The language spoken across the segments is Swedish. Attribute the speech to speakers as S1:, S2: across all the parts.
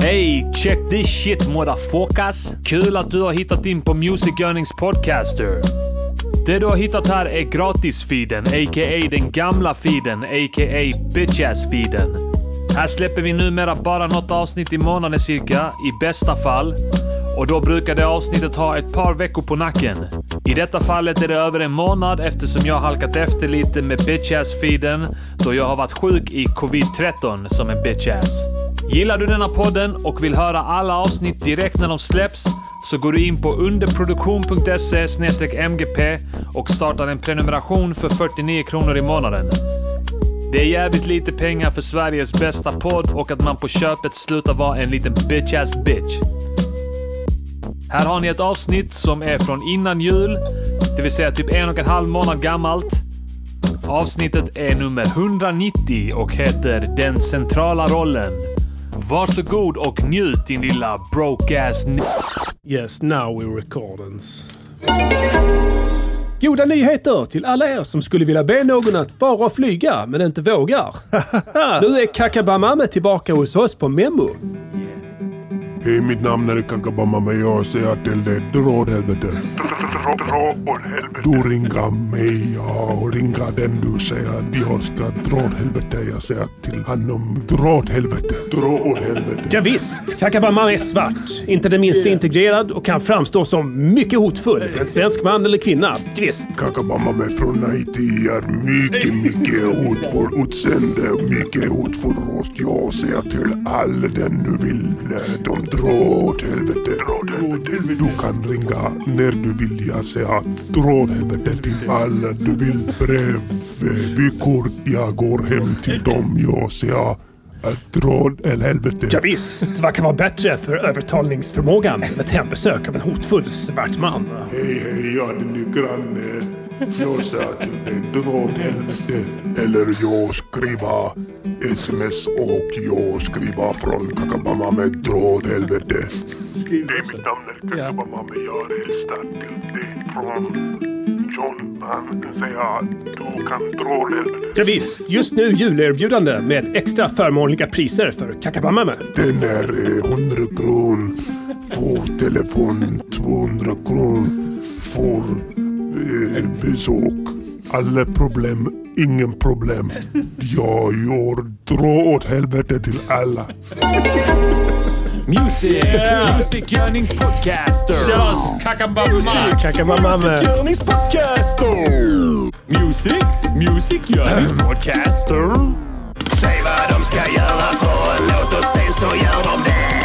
S1: Hey, check this shit motherfuckers! Kul att du har hittat in på Music Earnings Podcaster. Det du har hittat här är gratisfeeden, a.k.a. den gamla feeden, a.k.a. bitchass-feeden. Här släpper vi numera bara något avsnitt i månaden cirka, i bästa fall. Och då brukar det avsnittet ha ett par veckor på nacken. I detta fallet är det över en månad eftersom jag har halkat efter lite med bitchass-feeden då jag har varit sjuk i covid-13 som en bitchass. Gillar du denna podden och vill höra alla avsnitt direkt när de släpps så går du in på underproduktion.se mgp och startar en prenumeration för 49 kronor i månaden. Det är jävligt lite pengar för Sveriges bästa podd och att man på köpet slutar vara en liten bitch-ass bitch. Här har ni ett avsnitt som är från innan jul, det vill säga typ en och en halv månad gammalt. Avsnittet är nummer 190 och heter Den centrala rollen. Varsågod och njut din lilla broke-ass n-
S2: Yes, now we're recordings.
S3: Goda nyheter till alla er som skulle vilja be någon att fara och flyga men inte vågar. nu är Kakabamame tillbaka hos oss på Memo.
S4: Hej, mitt namn är Kakabamama och jag säger till dig, dra åt helvete. Du ringa mig, jag ringa den du säger att jag ska dra åt helvete. Jag säger till honom, dra åt helvete. Dra åt helvete.
S3: Ja, visst, Kakabamame är svart, inte det minsta integrerad och kan framstå som mycket hotfull för en svensk man eller kvinna. Visst.
S4: Kakabamama från Haiti är mycket, mycket hotfull utseende. Mycket hotfull röst. Jag säger till all den du vill, de dra åt helvete. Du kan ringa när du vill. Jag säger dra åt helvete till alla du vill. Brev, eh, vykort. Jag går hem till dem. Jag säger att dra åt helvete.
S3: Ja, visst, vad kan vara bättre för övertalningsförmågan än ett hembesök av en hotfull svart man?
S4: Hej, hej, jag är din nya granne. Jag sa till dig, dra åt helvete. Eller jag skriva sms och jag skriva från Kakabamame, dra åt helvete. Skriv det. mitt namn är Kakabamame, jag hälsar till dig från John. Han säger, du kan dra åt helvete.
S3: Ja, visst, just nu julerbjudande med extra förmånliga priser för Kakabamame.
S4: Den är eh, 100 kron. Får telefon 200 kron. Får eh, besök. Alla problem, ingen problem. Jag gör dra åt helvete till alla.
S1: Music! Music Yearnings Podcaster!
S5: Tjena kakabamma!
S3: Kakabamame.
S1: Yearnings Podcaster! Music! Music Yearnings Podcaster!
S6: Säg vad de ska göra för en låt och sen så gör de det.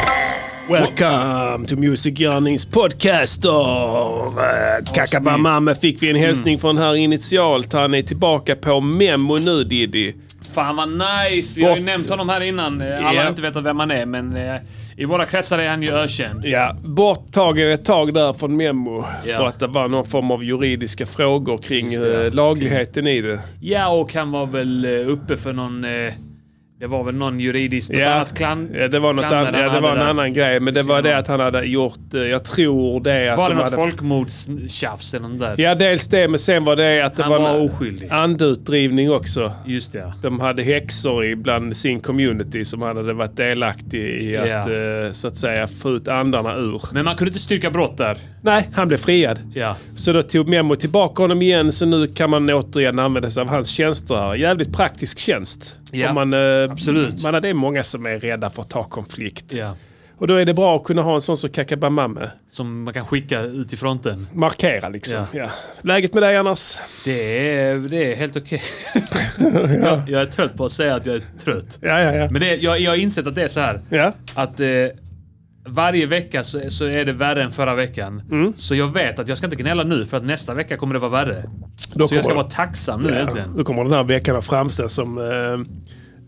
S3: Welcome to Music Yearnings podcaster! Eh, Kakabamame fick vi en
S5: Mm.
S3: hälsning från här initialt. Han är tillbaka på Memo nu Diddy.
S5: Fan vad nice! Vi har ju
S3: Bort.
S5: nämnt honom här innan. Eh, Alla
S3: Ja.
S5: har inte vetat vem han är, men eh, i våra kretsar är han ju ökänd.
S3: Ja, borttagen ett tag där från Memo.
S5: Ja.
S3: För att det var någon form av juridiska frågor kring
S5: Just det, ja.
S3: eh, lagligheten i det.
S5: Ja, och han var väl eh, uppe för någon... eh, Det var väl någon juridisk... Något annat klan...
S3: ja, det var, något
S5: klander
S3: annat, ja,
S5: han
S3: det var en
S5: hade där.
S3: annan grej. Men det var det att han hade gjort, eh, jag tror det att
S5: Var det
S3: de
S5: något
S3: hade...
S5: folkmordstjafs eller något där?
S3: Ja, dels det. Men sen var det att det
S5: Han
S3: var,
S5: var
S3: en
S5: oskyldig.
S3: andutdrivning också.
S5: Just det, ja.
S3: De hade häxor i bland sin community som han hade varit delaktig i att
S5: Ja.
S3: eh, så att säga få ut andarna ur.
S5: Men man kunde inte styrka brott där.
S3: Nej, han blev friad.
S5: Ja.
S3: Så då tog Memo tillbaka honom igen så nu kan man återigen använda sig av hans tjänster här. Jävligt praktisk tjänst.
S5: Ja,
S3: Om man, eh,
S5: absolut.
S3: Man, det är många som är rädda för att ta konflikt.
S5: Ja.
S3: Och då är det bra att kunna ha en sån som Kakabamame.
S5: Som man kan skicka ut i fronten.
S3: Markera liksom.
S5: Ja.
S3: Ja. Läget med dig annars?
S5: Det är, det är helt okej. jag, jag är trött på att säga att jag är trött.
S3: Ja, ja, ja.
S5: Men det, jag, jag har insett att det är så här.
S3: ja.
S5: Att eh, varje vecka så, så är det värre än förra veckan. Så jag vet att jag ska inte gnälla nu för att nästa vecka kommer det vara värre.
S3: Då
S5: så jag ska
S3: kommer-
S5: vara tacksam nu egentligen.
S3: Nu kommer den här veckan att framstå som eh,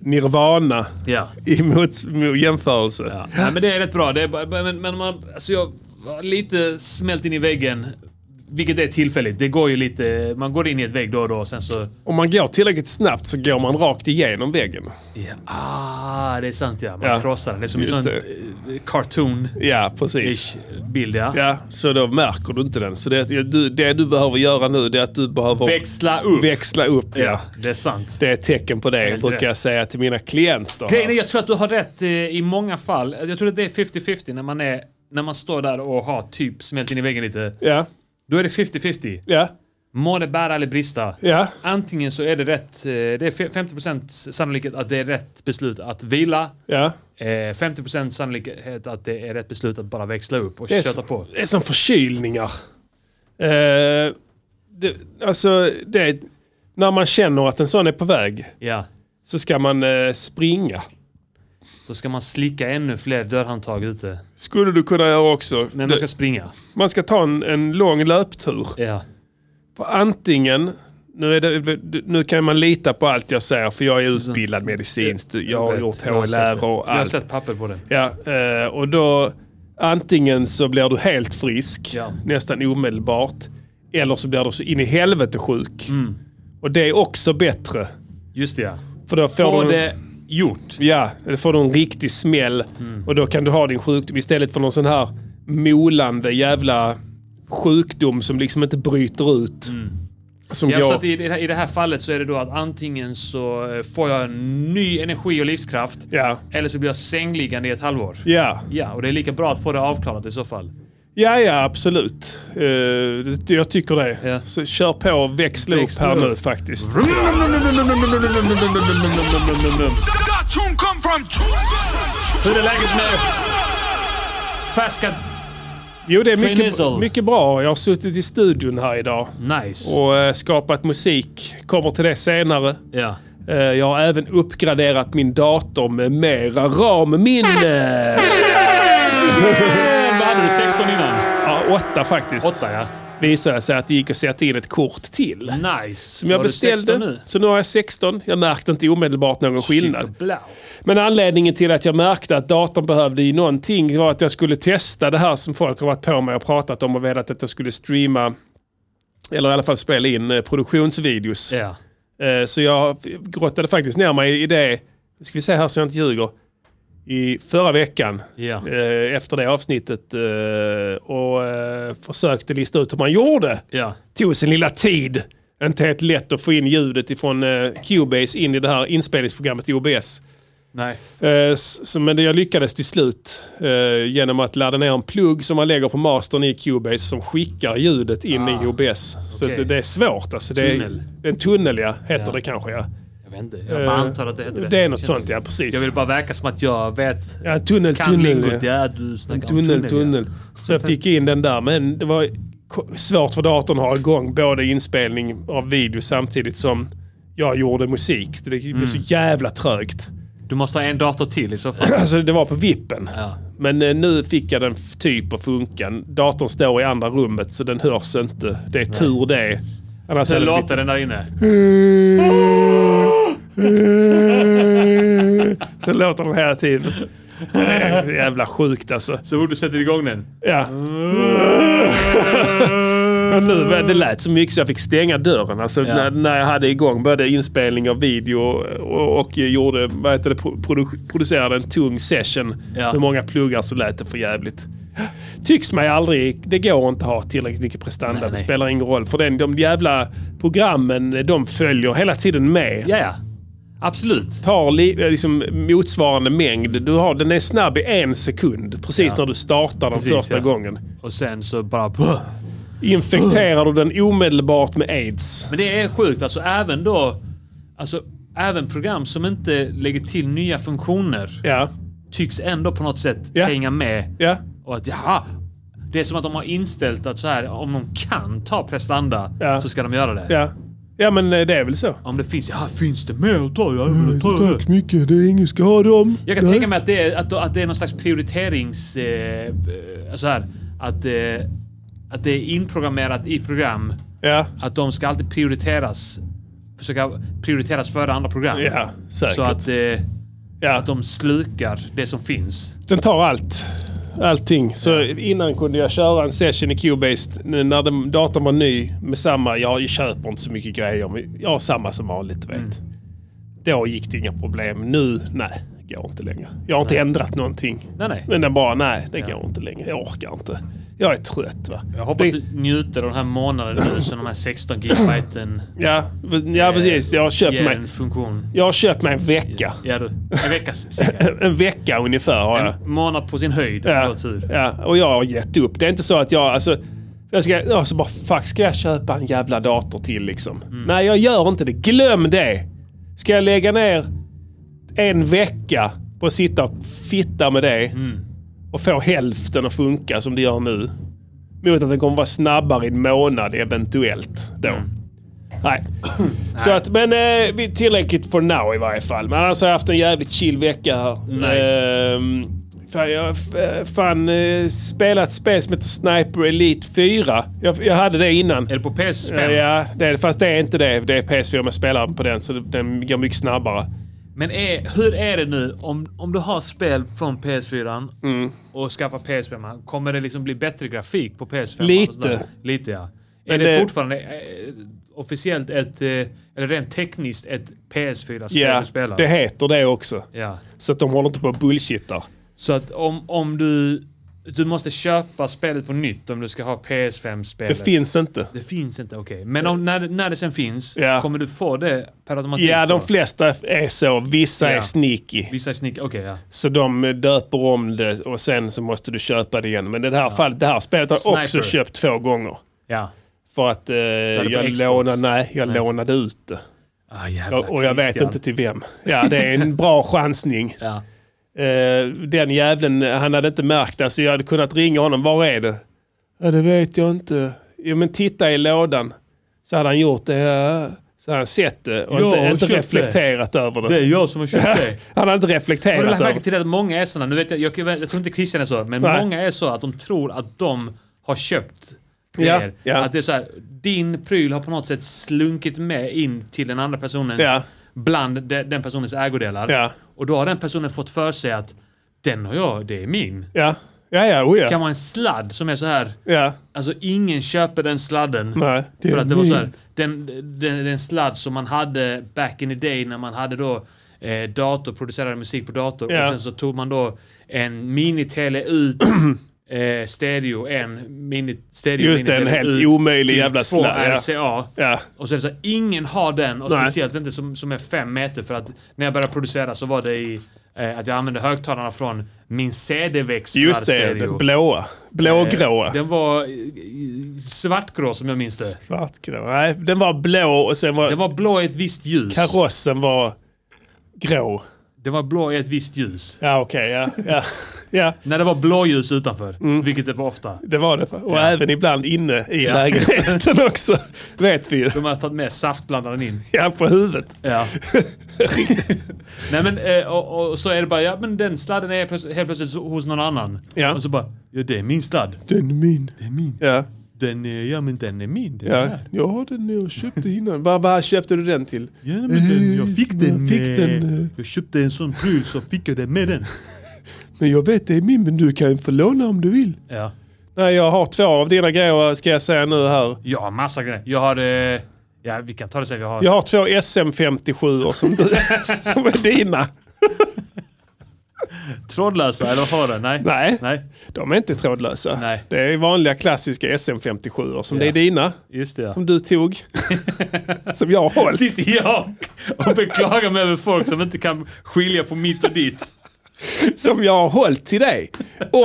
S3: Nirvana.
S5: Ja.
S3: i mot, mot jämförelse.
S5: ja. Nej, men det är rätt bra. Det är, bara- men men man, alltså jag har lite smält in i väggen Vilket är tillfälligt. Det går ju lite... Man går in i ett vägg då och då och sen så...
S3: Om man går tillräckligt snabbt så går man rakt igenom väggen.
S5: Ah, det är sant ja. Man
S3: Ja.
S5: krossar. Det är som en
S3: Just
S5: sån
S3: det.
S5: eh, cartoon
S3: Ja, precis.
S5: ish bild ja.
S3: Ja, så då märker du inte den. Så det du, det du behöver göra nu det är att du behöver
S5: Växla upp.
S3: växla upp. Ja.
S5: ja, det är sant.
S3: Det är ett tecken på det,
S5: Helt
S3: brukar jag
S5: rätt.
S3: säga till mina klienter.
S5: Grejen är, jag tror att du har rätt eh, i många fall. Jag tror att det är 50-50 när man är... När man står där och har typ smält in i väggen lite.
S3: Ja,
S5: Då är det 50-50.
S3: ja,
S5: Må det bära eller brista.
S3: ja.
S5: Antingen så är det rätt, eh, det är fe- 50% sannolikhet att det är rätt beslut att vila.
S3: ja.
S5: eh, 50% sannolikhet att det är rätt beslut att bara växla upp och
S3: Det är
S5: köta
S3: som-
S5: på.
S3: Det är som förkylningar. Eh, det, alltså, det är, när man känner att en sån är på väg
S5: Ja.
S3: så ska man eh, springa.
S5: Då ska man slicka ännu fler dörrhandtag ute.
S3: Skulle du kunna göra också.
S5: Men
S3: Det-
S5: man ska springa.
S3: man ska ta en, en lång löptur.
S5: Ja.
S3: För antingen, nu, är det, nu kan man lita på allt jag säger för jag är utbildad medicinskt. Jag har
S5: vet.
S3: gjort
S5: Mm. Jag har sett
S3: HLR
S5: det.
S3: och
S5: Jag har
S3: allt.
S5: sett papper på det.
S3: Ja, eh, och då antingen så blir du helt frisk
S5: Ja.
S3: nästan omedelbart. Eller så blir du så in i helvete sjuk.
S5: Mm.
S3: Och det är också bättre.
S5: Just det ja.
S3: För då får
S5: Få
S3: du,
S5: det gjort.
S3: Ja, då får du en riktig smäll.
S5: Mm.
S3: Och då kan du ha din sjukdom istället för någon sån här molande jävla sjukdom som liksom inte bryter ut. Som
S5: Mm. Ja,
S3: går...
S5: så att i, i det här- I det här fallet så är det då att antingen så eh, får jag ny energi och livskraft.
S3: Ja.
S5: Eller så blir jag sängliggande i ett halvår.
S3: Ja.
S5: Ja, och det är lika bra att få det avklarat i så fall.
S3: ja, ja absolut. Eh, det- jag tycker det.
S5: Ja.
S3: Så kör på och växla upp
S5: Växla
S3: här
S5: upp.
S3: nu faktiskt.
S5: Hur är läget med färska...
S3: Jo, det är mycket,
S5: Finizzle.
S3: mycket bra. Jag har suttit i studion här idag
S5: Nice.
S3: och eh, skapat musik. Kommer till det senare.
S5: Ja.
S3: Eh, Jag har även uppgraderat min dator med mera RAM-minne.
S5: Eh, Vad hade du? 16 innan?
S3: Ja, åtta faktiskt.
S5: 8 ja.
S3: Visade sig att det gick att sätta in ett kort till.
S5: Nice.
S3: Som jag beställde. Så nu har jag 16. Jag märkte inte omedelbart någon skillnad. Men anledningen till att jag märkte att datorn behövde ju någonting var att jag skulle testa det här som folk har varit på mig och pratat om och velat att jag skulle streama eller i alla fall spela in eh, produktionsvideos.
S5: Ja.
S3: Eh, Så jag grottade faktiskt ner mig i det, nu ska vi se här så jag inte ljuger, i förra veckan
S5: Ja.
S3: eh, efter det avsnittet eh, och eh, försökte lista ut hur man gjorde.
S5: Ja.
S3: Tog sin lilla tid. Inte helt lätt att få in ljudet ifrån eh, Cubase in i det här inspelningsprogrammet i OBS.
S5: Nej.
S3: Eh, s- så, men det jag lyckades till slut eh, genom att ladda ner en plugg som man lägger på mastern i Cubase som skickar ljudet in i OBS.
S5: Ah,
S3: Så
S5: okej.
S3: det, det är svårt. Alltså, det
S5: Tunnel.
S3: Är, en tunnel ja, heter
S5: Ja.
S3: det kanske ja.
S5: Jag vet inte. Jag bara
S3: Eh,
S5: antar att det heter det.
S3: Det är något
S5: Jag
S3: sånt ja, precis.
S5: Jag vill bara verka som att jag vet.
S3: Ja, tunnel,
S5: Kan
S3: tunnel.
S5: lingot.
S3: ja.
S5: Ja, du snackar om
S3: Tunnel,
S5: ja.
S3: tunnel. Så jag fick in den där, men det var k- svårt för datorn att ha igång både inspelning av video samtidigt som jag gjorde musik. Det blev
S5: Mm.
S3: så jävla trögt.
S5: Du måste ha en dator till i så fall.
S3: Alltså det var på vippen.
S5: Ja.
S3: Men eh, nu fick jag den f- typ att funka. Datorn står i andra rummet så den hörs inte. Det är tur det. Annars
S5: Sen
S3: hade det blivit-
S5: låter den där inne.
S3: Så låter den hela tiden. Det är jävla sjukt alltså.
S5: Så fort du sätter igång den.
S3: Ja.
S5: Mm.
S3: Och nu, det lät så mycket så jag fick stänga dörren. Alltså, när, när jag hade igång både inspelning av video och, och gjorde, vad heter det, pro- produ- producerade en tung session.
S5: Ja.
S3: Med många pluggar så lät det för jävligt. Tycks mig aldrig, det går inte att ha tillräckligt mycket prestanda.
S5: Nej,
S3: det
S5: nej.
S3: spelar ingen roll. För den, de jävla programmen, de följer hela tiden med
S5: Ja, ja. Absolut.
S3: tar li, eh, liksom motsvarande mängd. Du har, den är snabb i en sekund, precis när du startar den
S5: Precis,
S3: första
S5: ja.
S3: gången.
S5: Och sen så bara...
S3: Infekterar du den omedelbart med aids?
S5: Men det är sjukt. Alltså även då... Alltså även program som inte lägger till nya funktioner
S3: Ja,
S5: tycks ändå på något sätt
S3: Ja.
S5: hänga med.
S3: ja,
S5: Och att jaha. Det är som att de har inställt att så här, om de kan ta prestanda
S3: Ja.
S5: så ska de göra det.
S3: ja. Ja men eh, det är väl så.
S5: Om det finns, ja finns det mer att ta? Ja, men då tar jag det.
S4: Micke, det är ingen ska ha dem.
S5: Jag kan tänka mig att det är, att, att det är någon slags prioriterings... Eh, eh, så här, att, eh, att det är inprogrammerat i program
S3: Ja,
S5: att de ska alltid prioriteras. Försöka prioriteras före andra program.
S3: ja säkert.
S5: Så att, eh,
S3: ja.
S5: att de slukar det som finns.
S3: Den tar allt. allting. Så innan kunde jag köra en session i Cubase n- när den- datorn var ny med samma, jag köper inte så mycket grejer, men jag har samma som vanligt. Vet. Då gick det inga problem. Nu, nej, går inte längre. Jag har inte ändrat någonting.
S5: Nej, nej.
S3: Men den bara, nej, det går inte längre. Jag orkar inte. Jag är trött va.
S5: Jag hoppas
S3: det,
S5: du njuter av den här månaden nu så de här 16 gigabyten
S3: Ja, ja precis. Jag har köpt
S5: ger
S3: mig,
S5: en funktion.
S3: jag har köpt mig en vecka.
S5: Ja du, en vecka cirka.
S3: En vecka ungefär har jag.
S5: En månad på sin höjd. om du har tur.
S3: Ja, och jag har gett upp. Det är inte så att jag... Alltså, jag ska, jag ska bara, fuck, ska jag köpa en jävla dator till liksom?
S5: Mm.
S3: Nej, jag gör inte det. Glöm det! Ska jag lägga ner en vecka på att sitta och fitta med det
S5: Mm.
S3: och få hälften att funka som det gör nu? Mot att den kommer vara snabbare i en månad eventuellt då.
S5: Mm.
S3: Nej. Så att, men eh, vi- tillräckligt för now i varje fall. Men annars har jag haft en jävligt chill vecka här.
S5: Nice.
S3: Ehm, fan, jag har f- fan eh, spelat spel som heter Sniper Elite 4. Jag, jag hade det innan.
S5: Eller på PS5.
S3: Ja, det, är- fast det är inte det. Det är PS4 man spelar på den, så det- den går mycket snabbare.
S5: Men är, hur är det nu om, om du har spel från PS4
S3: Mm.
S5: och skaffar PS5? Kommer det liksom bli bättre grafik på PS5?
S3: Lite.
S5: Och sådär? Lite ja.
S3: Men
S5: är det,
S3: det-
S5: fortfarande eh, officiellt ett, eh, eller rent tekniskt ett PS4-spel
S3: Ja,
S5: du spelar?
S3: det heter det också.
S5: ja.
S3: Så att de håller inte på och bullshittar.
S5: Så att om, om du... Du måste köpa spelet på nytt om du ska ha PS5-spelet.
S3: Det finns inte.
S5: Det finns inte, okej. Men om, när, när det sen finns,
S3: Ja.
S5: kommer du få det per automatik?
S3: Ja, de
S5: då?
S3: flesta är så. Vissa är
S5: Ja.
S3: sneaky.
S5: Vissa snickare, okej ja.
S3: Så de eh, döper om det och sen så måste du köpa det igen. Men det här, fallet, det här spelet har jag också
S5: Sniper.
S3: köpt två gånger.
S5: Ja.
S3: För att eh,
S5: på
S3: jag,
S5: Xbox?
S3: lånade, nej, jag lånade ut det.
S5: Ah, jävla
S3: Och, och jag vet
S5: Christian.
S3: inte till vem. Ja, det är en bra chansning.
S5: Ja.
S3: Eh, den jävlen, han hade inte märkt det. Så jag hade kunnat ringa honom. Var är det? Ja, det vet jag inte. Jo, men titta i lådan. Så hade han gjort det. Ja. Så hade han sett det och
S5: Ja, och
S3: inte, inte
S5: köpt
S3: reflekterat över det.
S5: Det är jag som har köpt det.
S3: Han hade inte
S5: Har du
S3: reflekterat
S5: lagt
S3: över
S5: märke
S3: det.
S5: till att många är sådana, nu vet jag, jag, jag tror inte Christian är så, men
S3: Nej.
S5: många är så att de tror att de har köpt
S3: Ja,
S5: grejer.
S3: ja.
S5: Att det är så här, din pryl har på något sätt slunkit med in till den andra personens,
S3: Ja.
S5: bland de, den personens ägodelar.
S3: Ja.
S5: Och då har den personen fått för sig att den har jag, det är min.
S3: Ja, ja, ja. Oh,
S5: Det
S3: ja.
S5: kan vara en sladd som är så här.
S3: ja.
S5: Alltså ingen köper den sladden.
S3: Nej, det
S5: för
S3: är
S5: att det var
S3: min.
S5: så här, den, den, den sladd som man hade back in the day när man hade då eh, dator, producerade musik på dator.
S3: Ja.
S5: Och sen så tog man då en minitele ut eh, stereo, en mini, stereo
S3: Just det, en
S5: minitele
S3: helt
S5: ut
S3: omöjlig
S5: till
S3: jävla
S5: två
S3: sladd, ja.
S5: RCA.
S3: Ja.
S5: Och sen så här, ingen har den och
S3: Nej.
S5: speciellt inte som, som är fem meter för att när jag började producera så var det i eh, att jag använde högtalarna från min CD-växlar
S3: Just det, den blåa. Blågråa.
S5: den var eh, svartgrå som jag minns det.
S3: Svartgrå. Nej, den var blå och sen var,
S5: Den var blå i ett visst ljus.
S3: karossen var grå.
S5: Den var blå i ett visst ljus.
S3: Ja, okej. ja, ja, ja,
S5: När det var blåljus utanför, vilket det var ofta.
S3: det var det. Och även ibland inne i lägenheten också. Vet vi ju.
S5: De hade tagit med saftblandaren in.
S3: Ja, på huvudet.
S5: Ja. Nej men, eh, och, och, och så är det bara, ja men den sladden är plöts- helt plötsligt så- hos någon annan.
S3: Ja.
S5: Och så bara, ja det är min sladd.
S3: Den är min.
S5: Det är min.
S3: Ja,
S5: Den är, ja men den är min. Den
S3: ja.
S5: Är.
S3: ja den jag köpte innan. Vad vad köpte du den till?
S5: Ja, men den, jag fick den.
S3: fick
S5: eh,
S3: den, eh.
S5: Jag köpte en sån pryl så fick jag den med den.
S3: Men jag vet det är min, men du kan ju få låna om du vill.
S5: Ja.
S3: Nej, jag har två av dina grejer ska jag säga nu här.
S5: Jag har massa grejer. Jag har... Eh, ja, vi kan ta det sen. Jag har...
S3: Jag har två SM57 som, du, som är dina.
S5: Trådlösa, eller vad har du? Nej.
S3: Nej.
S5: Nej.
S3: De är inte trådlösa.
S5: Nej.
S3: Det är vanliga klassiska SM57 som det är dina.
S5: Just det ja.
S3: Som du tog. som jag har hållit.
S5: Sitter jag och beklagar mig över folk som inte kan skilja på mitt och ditt.
S3: Som jag har hållit till dig.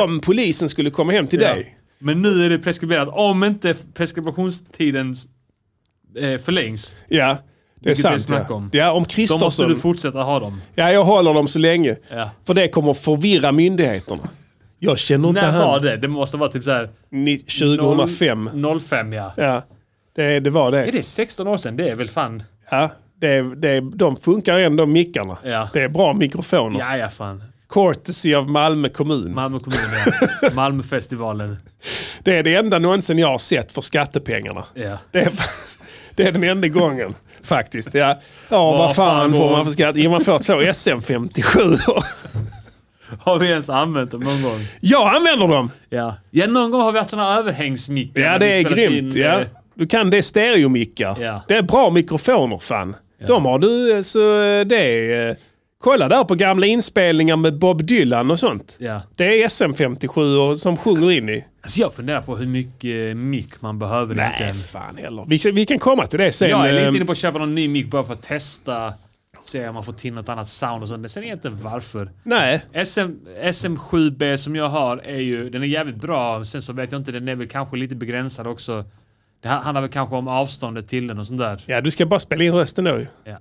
S3: Om polisen skulle komma hem till dig.
S5: Men nu är det preskriberat. Om inte preskriptionstiden eh, förlängs,
S3: Ja. Det är
S5: Vilket det är
S3: sant.
S5: snack
S3: ja.
S5: om.
S3: ja, om
S5: då måste
S3: Kristersson.
S5: du fortsätta ha dem.
S3: Ja, jag håller dem så länge.
S5: Ja.
S3: För det kommer förvirra myndigheterna. Jag känner inte
S5: När var
S3: han.
S5: det? Det måste vara typ såhär...
S3: Ni- 2005.
S5: 05 ja.
S3: Ja. Det, det var det.
S5: Är det 16 år sedan? Det är väl fan...
S3: Ja, det, det, de funkar ändå mickarna.
S5: Ja.
S3: Det är bra mikrofoner.
S5: Ja, ja fan.
S3: Courtesy av Malmö kommun.
S5: Malmö kommun ja. Malmöfestivalen.
S3: det är det enda någonsin jag har sett för skattepengarna.
S5: Ja.
S3: Det, är, det är den enda gången faktiskt. Ja, ja vad
S5: fan
S3: fan får
S5: går-
S3: man för skatt? Jo, man får två SM57.
S5: Har vi ens använt dem någon gång?
S7: Jag använder dem!
S5: Ja. Ja, någon gång har vi haft sådana överhängsmickar.
S7: Ja,
S5: när
S7: det
S5: vi
S7: är
S5: spelat
S7: grymt.
S5: in,
S7: Ja.
S5: eh,
S7: Du kan det är stereomickar.
S5: Ja.
S7: Det är bra mikrofoner fan. De har du, eh, så eh, det är... eh, Kolla där på gamla inspelningar med Bob Dylan och sånt.
S5: Ja.
S7: Det är SM57 och som sjunger in i.
S5: Alltså jag funderar på hur mycket eh, mick man behöver
S7: Nej, fan heller. Vi, kan- vi kan komma till det sen.
S5: Jag är
S7: eh,
S5: lite inne på att köpa någon ny mick bara för att testa. Se om man får till något annat sound och sånt. Men sen egentligen varför.
S7: Nej,
S5: SM, SM7B som jag har är ju, den är jävligt bra. Sen så vet jag inte, den är väl kanske lite begränsad också. Det här handlar väl kanske om avståndet till den och sånt där.
S7: ja, du ska bara spela in rösten då ju.
S5: Ja.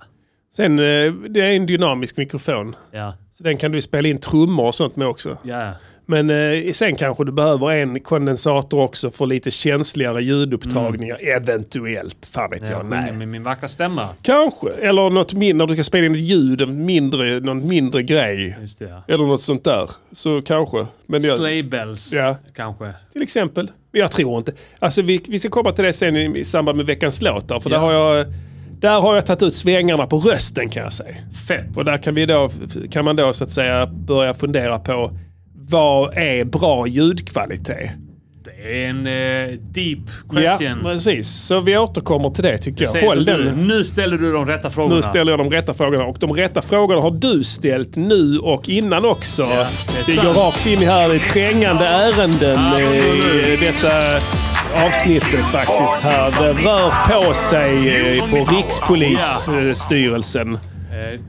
S7: Sen, eh, det är en dynamisk mikrofon.
S5: Ja.
S7: Så den kan du spela in trummor och sånt med också.
S5: Ja.
S7: Men eh, sen kanske du behöver en kondensator också för lite känsligare ljudupptagningar.
S5: Mm.
S7: Eventuellt, fan vet
S5: Jag
S7: jag.
S5: sjunger
S7: Nej.
S5: med min vackra stämma.
S7: Kanske, eller något mindre, när du ska spela in ett ljud, en mindre, någon mindre grej.
S5: Just det, ja.
S7: Eller något sånt där. Så kanske. Men jag,
S5: Sleigh bells,
S7: Ja.
S5: kanske.
S7: till exempel. Men Jag tror inte. Alltså vi, vi ska komma till det sen i, i samband med veckans låt. Där, för där, har jag, där har jag tagit ut svängarna på rösten kan jag säga.
S5: Fett.
S7: Och där kan, vi då, kan man då så att säga börja fundera på vad är bra ljudkvalitet?
S5: Det är en eh, deep question.
S7: Ja, precis. Så vi återkommer till det tycker jag.
S5: Säg som
S7: Håll
S5: du,
S7: den.
S5: nu ställer du de rätta frågorna.
S7: Nu ställer jag de rätta frågorna och de rätta frågorna har du ställt nu och innan också.
S5: det är
S7: det går
S5: sant.
S7: rakt in här i trängande ärenden eh, i
S5: Absolut.
S7: detta avsnittet faktiskt. Här. Det rör på sig eh, på Rikspolisstyrelsen.
S5: Eh,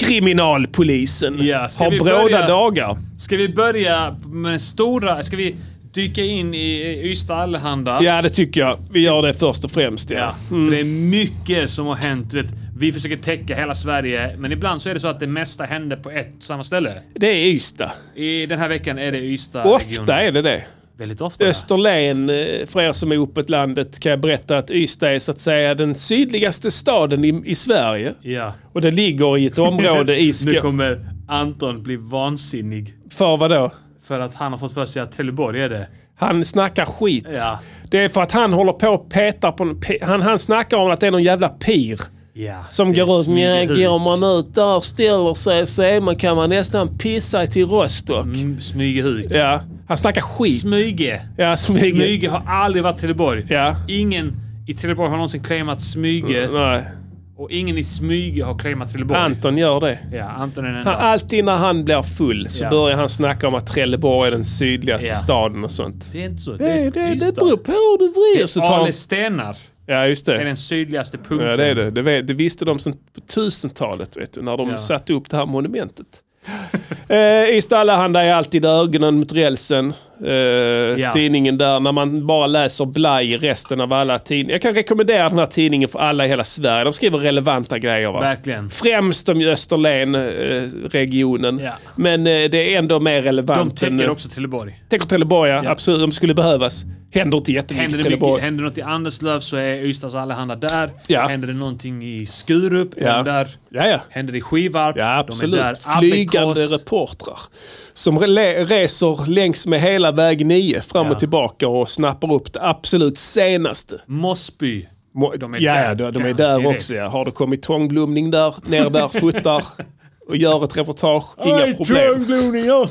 S7: Rikskriminalpolisen
S5: Ja, ska
S7: har
S5: vi
S7: bråda
S5: börja-
S7: dagar.
S5: Ska vi börja med den stora? Ska vi dyka in i eh, Ystad Allehanda?
S7: Ja, det tycker jag. Vi gör det först och främst. Ja.
S5: Ja, För det är mycket som har hänt. Du Vet, vi försöker täcka hela Sverige, men ibland så är det så att det mesta händer på ett och samma ställe.
S7: Det är Ystad.
S5: I den här veckan är det Ystad.
S7: Ofta är det det.
S5: Väldigt ofta.
S7: Österlen, eh, för er som är uppåt landet, kan jag berätta att Ystad är så att säga den sydligaste staden i, i Sverige.
S5: Ja.
S7: Och det ligger i ett område i
S5: Nu
S7: Skåne.
S5: kommer Anton bli vansinnig
S7: För vadå?
S5: för att han har fått för sig att Trelleborg är det.
S7: Han snackar skit.
S5: Ja.
S7: Det är för att han håller på och petar på... en pe- Han, han snackar om att det är någon jävla pir.
S5: Ja.
S7: Som
S5: det är
S7: går ut. "Nja,
S5: smyghugg.
S7: Går man ut där och ställer sig så är man, kan man nästan pissa till Rostock.
S5: Mm, Smygehuk.
S7: Ja, han snackar skit.
S5: Smyge.
S7: Ja, smyger.
S5: Smyge har aldrig varit Trelleborg.
S7: Ja.
S5: Ingen i Trelleborg har någonsin claimat Smyge
S7: Nej,
S5: och ingen i Smyge har claimat Trelleborg.
S7: Anton gör det.
S5: Ja, Anton är den
S7: Han,
S5: enda.
S7: alltid när han blir full så
S5: Ja.
S7: börjar han snacka om att Trelleborg är den sydligaste
S5: Ja.
S7: staden och sånt.
S5: Det är inte så.
S7: Det, det, det
S5: Ystad.
S7: beror på hur du vrider så tar
S5: Ale stenar
S7: Ja, just
S5: är
S7: det.
S5: den sydligaste punkten.
S7: Ja, det, är det. Det, vet, det visste de sen på 1000-talet vet du, när de
S5: Ja.
S7: satte upp det här monumentet. eh, Ystad Allehanda är alltid ögonen mot rälsen. Eh, Tidningen där, när man bara läser blaj i resten av alla tidningar. Jag kan rekommendera den här tidningen för alla i hela Sverige. De skriver relevanta grejer. Va?
S5: Verkligen.
S7: Främst om Österlen-regionen.
S5: Ja.
S7: Men eh, det är ändå mer
S5: De
S7: relevant.
S5: täcker
S7: än,
S5: också Trelleborg.
S7: Tänker Trelleborg, ja. Absolut, de skulle behövas. Händer inte jättemycket
S5: Händer
S7: i
S5: det, mycket,
S7: Trelleborg.
S5: händer något i Anderslöv så är Ystads Allehanda där.
S7: Ja.
S5: Händer det någonting i Skurup, är
S7: Ja.
S5: de där.
S7: Ja, ja.
S5: Händer det i Skivarp,
S7: Ja,
S5: de är
S7: absolut.
S5: där.
S7: Flygande
S5: Abbekås.
S7: reportrar. Som le- reser längs med hela väg 9 fram och tillbaka och snappar upp det absolut senaste.
S5: Mossby.
S7: Må-
S5: De är
S7: ja,
S5: där-
S7: ja, de, de
S5: där
S7: är där
S5: direkt.
S7: också. Ja. Har det kommit tångblomning där, ner där, fotar och gör ett reportage, inga problem.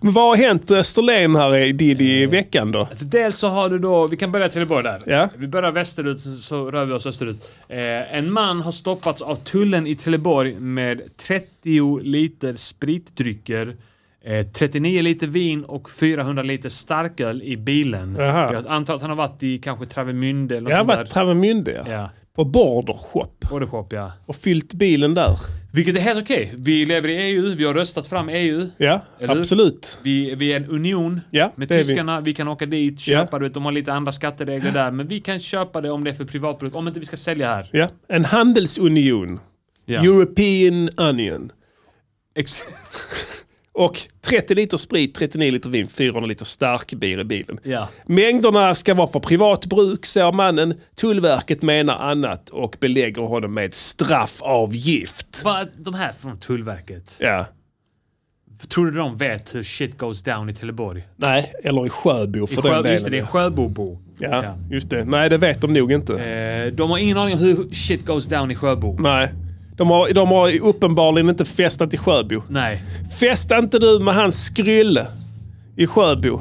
S7: Men vad har hänt på Österlen här i Diddy i
S5: Eh,
S7: veckan då?
S5: Så Alltså, dels så har du då, vi kan börja i Trelleborg där.
S7: Ja.
S5: Vi börjar västerut så rör vi oss österut. Eh, en man har stoppats av tullen i Trelleborg med 30 liter spritdrycker, eh, 39 liter vin och 400 liter starköl i bilen.
S7: Jaha.
S5: Jag antar att han har varit i kanske Travemünde eller något
S7: Jag har
S5: sånt
S7: varit i
S5: där.
S7: Travemünde ja.
S5: Ja,
S7: på Border Shop
S5: Bordershop ja.
S7: och fyllt bilen där.
S5: Vilket är helt okej. Vi lever i EU, vi har röstat fram E EU.
S7: Ja,
S5: Eller hur?
S7: absolut.
S5: Vi, vi är en union
S7: Ja,
S5: med
S7: det är vi.
S5: tyskarna. Vi. kan åka dit, köpa.
S7: Ja.
S5: Du vet, de har lite andra skatteregler där. Men vi kan köpa det om det är för privatbruk. Om inte vi ska sälja här.
S7: Ja. En handelsunion.
S5: Ja.
S7: European Union.
S5: Ex-
S7: Och 30 liter sprit, 39 liter vin, 400 liter starkbier i bilen.
S5: Ja.
S7: Mängderna ska vara för privat bruk, säger mannen. Tullverket menar annat och belägger honom med straffavgift.
S5: Vad- de här från Tullverket.
S7: Ja.
S5: Tror du de vet hur shit goes down i Trelleborg?
S7: Nej, eller i Sjöbo för
S5: I
S7: den
S5: Sjö,
S7: delen.
S5: just det, Eh. det är Sjöbobo.
S7: ja, just det. Nej, det vet de nog inte.
S5: Eh, De har ingen aning om hur shit goes down i Sjöbo.
S7: Nej.
S3: De har, de har ju uppenbarligen inte festat i Sjöbo.
S5: Nej,
S3: Festa inte du med hans skrylle i Sjöbo.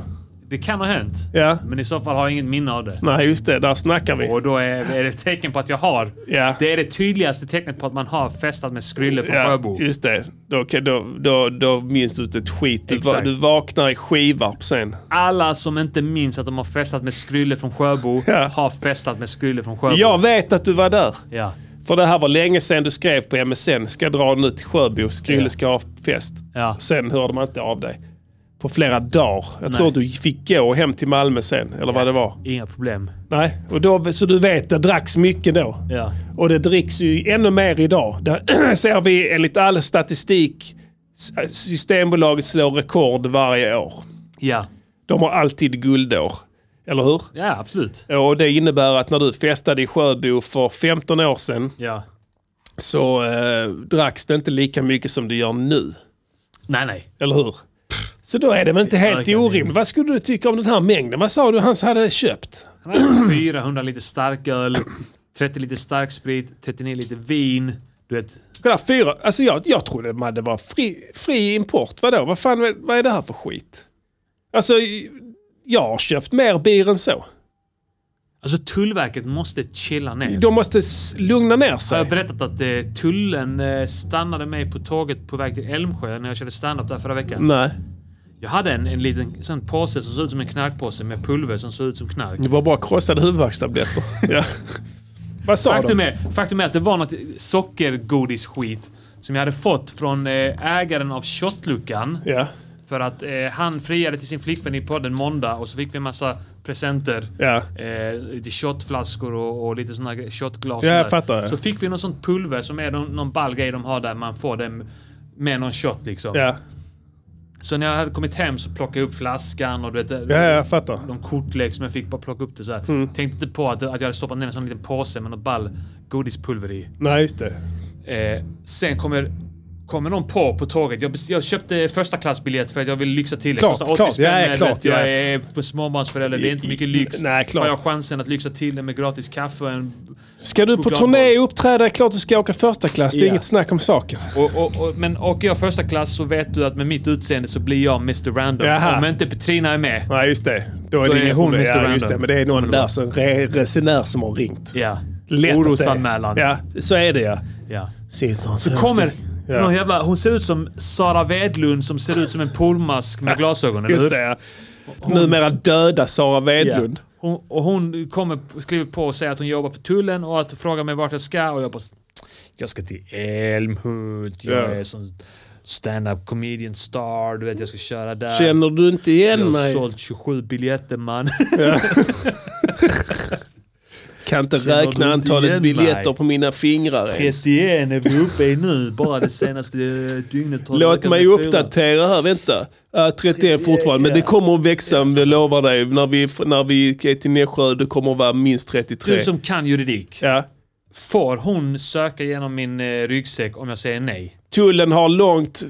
S5: det kan ha hänt.
S3: Ja.
S5: Men i så fall har jag inget minne av det.
S3: Nej, just det. Där snackar vi.
S5: Och då är, är det ett tecken på att jag har.
S3: Ja.
S5: Det är det tydligaste tecknet på att man har festat med Skrylle från
S3: Ja,
S5: Sjöbo.
S3: just det. Då, kan- då, då, då minns du inte ett skit. Du, va,
S5: Exakt.
S3: du vaknar i Skivarp sen.
S5: Alla som inte minns att de har festat med Skrylle från Sjöbo
S3: Ja.
S5: har festat med Skrylle från Sjöbo.
S3: Jag vet att du var där.
S5: Ja.
S3: För det här var länge sedan du skrev på MSN. Ska dra nu till Sjöbo. Skrylle ska ha fest.
S5: Ja.
S3: Sen hörde man inte av dig. På flera dagar. Jag tror du fick gå hem till Malmö sen. Eller vad det var.
S5: Inga problem.
S3: Nej. Och då, så du vet, det dracks mycket då.
S5: Ja.
S3: Och det dricks ju ännu mer idag. Där ser vi enligt all statistik s- Systembolaget slår rekord varje år.
S5: Ja.
S3: De har alltid guldår. Eller hur?
S5: Ja, absolut.
S3: Och det innebär att när du festade i Sjöbo för 15 år sedan
S5: Ja.
S3: så eh, dracks det inte lika mycket som det gör nu.
S5: Nej, nej.
S3: Eller hur? Så då är det väl inte helt
S5: kan det.
S3: orimligt. Vad skulle du tycka om den här mängden? Vad sa du han hade köpt?
S5: Han hade 400 liter starköl, 30 liter starksprit, 39 liter vin. Du vet,
S3: Kolla, fyra. Alltså jag, jag trodde man- det var fri, fri import. Vadå? Vad fan vad är det här för skit? Alltså, jag har köpt mer bier än så.
S5: alltså Tullverket måste chilla ner.
S3: De måste s- lugna ner
S5: Har
S3: sig.
S5: jag berättat att eh, tullen eh, stannade mig på tåget på väg till Älmsjö när jag körde stand-up där förra veckan?
S3: Nej,
S5: Jag hade en, en liten sån påse som såg ut som en knarkpåse med pulver som såg ut som knark.
S3: det var bara krossade huvudvärkstabletter. ja. Vad sa
S5: Faktum
S3: de?
S5: är, faktum är att det var något sockergodisskit som jag hade fått från eh, ägaren av shotluckan.
S3: Ja.
S5: För att eh, han friade till sin flickvän i podden måndag och så fick vi en massa presenter.
S3: Ja.
S5: Eh, lite shotflaskor och, och lite såna gre- shotglas.
S3: Ja, jag
S5: och sånt där.
S3: fattar.
S5: Så fick vi någon sånt pulver som är någon, någon ball grej de har där man får den med någon shot liksom.
S3: Ja.
S5: Så när jag hade kommit hem så plockade jag upp flaskan och du vet,
S3: ja, Mm. jag fattar.
S5: de kortlek som jag fick bara plocka upp det så här. Tänkte inte på att, att jag hade stoppat ner en sån liten påse med något ball godispulver i.
S3: Nej, just det.
S5: Eh, sen kommer, kommer någon på på tåget. Jag, best- jag köpte första klassbiljett för att jag vill lyxa till det.
S3: Klart,
S5: Kostar 80
S3: klart.
S5: spänn,
S3: Ja, ja,
S5: vet,
S3: klart. Ja,
S5: Jag
S3: ja.
S5: är på småbarnsförälder, det är inte mycket lyx.
S3: Nej, klart.
S5: Har jag chansen att lyxa till det med gratis kaffe och en...
S3: Ska du på
S5: Chokladboll.
S3: turné och uppträda är klart du ska åka första klass. Det är
S5: Ja.
S3: inget snack om saken.
S5: Och, och, och, men åker jag första klass så vet du att med mitt utseende så blir jag Mr Random.
S3: Jaha.
S5: Om inte Petrina är med.
S3: Nej, just det. Då är
S5: Då
S3: det
S5: är
S3: inget
S5: hon Mm.
S3: problem.
S5: Mr.
S3: Ja, just det.
S5: Random.
S3: Men det är någon där som re- resenär som har ringt.
S5: Ja.
S3: Lätt att det är.
S5: Orosanmälan.
S3: Ja, så är det ja.
S5: Ja.
S3: Sitter så
S5: Kommer
S3: Ja.
S5: någon jävla... Hon ser ut som Sara Wedlund som ser ut som en polmask med glasögon, eller
S3: Just
S5: hur?
S3: det ja. Numera döda Sara Wedlund.
S5: Ja. Hon, och hon kommer, skriver på och säger att hon jobbar för tullen och att frågar mig vart jag ska och jag bara Jag ska till Älmhult, jag
S3: Ja.
S5: är sån stand-up comedian star, du vet jag ska köra där.
S3: Känner du inte igen
S5: jag har
S3: mig?
S5: sålt 27 biljetter man.
S3: Kan inte
S5: Känner du
S3: räkna
S5: inte
S3: antalet
S5: igen
S3: biljetter
S5: mig?
S3: på mina fingrar ens.
S5: 31 är vi uppe i nu, bara det senaste eh, dygnet. har det
S3: Låt
S5: ökat
S3: mig
S5: med fyra.
S3: uppdatera här, vänta. Äh, 31 fortfarande, men det kommer att växa, jag lovar dig. När vi, när vi är till Nässjö, det kommer att vara minst 33.
S5: Du som kan juridik,
S3: Ja.
S5: får hon söka genom min eh, ryggsäck om jag säger nej?
S3: Tullen har långt,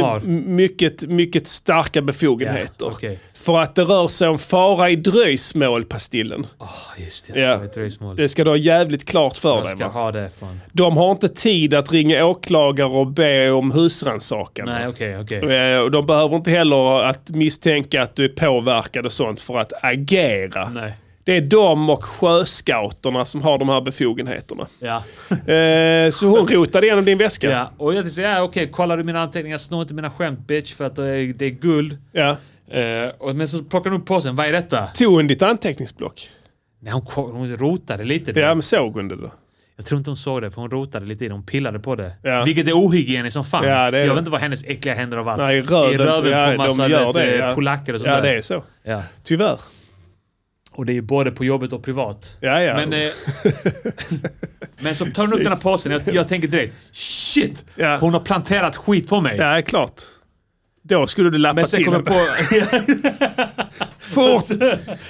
S5: har.
S3: eh, mycket, mycket starka befogenheter.
S5: Ja, okej.
S3: För att det rör sig om fara i dröjsmål, Pastillen.
S5: Ah, just det,
S3: Ja.
S5: det är ett dröjsmål.
S3: Det ska du ha jävligt klart för
S5: Jag
S3: dig.
S5: ska
S3: Va?
S5: ha det från...
S3: De har inte tid att ringa åklagare och be om husrannsakan.
S5: Nej, okej, okej.
S3: Eh, och De behöver inte heller att misstänka att du är påverkad och sånt för att agera.
S5: Nej.
S3: Det är de och sjöscouterna som har de här befogenheterna.
S5: Ja.
S3: Eh, så hon rotade igenom din väska?
S5: ja. Och jag tänkte säga, ja, okej, kollar du mina anteckningar, snå inte mina skämt bitch för att det är, det är guld.
S3: Ja.
S5: Eh, och, men så plockar hon upp påsen, vad är detta?
S3: Tog hon ditt anteckningsblock?
S5: Nej, hon, ko- hon rotade lite. i det.
S3: Ja, men såg hon det då?
S5: Jag tror inte hon såg det, för hon rotade lite i det. Hon pillade på det.
S3: Ja.
S5: Vilket är ohygieniskt som fan.
S3: Ja, det är
S5: jag
S3: det.
S5: vet inte vad hennes äckliga händer har varit.
S3: Nej,
S5: I
S3: röven,
S5: röven på en
S3: ja,
S5: massa
S3: de gör
S5: vet,
S3: det,
S5: eh,
S3: ja.
S5: polacker och sånt
S3: Ja,
S5: där.
S3: det är så.
S5: Ja.
S3: Tyvärr.
S5: Och det är ju både på jobbet och privat.
S3: Ja, ja.
S5: Men, eh, men så tar hon upp den här påsen. Jag, jag tänker direkt, shit!
S3: Ja.
S5: Hon har planterat skit på mig.
S3: Ja, det är klart. Då skulle du lappa
S5: Men sen
S3: till
S5: kommer
S3: den.
S5: jag på...
S3: Fort!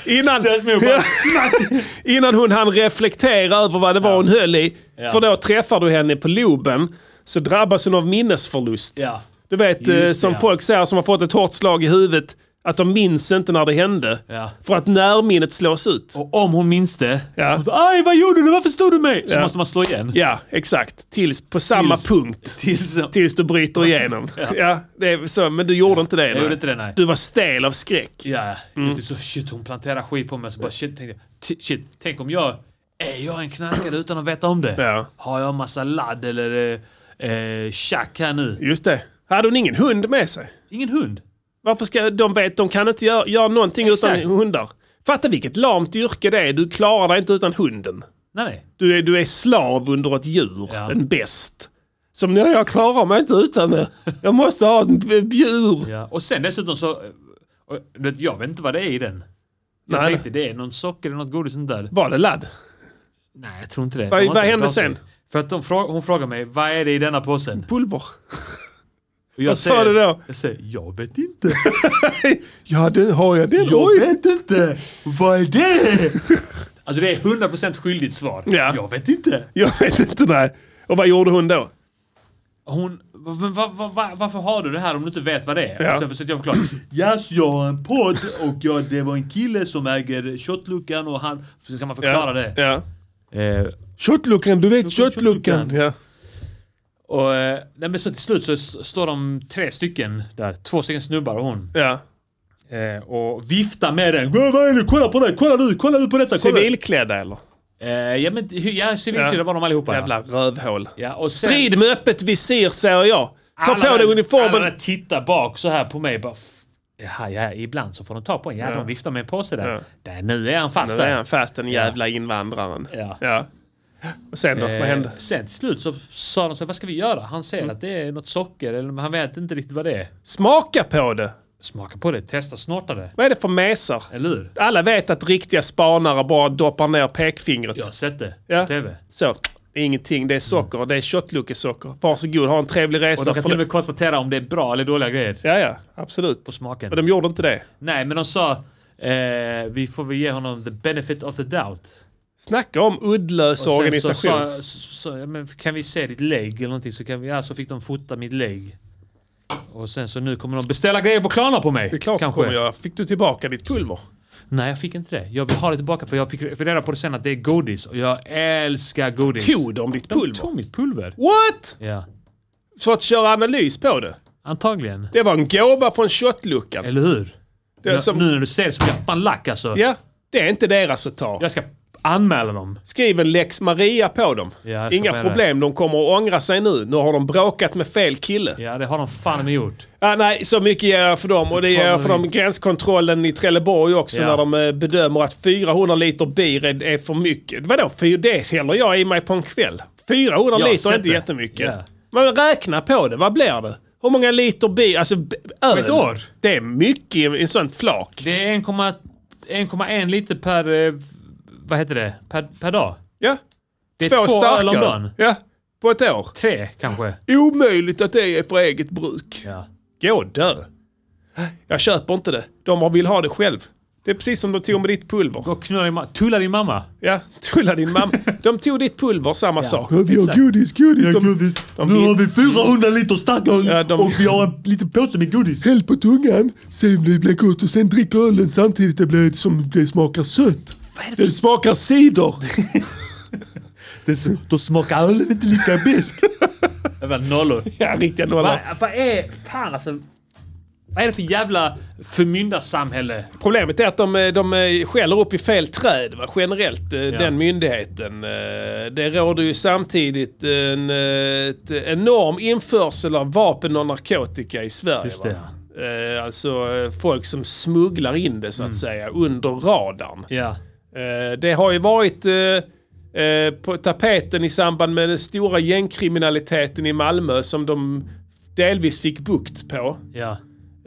S3: Innan,
S5: Ställt mig upp och bara,
S3: innan hon hann reflektera över vad det var hon höll i. För då träffar du henne på loben så drabbas hon av minnesförlust.
S5: Ja.
S3: Du vet,
S5: Just
S3: eh,
S5: det,
S3: som
S5: ja.
S3: folk säger som har fått ett hårt slag i huvudet. Att de minns inte när det hände.
S5: Ja.
S3: För att närminnet slås ut.
S5: Och om hon minns det.
S3: Ja.
S5: hon bara, Aj, vad gjorde du? Varför stod du mig? Så
S3: Ja.
S5: måste man slå igen.
S3: Ja, exakt. Tills på samma
S5: Tills-
S3: punkt.
S5: Tills...
S3: Tills du bryter igenom. Ja. det är så, men du gjorde inte det.
S5: Jag
S3: nej.
S5: gjorde inte det, nej.
S3: Du var stel av skräck.
S5: Ja,
S3: Mm.
S5: jag tyckte så shit hon planterar skit på mig. Så bara shit, tänkte jag, "Ti- shit, tänk om jag... Är jag en knarkare utan att veta om det?
S3: Ja.
S5: Har jag massa ladd eller eh, eh, tjack här nu?
S3: Just det. Hade hon ingen hund med sig?
S5: Ingen hund.
S3: Varför ska de vet, de kan inte göra, göra någonting
S5: Exakt.
S3: utan hundar. Fatta vilket lamt yrke det är. Du klarar dig inte utan hunden.
S5: Nej, nej.
S3: Du är, du är slav under ett djur,
S5: Ja.
S3: en best. Som "Nej, jag klarar mig inte utan det. Jag måste ha en b- djur.
S5: Ja. Och sen dessutom så... eh, och, Vet, jag vet inte vad det är i den. Jag
S3: Nej.
S5: tänkte det är någon socker eller något godis sånt där.
S3: Var det ladd?
S5: Nej, jag tror inte det.
S3: Vad-
S5: De har
S3: vad
S5: inte hört
S3: hände
S5: av sig.
S3: sen?
S5: För att de frå- hon frågar mig, vad är det i denna påsen?
S3: Pulver?
S5: Och jag
S3: Vad sa du då?
S5: Jag säger, jag vet inte.
S3: Ja, det har jag. Det
S5: vet inte. Vad är det? Alltså det är 100% skyldigt svar.
S3: Ja.
S5: Jag vet inte.
S3: Jag vet inte, nej. Och vad gjorde hon då?
S5: Hon, men va, va, va, varför har du det här om du inte vet vad det är?
S3: Ja.
S5: Och Sen försökte jag förklara. Yes, jag har en podd och jag, det var en kille som äger köttluckan och han... Så kan man förklara det.
S3: Ja.
S5: Eh,
S3: Köttluckan, du vet
S5: köttluckan.
S3: Ja.
S5: och, eh, nej, men så till slut så s- står de tre stycken där. Två stycken snubbar och hon.
S3: ja.
S5: Eh, och viftar med den. "Gå, Vad är det? Kolla på det! Kolla nu! Kolla nu på detta! Kolla.
S3: Civilklädda eller?
S5: Eh, ja men hy- ja, civilklädda
S3: Ja.
S5: var de allihopa. ja.
S3: Jävla rövhål.
S5: Ja, och sen,
S3: Strid med öppet visir säger jag. Ta
S5: alla
S3: på dig
S5: där-
S3: uniformen.
S5: Alla där tittar bak så här på mig. Bara, f- ja, ja, ibland så får de ta på en. Ja, de viftar med en påse där.
S3: Ja.
S5: där. Nu är han fast
S3: Nu är
S5: där.
S3: han fast den jävla invandraren.
S5: Ja.
S3: Och sen då? vad hände?
S5: Eh, sen till slut så sa de så här, vad ska vi göra? Han säger att det är något socker, eller men han vet inte riktigt vad det är.
S3: Smaka på det.
S5: Smaka på det, testa, snorta det.
S3: Vad är det för mesar?
S5: Eller hur?
S3: Alla vet att riktiga spanare bara doppar ner pekfingret.
S5: Jag har sett det
S3: Ja.
S5: på TV.
S3: Så. Det är ingenting. Det är socker. Det är köttluckesocker. Varsågod, ha en trevlig
S5: Och
S3: resa.
S5: de kan
S3: För-
S5: till och med konstatera om det är bra eller dåliga grejer.
S3: Ja, ja. Absolut.
S5: På smaken.
S3: Och de gjorde inte det.
S5: Nej, men de sa eh, vi får väl ge honom the benefit of the doubt.
S3: Snacka om uddlös
S5: Och sen
S3: Alltså,
S5: Så,
S3: organisation.
S5: så, så, ja, men kan vi se ditt lägg eller någonting så, kan vi, ja, så fick de fota mitt lägg. Och sen så nu kommer de beställa grejer på Klarna på mig.
S3: det är klart
S5: kanske.
S3: Kanske. kommer göra. Fick du tillbaka ditt pulver?
S5: Nej, jag fick inte det. Jag vill ha det tillbaka för jag fick reda på det sen att det är godis och jag älskar godis.
S3: Tog de ditt pulver?
S5: De tog mitt pulver.
S3: What?
S5: Ja,
S3: För att köra analys på det?
S5: antagligen.
S3: Det var en gåva från köttluckan.
S5: Eller hur?
S3: Det är
S5: Nu-
S3: som-
S5: Nu när du ser det så blir jag fan lack alltså.
S3: Ja, det är inte deras att ta.
S5: Jag ska anmäla dem.
S3: Skriv en lex Maria på dem.
S5: Ja, jag ska
S3: Inga
S5: börja
S3: problem, de kommer att ångra sig nu. Nu har de bråkat med fel kille.
S5: Ja, det har de fan med gjort.
S3: Ah, nej, så mycket ger jag för dem. Och det ger jag för dem gränskontrollen i Trelleborg också
S5: Ja.
S3: när de eh, bedömer att 400 liter bir är, är för mycket. Vadå, för det häller jag i mig på en kväll. 400
S5: Jag har
S3: liter är
S5: sett
S3: inte
S5: det.
S3: jättemycket.
S5: Ja.
S3: Men räkna på det, vad blir det? Hur många liter bir, alltså b- öl?
S5: ett år?
S3: Det är mycket i en- i en sån flak.
S5: Det är 1,1 1,1 liter per... eh, Vad heter det? Per, per dag?
S3: Ja.
S5: Det är två öl om dagen.
S3: Ja, på ett år.
S5: Tre kanske?
S3: Omöjligt att det är för eget bruk.
S5: Ja.
S3: Gå och dö. Jag köper inte det. De vill ha det själv. Det är precis som de tog med ditt pulver.
S5: Gå och knulla din mamma. Tulla din mamma.
S3: Ja, tulla din mamma. De tog ditt pulver, samma sak.
S7: Vi har godis, godis, de, godis.
S3: de
S7: nu
S3: vill-
S7: har vi 400 liter starköl
S3: Ja, de-
S7: och vi har en liten påse med godis. Häll på tungan, sen det blir gott och sen drick ölen samtidigt det blir som det smakar sött.
S3: Det smakar cider.
S7: Det, s- då smakar ölen inte lika besk.
S5: Jävla nollor.
S3: Ja, riktiga
S5: Vad
S3: nollar.
S5: vad är... Fan alltså. Vad är det för jävla förmyndarsamhälle?
S3: Problemet är att de, eh, de eh, skäller upp i fel träd, va? generellt, eh, den myndigheten. Eh, Det råder ju samtidigt en eh, ett enorm införsel av vapen och narkotika i Sverige.
S5: Just det, Mm.
S3: va? Eh, Alltså eh, folk som smugglar in det så att säga under radarn.
S5: Ja.
S3: Eh, Det har ju varit eh, eh, på tapeten i samband med den stora gängkriminaliteten i Malmö som de delvis fick bukt på.
S5: Ja.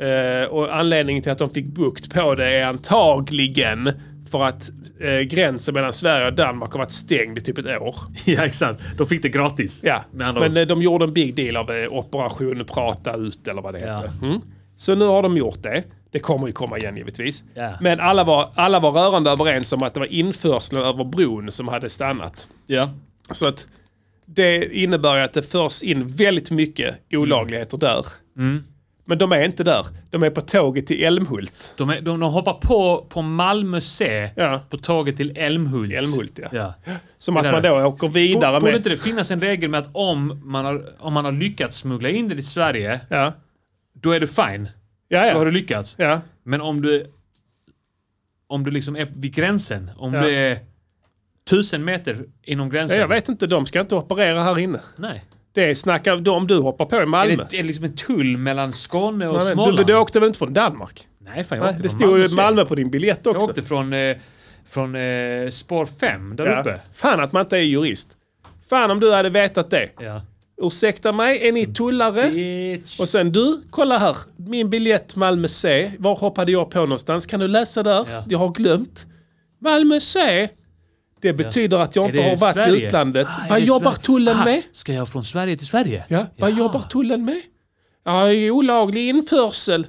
S3: Eh, och anledningen till att de fick bukt på det är antagligen för att eh, gränsen mellan Sverige och Danmark har varit stängd i typ ett år.
S5: Ja exakt. De fick det gratis.
S3: Ja,
S5: Med
S3: men,
S5: andra ord.
S3: eh, de gjorde en big deal av eh, operation prata ut eller vad det
S5: Ja.
S3: heter. Mm. Så nu har de gjort det. Det kommer ju komma igen givetvis.
S5: Ja.
S3: Men alla var, alla var rörande överens om att det var införseln över bron som hade stannat.
S5: Ja.
S3: Så att
S5: Mm.
S3: det innebär ju att det förs in väldigt mycket olagligheter där. Men de är inte där. De är på tåget till Älmhult.
S5: De, är, de, de hoppar på på Malmö C
S3: Ja.
S5: på tåget till Älmhult.
S3: Älmhult, ja.
S5: ja.
S3: Som att
S5: där
S3: man
S5: är.
S3: då åker vidare
S5: Borde
S3: med...
S5: inte det finnas en regel med att om man har, om man har lyckats smuggla in det till Sverige,
S3: Ja.
S5: då är du fine.
S3: Ja,
S5: Då har du
S3: ja.
S5: lyckats.
S3: ja.
S5: Men om du om du liksom är vid gränsen, om
S3: Ja.
S5: du är tusen meter inom
S3: Ja,
S5: gränsen.
S3: jag vet inte, de ska inte operera här inne.
S5: Nej.
S3: Det snackar de om du hoppar på i
S5: Är
S3: Malmö.
S5: det, är det liksom en tull mellan Skåne och
S3: Nej, men
S5: Småland?
S3: du, du åkte väl inte från Danmark?
S5: Nej, fan, jag
S3: Nej,
S5: åkte
S3: det
S5: från
S3: stod ju
S5: sen.
S3: Malmö på din biljett också.
S5: Jag åkte från, eh, från eh, spår 5 där
S3: Ja.
S5: uppe.
S3: Fan att man inte är jurist. Fan om du hade vetat det.
S5: Ja.
S3: Ursäkta mig, är ni tullare?
S5: Bitch.
S3: Och sen du, kolla här. Min biljett Malmö C. Var hoppade jag på någonstans? Kan du läsa där?
S5: Ja.
S3: Jag har glömt. Malmö C. Det betyder att jag
S5: Är det
S3: inte har varit i
S5: Sverige?
S3: utlandet.
S5: Ah, är
S3: Vad
S5: det
S3: jobbar
S5: Sverige?
S3: tullen
S5: Ah,
S3: med?
S5: Ska jag från Sverige till Sverige?
S3: Ja, vad jobbar tullen med? Ja, det är olaglig införsel.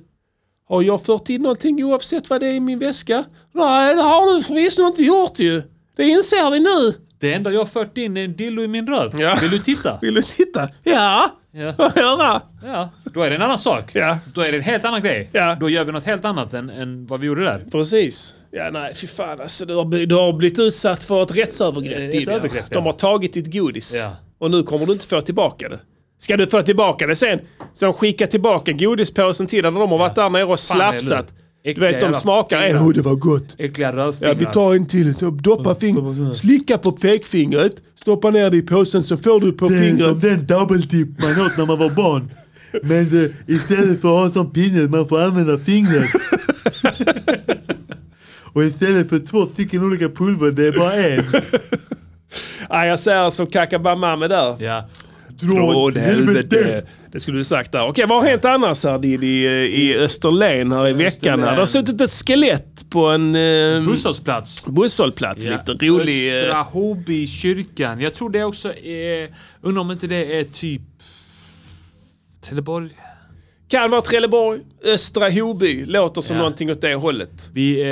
S3: Har jag fört in någonting oavsett vad det är i min väska? Nej, det har du förvisso inte gjort ju. Det inser vi nu.
S5: Det enda jag har fört in är en dildo i min röv.
S3: Ja.
S5: Vill du titta?
S3: Vill du titta? Ja,
S5: Ja.
S3: får jag höra.
S5: ja. Då är det en annan sak.
S3: Ja.
S5: Då är det en helt annan grej.
S3: Ja.
S5: Då gör vi något helt annat än, än vad vi gjorde där.
S3: Precis. Ja, nej, fy fan alltså. Du har, bli- du har blivit utsatt för ett rättsövergrepp.
S5: Ett
S3: Didier.
S5: övergrepp, ja.
S3: De har tagit ditt godis.
S5: Ja.
S3: Och nu kommer du inte få tillbaka det. Ska du få tillbaka det sen? Så de skickar tillbaka godispåsen till dig när de har varit där nere och
S5: Fan, eller hur?
S3: slafsat. Du
S5: Äckliga
S3: vet, de
S5: jävla
S3: smakar en
S7: Åh, det var gott.
S5: Äckliga
S7: Ja,
S5: rövfingrar.
S7: vi tar en till. Ta- Doppa fingret. Slicka på pekfingret. Stoppa ner det i påsen så får du på fingret.
S8: den dubbeltipp man åt när man var barn. Men eh, istället för att ha som pinne, man får använda fingret. Och istället för två stycken olika pulver, det är bara en.
S3: Nej, jag säger som Kakabamame där.
S5: Ja.
S8: Dra åt helvete!
S3: Det skulle du sagt där. Okej, vad har hänt annars här Diddy, i, i Österlen här i veckan? Här? Det har suttit ett skelett på en eh,
S5: Busshållplats.
S3: busshållplats. Mm. Lite rolig... eh,
S5: Östra Hobby kyrkan. Jag tror det också är... Undrar om inte det är typ... Trelleborg?
S3: Kan vara Trelleborg, Östra Hoby. Låter som
S5: Ja.
S3: någonting åt det hållet.
S5: Vi, eh,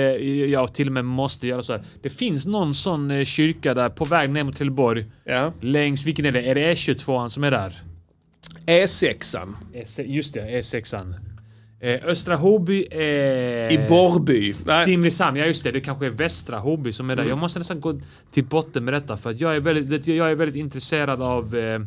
S5: jag till och med måste göra så här. Det finns någon sån eh, kyrka där på väg ner mot Trelleborg.
S3: Ja.
S5: Längs, vilken är det? Är det E22 som är där?
S3: E E6an
S5: E6, just det,
S3: E
S5: E6an. Eh, Östra Hobby är...
S3: i Borrby. Nej. Mm.
S5: Simrishamn, ja just det. Det kanske är Västra Hobby som är där. Jag måste nästan gå till botten med detta för att jag är väldigt, det- jag är väldigt intresserad av eh,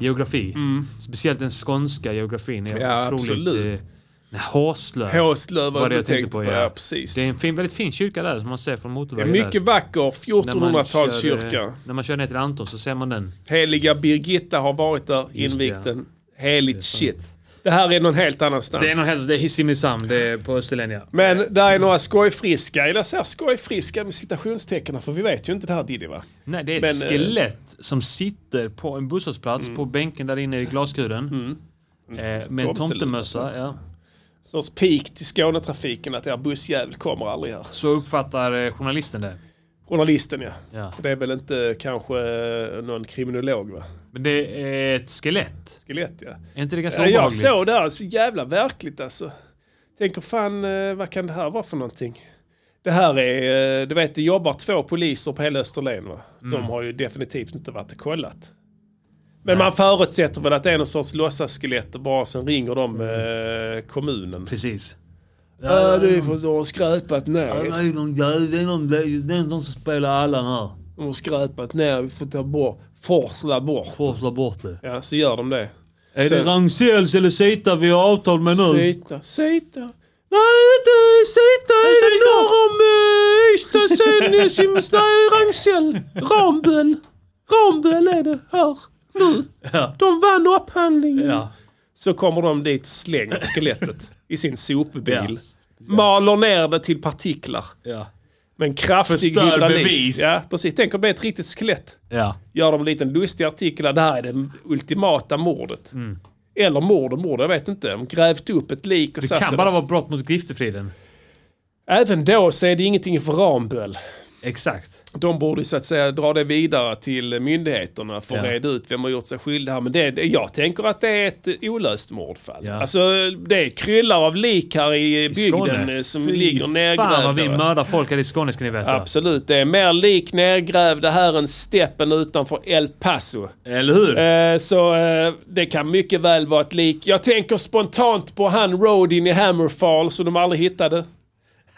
S5: geografi. Speciellt den skånska geografin. Är
S3: Mm. Ja,
S5: otroligt,
S3: absolut.
S5: Eh, nej, Håslöv.
S3: Håslöv
S5: var
S3: var
S5: det
S3: du
S5: jag tänkte
S3: tänkt
S5: på,
S3: på.
S5: ja.
S3: Ja, precis.
S5: Det är en fin, väldigt fin kyrka där som man ser från motorvägen. där.
S3: Mycket vacker
S5: När man
S3: 1400-talskyrka.
S5: kör, eh, När man kör ner till Anton så ser man den.
S3: Heliga Birgitta har varit där,
S5: Just det,
S3: invigt den. Heligt shit. Det här är någon helt annanstans.
S5: Det är någon helst, det är Simrishamn, det är på Österlen
S3: Men där är några skojfriska, eller jag säger skojfriska med citationstecken här, för vi vet ju inte det här Diddy va?
S5: Nej, det är
S3: Men,
S5: ett
S3: eh,
S5: skelett som sitter på en busshållplats på bänken där inne i glaskuren. Eh, med en
S3: Tomteluva.
S5: tomtemössa. Ja.
S3: Sorts pik till Skånetrafiken att er bussjävel kommer aldrig här.
S5: Så uppfattar eh, journalisten det.
S3: Journalisten ja.
S5: Ja.
S3: Det är väl inte kanske eh, någon kriminolog va?
S5: Men det är ett skelett.
S3: Skelett ja.
S5: Är inte det ganska
S3: Ja, jag
S5: obehagligt?
S3: såg det här, så jävla verkligt alltså. Tänker fan, eh, vad kan det här vara för någonting? Det här är, eh, du vet det jobbar två poliser på hela Österlen va?
S5: Mm.
S3: De har ju definitivt inte varit och kollat. Men man förutsätter väl att det är någon sorts låtsasskelett och bara sen ringer de
S5: Mm.
S3: eh, kommunen.
S5: Precis.
S7: Ja, det är för att de har skräpat ner.
S8: är någon jävel, det är någon, det är någon som spelar Allan här.
S7: De har skräpat ner. Vi får ta bort. Forsla bort.
S8: Forsla bort det.
S3: Ja, så gör de det.
S8: Är det Ragn-Sells eller Zita vi har avtal med nu?
S7: Sita. Sita. Nej, inte Sita är det norr om eh, Ystad. Sen eh, Sims... Nej, Rangsell. Ramböll. Ramböll är det här. Nu. De vann upphandlingen.
S3: Så kommer de dit och slänger skelettet i sin sopbil. Maler ner det till partiklar.
S5: Ja.
S3: Men kraftig
S5: Förstör
S3: hydraulik.
S5: bevis.
S3: Ja, precis. Tänk om det är ett riktigt skelett.
S5: Ja.
S3: Gör de en liten lustig artikel där det här är det ultimata mordet.
S5: Mm.
S3: Eller mord och mord, jag vet inte. De grävt upp ett lik och
S5: Det
S3: satt
S5: kan
S3: det
S5: bara
S3: där.
S5: vara brott mot griftefriden.
S3: Även då så är det ingenting för Ramböll.
S5: Exakt.
S7: De borde så att säga dra det vidare till myndigheterna för att
S5: Ja.
S7: reda ut vem har gjort sig skyldig här. Men det, det, jag tänker att det är ett olöst mordfall.
S5: Ja.
S7: Alltså det kryllar av lik här i bygden
S5: Skåne.
S7: eh, som
S5: Fy
S7: ligger
S5: Fan vad vi
S7: nergrävda.
S5: mördar folk här i Skåne ska ni veta.
S7: Absolut, det är mer lik nergrävda här än steppen utanför El Paso.
S5: Eller hur?
S7: Eh, så eh, det kan mycket väl vara ett lik. Jag tänker spontant på han Rodin i Hammerfall som de aldrig hittade.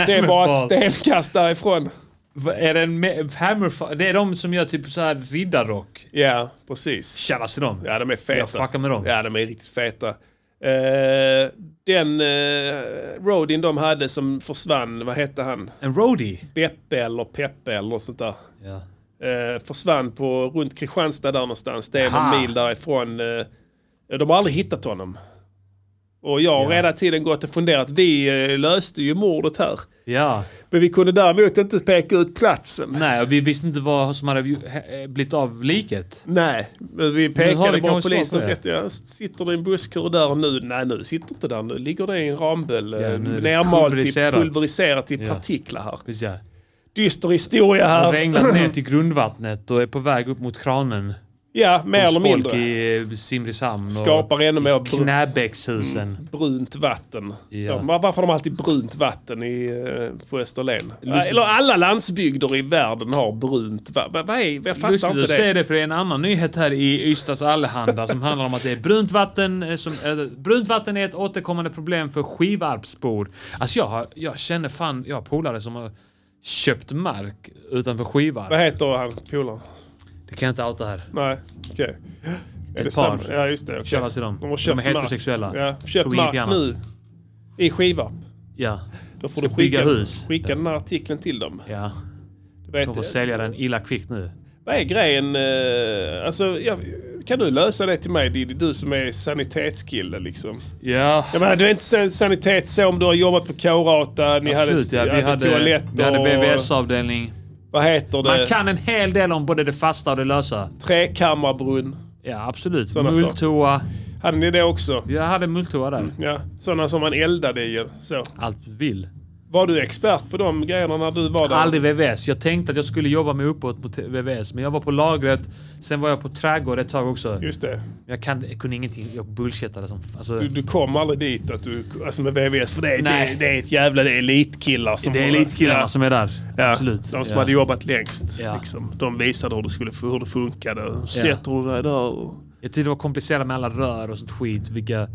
S7: Det är bara ett
S5: Hammerfall.
S7: stenkast därifrån.
S5: Va- Är det en me- Hammerfall? Det är de som gör typ så här riddarrock.
S7: Ja, precis.
S5: Tjallas till dem.
S7: Ja, de är feta.
S5: Jag fuckar med dem.
S7: Ja, de är riktigt feta. Eh, den uh, Rodin de hade som försvann, vad hette han?
S5: En roadie.
S7: Beppe eller Peppe eller något sånt där.
S5: Ja.
S7: Eh, försvann på runt Kristianstad där någonstans. Det är
S5: Aha.
S7: någon mil därifrån. eh, de har aldrig hittat honom. Och jag har redan tiden gått och funderat. Vi eh, löste ju mordet här.
S5: ja.
S7: Men vi kunde däremot inte peka ut platsen.
S5: Nej, och vi visste inte vad som hade ju- he- eh, blivit av liket.
S7: Nej, men vi
S5: Nu har vi
S7: pekade bara
S5: kanske
S7: polisen
S5: svar på
S7: rätt. Ja, sitter det en busskur där och nu? Nej, nu sitter inte där. Nu ligger det i en ramböll. eh,
S5: Ja, nu är det
S7: nermalt
S5: pulveriserat.
S7: till pulveriserat i
S5: Ja.
S7: partiklar här.
S5: Precis ja.
S7: Dyster historia
S5: Och
S7: här.
S5: regnar ner till grundvattnet och är på väg upp mot kranen.
S7: Ja, mer eller
S5: Hos folk
S7: mindre.
S5: i eh, Simrishamn. och
S7: Skapar ännu mer br-
S5: Knäbäckshusen.
S7: brunt vatten.
S5: Ja.
S7: Ja. var- varför har de alltid brunt vatten i, eh, på Österlen? Eller alla landsbygder i världen har brunt vatten. Vad är, jag fattar
S5: Lustigt att du
S7: inte det.
S5: säger det för det är en annan nyhet här i Ystads Allehanda som handlar om att det är brunt vatten eh, som, eh, brunt vatten är ett återkommande problem för skivarpsbor. Alltså jag, har, jag känner fan, jag har polare som har köpt mark utanför
S7: Vad
S5: skivarp.
S7: heter han, polaren?
S5: Det kan jag inte outa här.
S7: Nej, okej. Är
S5: Ett
S7: det
S5: par.
S7: samma? Ja, just det. okej.
S5: Köra till dem.
S7: De
S5: De
S7: har köpt
S5: är heterosexuella.
S7: Mark. Ja,
S5: Tror
S7: köpt
S5: ingenting
S7: mark nu.
S5: annat.
S7: I Skivarp.
S5: Ja.
S7: Då får
S5: Ska
S7: du
S5: bygga
S7: skicka,
S5: hus.
S7: skicka den här artikeln till dem.
S5: Ja.
S7: Du vet,
S5: De får sälja den illa kvickt nu.
S7: vad är grejen? eh, Alltså, jag, kan du lösa det till mig Diddy? Du som är sanitetskille liksom.
S5: Ja.
S7: Jag menar, du är inte san- sanitet så om du har jobbat på K-Rata, ni hade,
S5: Absolut, ja. Vi hade,
S7: toaletter
S5: vi hade
S7: och... Eh.
S5: VVS-avdelning.
S7: Vad heter
S5: Man
S7: det?
S5: kan en hel del om både det fasta och det lösa.
S7: Träkammarbrunn.
S5: Ja, absolut.
S7: Sådana saker.
S5: Mulltoa.
S7: Hade ni det också?
S5: Jag hade mulltoa där.
S7: Ja, sådana som man eldade i. och Så.
S5: Allt du vill.
S7: Var du expert på de grejerna när du var där?
S5: Aldrig VVS. Jag tänkte att jag skulle jobba mig uppåt mot VVS, men jag var på lagret. Sen var jag på trädgård ett tag också.
S7: Just det.
S5: Jag, kan, jag kunde ingenting. Jag bullshittade som f- alltså,
S7: Du, du kom aldrig dit att du, alltså med VVS, för det är,
S5: Nej.
S7: det, det är ett jävla det är elitkillar som...
S5: Det är lite killarna som är där.
S7: Ja,
S5: Absolut.
S7: De som
S5: ja.
S7: hade jobbat längst.
S5: Ja.
S7: Liksom. De visade hur det, skulle, hur det funkade. Sätter du dig där och...
S5: Jag tyckte det var komplicerat med alla rör och sånt skit. Vilka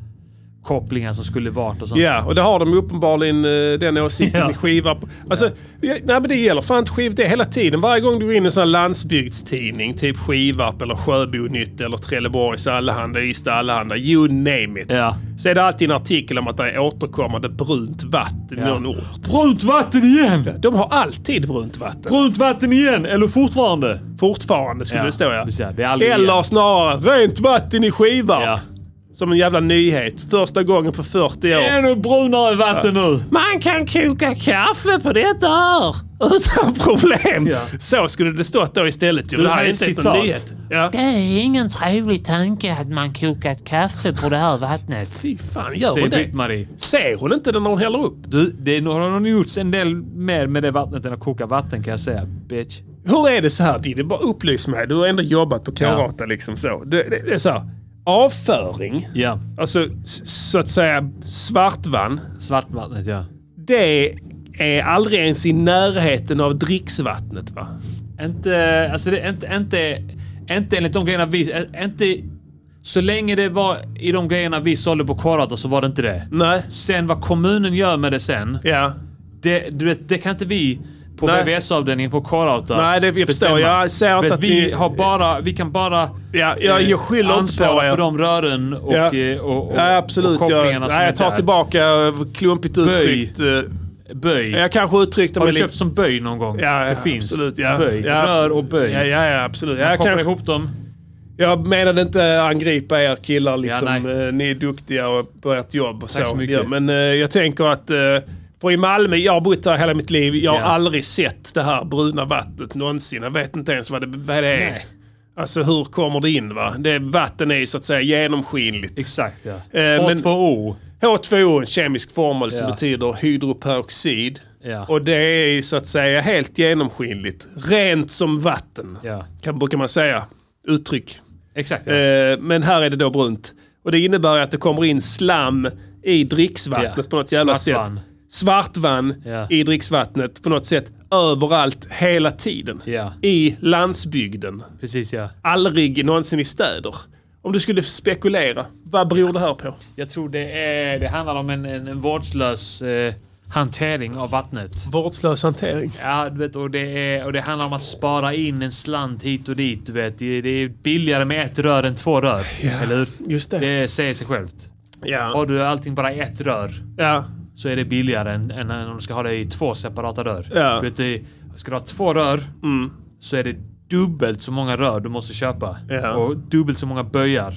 S5: kopplingar som skulle vart och sånt.
S7: Ja, och det har de uppenbarligen eh, den åsikten
S5: Ja.
S7: i skiva. Alltså, ja. nej men det gäller fan inte skiv det är hela tiden. Varje gång du går in i en sån här landsbygdstidning, typ Skivarp eller Sjöbonytt eller Trelleborgs Allehanda, Ystad Allehanda, you name it.
S5: Ja.
S7: Så är det alltid en artikel om att det är återkommande brunt vatten i någon ort.
S5: Brunt vatten igen!
S7: De har alltid brunt vatten.
S5: Brunt vatten igen! Eller fortfarande?
S7: Fortfarande skulle
S5: Ja,
S7: det stå ja.
S5: precis, ja. Det är aldrig
S7: Eller
S5: igen.
S7: snarare, rent vatten i Skivarp.
S5: Ja.
S7: Som en jävla nyhet. Första gången på 40 år.
S5: Ännu brunare vatten nu!
S7: Man kan koka kaffe på detta här utan problem. Så skulle det stått då istället. Du, det här
S5: har ett
S7: är inte ens en
S5: citat.
S7: nyhet. Ja.
S3: Det är ingen trevlig tanke att man kokat kaffe på det här vattnet.
S7: Fy fan, gör
S5: Säger
S7: hon det?
S5: Britt-Marie.
S7: Ser hon inte det när hon häller upp?
S5: Du, det är- nu har nog gjorts en del mer med det vattnet än att koka vatten kan jag säga. Bitch.
S7: Hur är det så här Didde? Bara upplys mig. Du har ändå jobbat på Karata liksom så. Det, det, det är så här. Avföring,
S5: Ja.
S7: alltså s- så att säga svartvann,
S5: Svartvattnet ja.
S7: det är aldrig ens i närheten av dricksvattnet va?
S5: Inte, alltså det, inte, inte, inte enligt de grejerna vi... ä- Inte, så länge det var i de grejerna vi sålde på Korata så var det inte det.
S7: Nej.
S5: Sen vad kommunen gör med det sen,
S7: Ja.
S5: det, du vet, det kan inte vi på
S7: Nej.
S5: VVS-avdelningen på Korata
S7: Nej, det, jag förstår. Jag ser inte att
S5: vi
S7: ni-
S5: har bara, vi kan bara
S7: Ja, jag, jag skyller inte på
S5: ansvara
S7: er.
S5: Eh, för de rören och,
S7: Ja.
S5: eh, och, och,
S7: Ja, absolut.
S5: och kopplingarna
S7: jag,
S5: som
S7: nej,
S5: är
S7: jag tar
S5: där.
S7: tillbaka eh, klumpigt uttryckt. eh,
S5: Böj.
S7: Jag kanske uttryckte
S5: Har
S7: mig
S5: du köpt som böj någon gång?
S7: Ja, ja,
S5: det finns.
S7: absolut, ja.
S5: Böj.
S7: Ja.
S5: Rör och böj.
S7: Ja, ja, ja absolut.
S5: Jag
S7: Jag,
S5: kopplar
S7: kanske,
S5: ihop dem.
S7: jag menade inte angripa er killar. Liksom.
S5: nej.
S7: Eh, ni är duktiga och på ert jobb. Och
S5: Tack
S7: så.
S5: så mycket.
S7: Ja, men eh, jag tänker att... eh, för i Malmö, jag har bott där hela mitt liv. Jag har
S5: Ja.
S7: aldrig sett det här bruna vattnet någonsin. Jag vet inte ens vad det, vad det är. Alltså hur kommer det in? Va? Det, vatten är ju så att säga genomskinligt.
S5: Exakt ja.
S7: Eh, men-
S5: H2O.
S7: H2O, en kemisk formel som
S5: Ja.
S7: betyder hydroperoxid.
S5: Ja.
S7: Och det är ju så att säga helt genomskinligt. Rent som vatten,
S5: Ja.
S7: kan, brukar man säga. Uttryck.
S5: Exakt. Ja.
S7: Eh, Men här är det då brunt. Och det innebär ju att det kommer in slam i dricksvattnet
S5: Ja.
S7: på något jävla
S5: Svartvann.
S7: sätt. Svartvann
S5: Ja.
S7: i dricksvattnet på något sätt överallt hela tiden.
S5: Ja.
S7: I landsbygden.
S5: Precis ja.
S7: Aldrig någonsin i städer. Om du skulle spekulera, vad beror det här på?
S5: Jag tror det, är, det handlar om en, en, en vårdslös eh, hantering av vattnet.
S7: Vårdslös hantering.
S5: Ja, du vet, och det, är, och det handlar om att spara in en slant hit och dit. Du vet. Det, det är billigare med ett rör än två rör. Eller hur?
S7: Just det.
S5: Det säger sig självt.
S7: Ja.
S5: Har du allting bara i ett rör
S7: ja.
S5: så är det billigare än, än om du ska ha det i två separata rör.
S7: Ja. Mm.
S5: Du vet, det- ska du ha två rör så är det dubbelt så många rör du måste köpa.
S7: Ja.
S5: Och dubbelt så många böjar.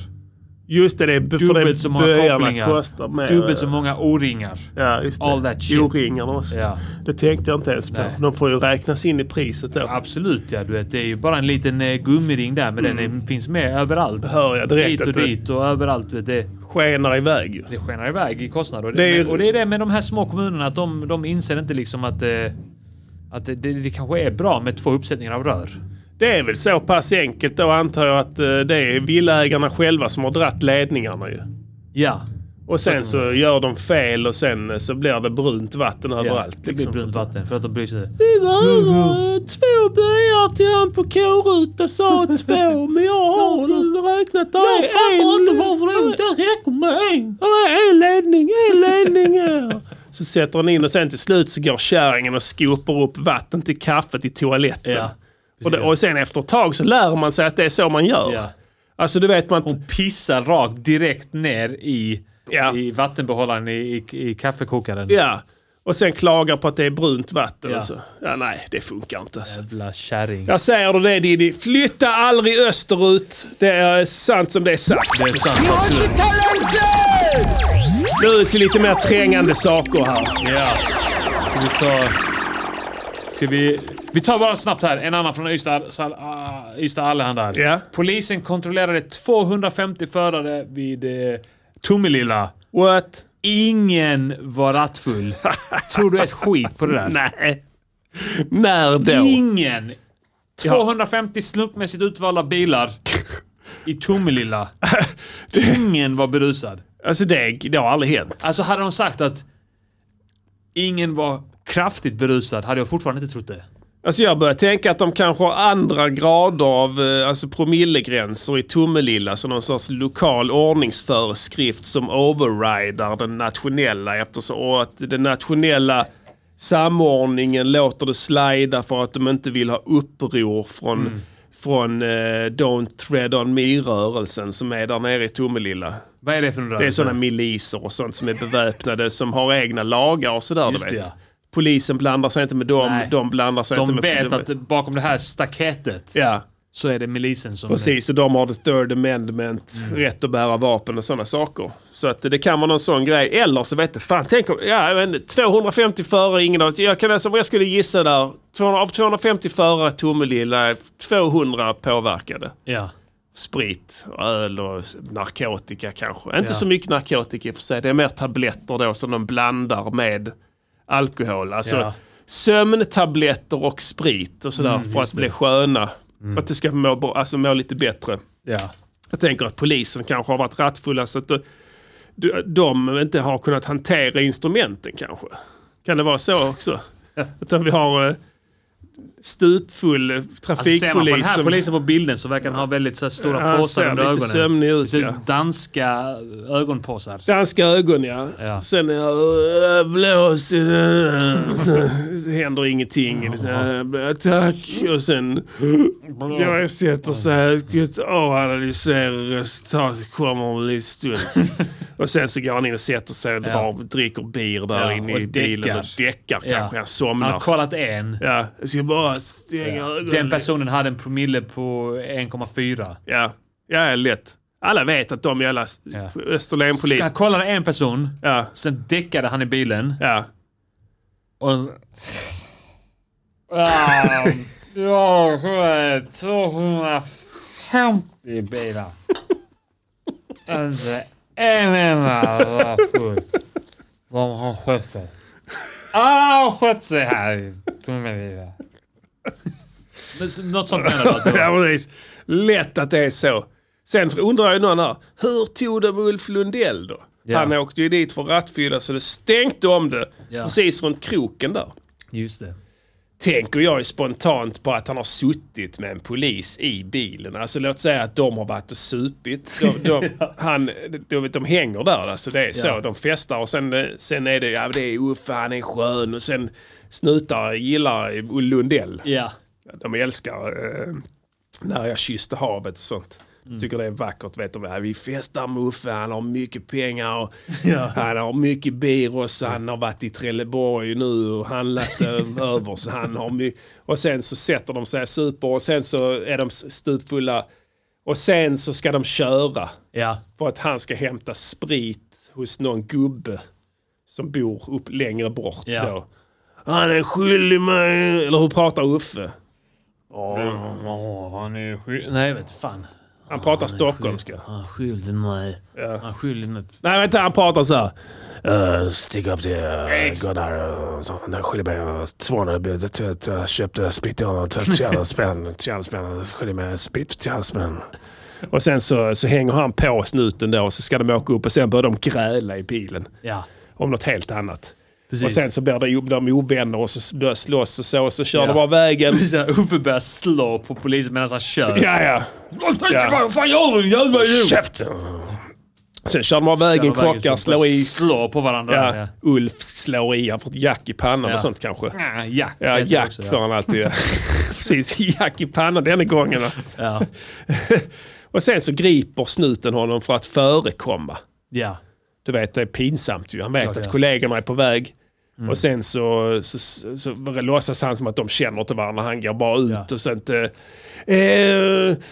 S7: Just det, det är b- för
S5: Dubbelt
S7: det
S5: så många
S7: böjarna
S5: kopplingar.
S7: kostar mer.
S5: Dubbelt så många O-ringar.
S7: Ja, just det.
S5: All that shit.
S7: O-ringarna också.
S5: Ja.
S7: Det tänkte jag inte ens på.
S5: Nej.
S7: De får ju räknas in i priset då.
S5: Absolut ja, du vet. Det är ju bara en liten eh, gummiring där men den är, finns med överallt.
S7: Mm. Hör jag direkt
S5: Hit och
S7: att det-
S5: dit och överallt. Du vet, det,
S7: Skenar iväg ju.
S5: det skenar iväg i kostnader. Och det,
S7: Det är ju-
S5: men, och det är det med de här små kommunerna att de, de inser inte liksom att, eh, att det, det, det kanske är bra med två uppsättningar av rör.
S7: Det är väl så pass enkelt då antar jag att eh, det är villaägarna själva som har dratt ledningarna ju.
S5: Ja.
S7: Och sen så gör de fel och sen eh, så blir det brunt vatten överallt.
S5: det blir
S7: liksom.
S5: brunt vatten för att de bryr sig.
S7: Det var eh, två böjar till han på K-ruta sa två men jag har räknat av Jag fattar inte varför det inte räcker med en. En ledning, en ledning här. Så sätter han in och sen till slut så går kärringen och skopar upp vatten till kaffet i toaletten.
S5: Ja,
S7: och, det, och sen efter ett tag så lär man sig att det är så man gör.
S5: Ja.
S7: Alltså du vet man...
S5: Hon pissar rakt direkt ner i,
S7: Ja.
S5: i vattenbehållaren i, i, i kaffekokaren.
S7: Ja. Och sen klagar på att det är brunt vatten.
S5: Ja.
S7: Ja. Alltså. ja nej, det funkar inte alltså.
S5: Jävla kärring.
S7: Jag säger det Diddy, flytta aldrig österut. Det är sant som det är sagt.
S5: Det är sant. absolut.
S7: Nu till lite mer trängande saker här.
S5: Ja. Ska vi ta... Ska vi... Vi tar bara snabbt här. En annan från Ystad, Sal, ah, Ystad Allehanda.
S7: Ja.
S5: Polisen kontrollerade 250 förare vid eh, Tomelilla.
S7: What?
S5: Ingen var rattfull. Tror du ett skit på det där?
S7: Nej. När då?
S5: Ingen! 250 slumpmässigt utvalda bilar i Tomelilla. Ingen var berusad.
S7: Alltså det, det har aldrig hänt.
S5: Alltså hade de sagt att ingen var kraftigt berusad hade jag fortfarande inte trott det.
S7: Alltså jag börjar tänka att de kanske har andra grader av eh, alltså promillegränser i Tomelilla. Så någon sorts lokal ordningsföreskrift som overrider den nationella. Eftersom, och att den nationella samordningen låter det slida för att de inte vill ha uppror från,
S5: Mm.
S7: från eh, Don't Tread On Me-rörelsen som är där nere i Tomelilla.
S5: Vad är det för en
S7: Det är sådana miliser och sånt som är beväpnade som har egna lagar och sådär
S5: Just
S7: du
S5: det,
S7: vet.
S5: ja.
S7: Polisen blandar sig inte med dem,
S5: Nej.
S7: de blandar sig
S5: De
S7: inte med...
S5: vet att bakom det här staketet
S7: Ja,
S5: så är det milisen som...
S7: precis. Och de har the third amendment, rätt att bära vapen och sådana saker. Så att det kan vara någon sån grej. Eller så vet du, fan tänk om, ja men 250 förare, ingen av Jag kan alltså, vad jag skulle gissa där, 200, av 250 förare Tomelilla är 200 påverkade.
S5: Ja.
S7: sprit, öl och narkotika kanske. Inte
S5: Ja.
S7: så mycket narkotika i och för sig. Det är mer tabletter då som de blandar med alkohol. Alltså
S5: Ja. Mm,
S7: sömntabletter och sprit och sådär för att bli sköna. Att det ska må, bra- alltså, må lite bättre.
S5: ja.
S7: Jag tänker att polisen kanske har varit rattfulla så att de, de- de inte har kunnat hantera instrumenten kanske. Kan det vara så också? Utan vi har eh, stupfull eh,
S5: Alltså, ser man på den
S7: trafikpolis
S5: här
S7: som-
S5: polisen på bilden så verkar han ha väldigt så här stora
S7: Ja, han
S5: påsar
S7: ser
S5: under
S7: lite
S5: ögonen.
S7: sömnig ut,
S5: Det ser
S7: ja.
S5: Danska ögonpåsar.
S7: Danska ögon ja.
S5: Ja.
S7: Sen äh, blås i den. Så händer ingenting. Så, äh, Tack. Och sen jag sätter så här. gud, Och analyserar resultatet. Kommer om en liten stund. Och sen så går han in och sätter sig och drar, dricker bir där
S5: Ja,
S7: inne
S5: och
S7: i bilen och
S5: däckar. Ja.
S7: däckar kanske. Han
S5: Han
S7: somnar.
S5: har kollat en.
S7: ja. Jag ska bara stänga ögonen.
S5: Den personen hade en promille på 1,4.
S7: ja. ja, lätt. Alla vet att de jävla
S5: Ja.
S7: Österlenpoliser.
S5: Han kollade en person,
S7: Ja,
S5: sen däckade han i bilen.
S7: ja.
S5: Och... Ah, Ja, skönt. 250 bilar. Inte en enda var full. De har skött sig. Ah, skött sig här. Kom med dig där. Men Något sånt menar du? att det
S3: Ja,
S5: var-
S3: precis. Lätt att det är så. Sen undrar ju någon här, hur tog det med Ulf Lundell då?
S5: Ja.
S3: Han åkte ju dit för rattfylla så det stänkte om det
S5: Ja.
S3: precis runt kroken där.
S5: Just det.
S3: Tänker jag ju spontant på att han har suttit med en polis i bilen. Alltså låt säga att de har varit och supit. De, de, han, de, de hänger där, alltså det är så.
S5: Ja.
S3: De festar och sen, eh, sen är det, ja det är Uffe, han är skön och sen snutar gillar Lundell.
S5: Ja.
S3: De älskar eh, när jag kysste havet och sånt. Tycker det är vackert. Vet du, vi festar med Uffe, han har mycket pengar, och han har mycket biros, och han har varit i Trelleborg nu och handlat eh, över. Så han har my- och sen så sätter de sig super och sen så är de stupfulla. Och sen så ska de köra
S5: Ja.
S3: för att han ska hämta sprit hos någon gubbe som bor upp längre bort.
S5: Ja.
S3: Då. Han är skyldig mig... Eller hur pratar Uffe?
S5: Åh, han är skyldig... Nej, jag vet inte fan.
S3: Han pratar stockholmska.
S5: Han skyllde mig. Han skyllde mig.
S3: Nej vänta, han pratar så här. Uh, stick upp till uh, Gunnar. eh, så- Han skyller mig eh, 200 bilder. T- t- Köpte sprit till honom. t- 300 spänn. 300 spänn. Han Skyller mig sprit till 300 spänn. Och sen så, så hänger han på snuten då. Så ska de åka upp och sen börjar de gräla i bilen.
S5: Ja.
S3: Om något helt annat.
S5: Precis.
S3: Och sen så blir de, de ovänner och så börjar slåss och så. Och så kör
S5: Ja.
S3: de av vägen.
S5: Precis, här, Uffe börjar slå på polisen medan han kör.
S3: Ja, ja. Ja.
S5: Vad fan gör du din jävla idiot?
S3: Käften! Sen kör de av vägen,
S5: Jävla
S3: krockar,
S5: vägen som
S3: slår i
S5: Slår på varandra.
S3: Ja, Ulf slår i han får ett jack i pannan
S5: Ja.
S3: och sånt kanske.
S5: Ja, Jack.
S3: Ja,
S5: heter det
S3: jack
S5: också,
S3: får han alltid. ja. Precis, jack i pannan denna gången. va.
S5: Ja.
S3: och sen så griper snuten honom för att förekomma.
S5: ja.
S3: Du vet, det är pinsamt ju. Han vet
S5: Klart, Mm.
S3: att
S5: ja.
S3: kollegorna är på väg. Och sen så, så, så, så låtsas han som att de känner inte varandra. Han går bara ut
S5: Ja.
S3: och sen inte... Eh,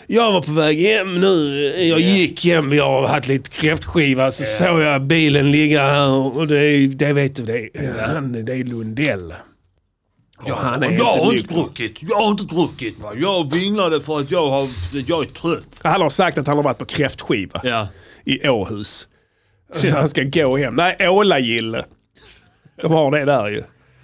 S3: jag var på väg hem nu. Jag gick hem. Jag har haft lite kräftskiva. Så såg jag bilen ligga här. Och det, är- det vet du, det är, han, det är Lundell. Ja, han är
S5: Jag har
S3: inte
S5: inte
S3: nykter.
S5: druckit. Jag har inte druckit. va. Jag vinglade för att jag, har, jag är trött.
S3: Han har sagt att han har varit på kräftskiva
S5: Ja.
S3: i Åhus. Så han ska gå hem. Nej, Ålagille. De har det där ju.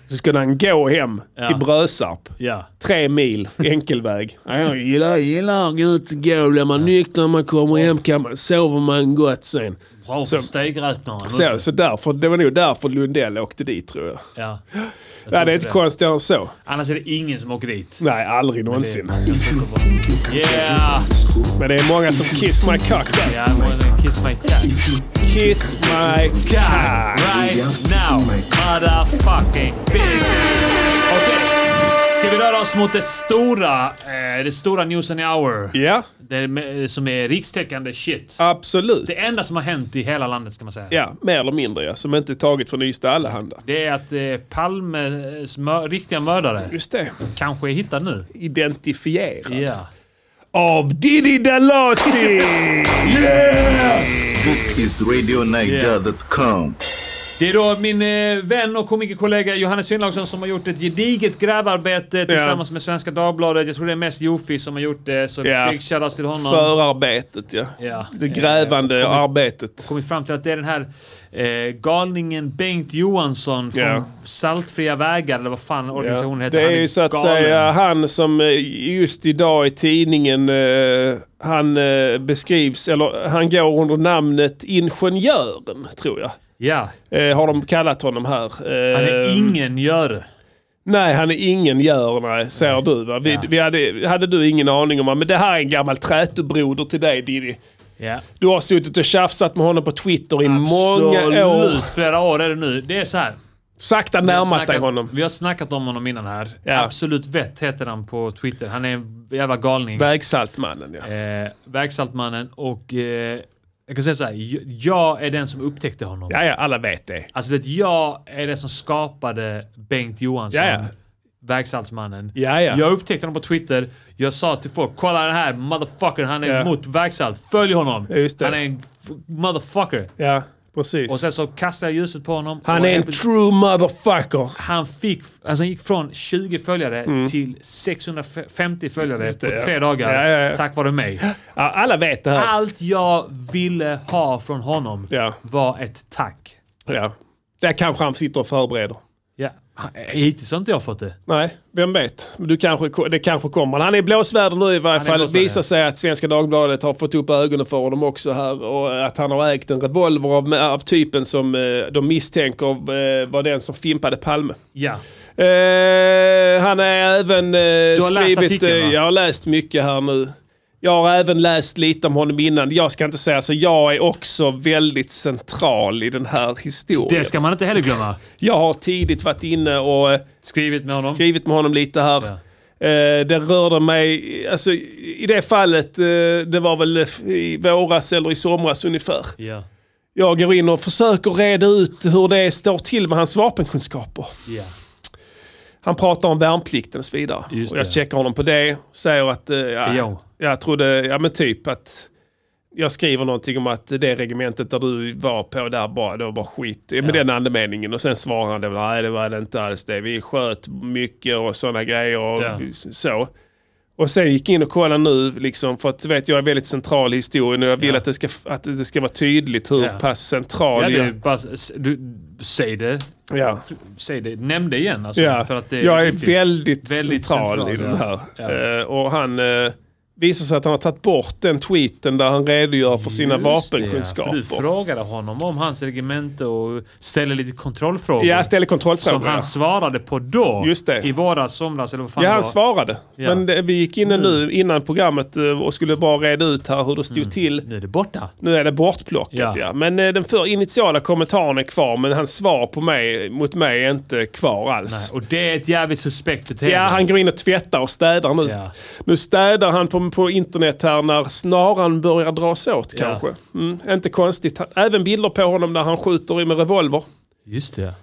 S3: Så skulle han gå hem
S5: Ja.
S3: till Brösarp.
S5: Ja.
S3: Tre mil enkelväg. Jag gillar, gillar att gå ut och gå. Blir man nykter när man kommer hem kan man, sover man gott sen.
S5: Bra för stegräknaren.
S3: Så, så därför, det var nog därför Lundell åkte dit tror jag.
S5: Ja.
S3: Nej, det är inte
S5: det.
S3: konstigare än så.
S5: Annars är det ingen som åker dit.
S3: Nej, aldrig någonsin.
S5: Yeah!
S3: Men det är många som kiss my cock. där.
S5: Yeah, I wanna kiss my cat.
S3: Kiss my cock.
S5: Right now, motherfucking bitch! Okej, ska vi röra oss mot det stora, eh, det stora news and hour?
S3: Ja,
S5: Det med, som är rikstäckande shit.
S3: absolut.
S5: Det enda som har hänt i hela landet ska man säga.
S3: Ja, mer eller mindre ja. Som inte är taget från Ystad Allehanda.
S5: Det är att eh, Palmes mör- riktiga mördare
S3: Just det.
S5: kanske är hittad nu.
S3: Identifierad.
S5: Ja.
S3: Av Diddy Dalasi!
S9: This is RadioNiger.com.
S5: Det är då min eh, vän och komikerkollega Johannes Finnlaugsson som har gjort ett gediget grävarbete tillsammans med Svenska Dagbladet. Jag tror det är mest Jofi som har gjort det, så
S3: Ja.
S5: big shoutouts till honom.
S3: Förarbetet ja.
S5: Ja.
S3: Det grävande arbetet.
S5: kommit fram till att det är den här eh, galningen Bengt Johansson från
S3: Ja.
S5: Saltfria vägar, eller vad fan organisationen
S3: Ja.
S5: heter.
S3: Det
S5: Han
S3: är ju så att
S5: galen.
S3: säga han som eh, just idag i tidningen eh, han eh, beskrivs, eller han går under namnet Ingenjören tror jag.
S5: Ja,
S3: Eh, har de kallat honom här.
S5: han är
S3: Eh,
S5: ingen gör.
S3: Nej, han är ingen gör, nej, säger du. Va? Vi,
S5: Ja.
S3: vi hade, hade du ingen aning om, va? men det här är en gammal trätobroder till dig Diddy.
S5: Ja.
S3: Du har suttit och tjafsat med honom på Twitter i många år.
S5: Absolut, flera år är det nu. Det är så här.
S3: Sakta
S5: Vi har
S3: närmat dig
S5: snackat-
S3: honom.
S5: Vi har snackat om honom innan här.
S3: Ja.
S5: Absolut vett heter han på Twitter. Han är en jävla galning.
S3: Vägsaltmannen ja.
S5: eh, Vägsaltmannen och... Eh, jag kan säga så här. j- Jag är den som upptäckte honom.
S3: Ja, ja, alla vet det.
S5: Alltså vet, jag är den som skapade Bengt Johansson.
S3: Ja, ja.
S5: Vägsaltsmannen.
S3: Ja, ja.
S5: Jag upptäckte honom på Twitter. Jag sa till folk, kolla den här motherfucker, han är
S3: Ja.
S5: mot vägsalt. Följ honom!
S3: Just det.
S5: Han är en f- motherfucker.
S3: Ja, precis.
S5: Och sen så kastade jag ljuset på honom.
S3: han
S5: och
S3: är en
S5: helt-
S3: true motherfucker.
S5: han fick, alltså han gick från 20 följare till 650 följare
S3: Mm. Just det,
S5: på
S3: ja.
S5: tre dagar.
S3: Ja, ja, ja.
S5: Tack vare mig.
S3: Ja, alla vet det här.
S5: Allt jag ville ha från honom
S3: Ja.
S5: var ett tack.
S3: Ja. Där kanske han sitter och förbereder.
S5: Ja. Hittills har inte jag fått det.
S7: Nej, vem vet. Men Du kanske, det kanske kommer. Han är i blåsväder nu i varje
S5: är i
S7: fall. Det
S5: blåsväder,
S7: visar sig att Svenska Dagbladet har fått upp ögonen för honom också här. Och att han har ägt en revolver av, av typen som eh, de misstänker eh, var den som fimpade Palme.
S5: Ja.
S7: Eh, han är även eh, du
S5: har läst
S7: skrivit...
S5: artikeln, va?
S7: eh, jag har läst mycket här nu. Jag har även läst lite om honom innan. Jag ska inte säga så. Jag är också väldigt central i den här historien.
S5: Det ska man inte heller glömma.
S7: Jag har tidigt varit inne och eh,
S5: Skrivit med honom.
S7: skrivit med honom lite här. Eh, det rörde mig, alltså, i i det fallet, eh, det var väl eh, i våras eller i somras ungefär.
S5: Ja.
S7: Jag går in och försöker reda ut hur det står till med hans vapenkunskaper.
S5: Ja.
S7: Han pratar om värnplikten och så vidare.
S5: Just
S7: och jag
S5: det.
S7: checkar honom på det. Säger att eh,
S5: Jo.
S7: ja, jag trodde, ja men typ att jag skriver någonting om att det regementet där du var på där bara, det var bara skit. Med den andemeningen. Och sen svarar han det, nej det var det inte alls det. Vi sköt mycket och sådana grejer och
S5: Ja.
S7: så. Och sen gick jag in och kollade nu, liksom, för att du vet, jag är väldigt central i historien och jag vill att, det ska, att det ska vara tydligt hur
S5: Ja.
S7: pass central
S5: Ja,
S7: jag
S5: du, bara, s- du, säg det.
S7: Ja.
S5: Säg det. Nämn det igen alltså.
S7: Ja,
S5: För att det
S7: jag är
S5: viktigt.
S7: väldigt,
S5: Väldigt
S7: central,
S5: central,
S7: i den här.
S5: ja.
S7: Eh, och han eh, visar sig att han har tagit bort den tweeten där han redogör för sina
S5: Just det, ja.
S7: vapenkunskaper.
S5: För du frågade honom om hans regemente och ställde lite kontrollfrågor.
S7: Ja, jag ställer kontrollfrågor.
S5: Som han svarade på då.
S7: Just det.
S5: I våras, somras eller vad fan
S7: ja,
S5: det
S7: han
S5: var.
S7: svarade.
S5: Ja. Mm.
S7: Men det, vi gick in nu innan programmet eh, och skulle bara reda ut här hur det stod till.
S5: Nu är det borta.
S7: Nu är det bortplockat
S5: Mm. Ja.
S7: ja. Men eh, den för initiala kommentaren är kvar men hans svar på mig, mot mig är inte kvar alls.
S5: Och det är ett jävligt suspekt beteende.
S7: Ja, han går in och tvättar och städar nu.
S5: Ja.
S7: Nu städar han på, på internet här när snaran börjar dras åt
S5: Ja.
S7: kanske. Mm, inte konstigt. Han- Även bilder på honom där han skjuter i med revolver.
S5: Just det.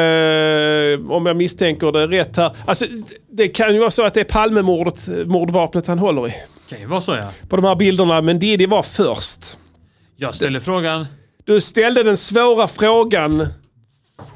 S7: Eh, om jag misstänker det rätt här. Alltså, det kan ju vara så att det är Palmemordet, mordvapnet han håller i.
S5: Kan ju vara så ja.
S7: På de här bilderna, men Diddy var först.
S5: Jag ställer frågan.
S7: Du ställde den svåra frågan.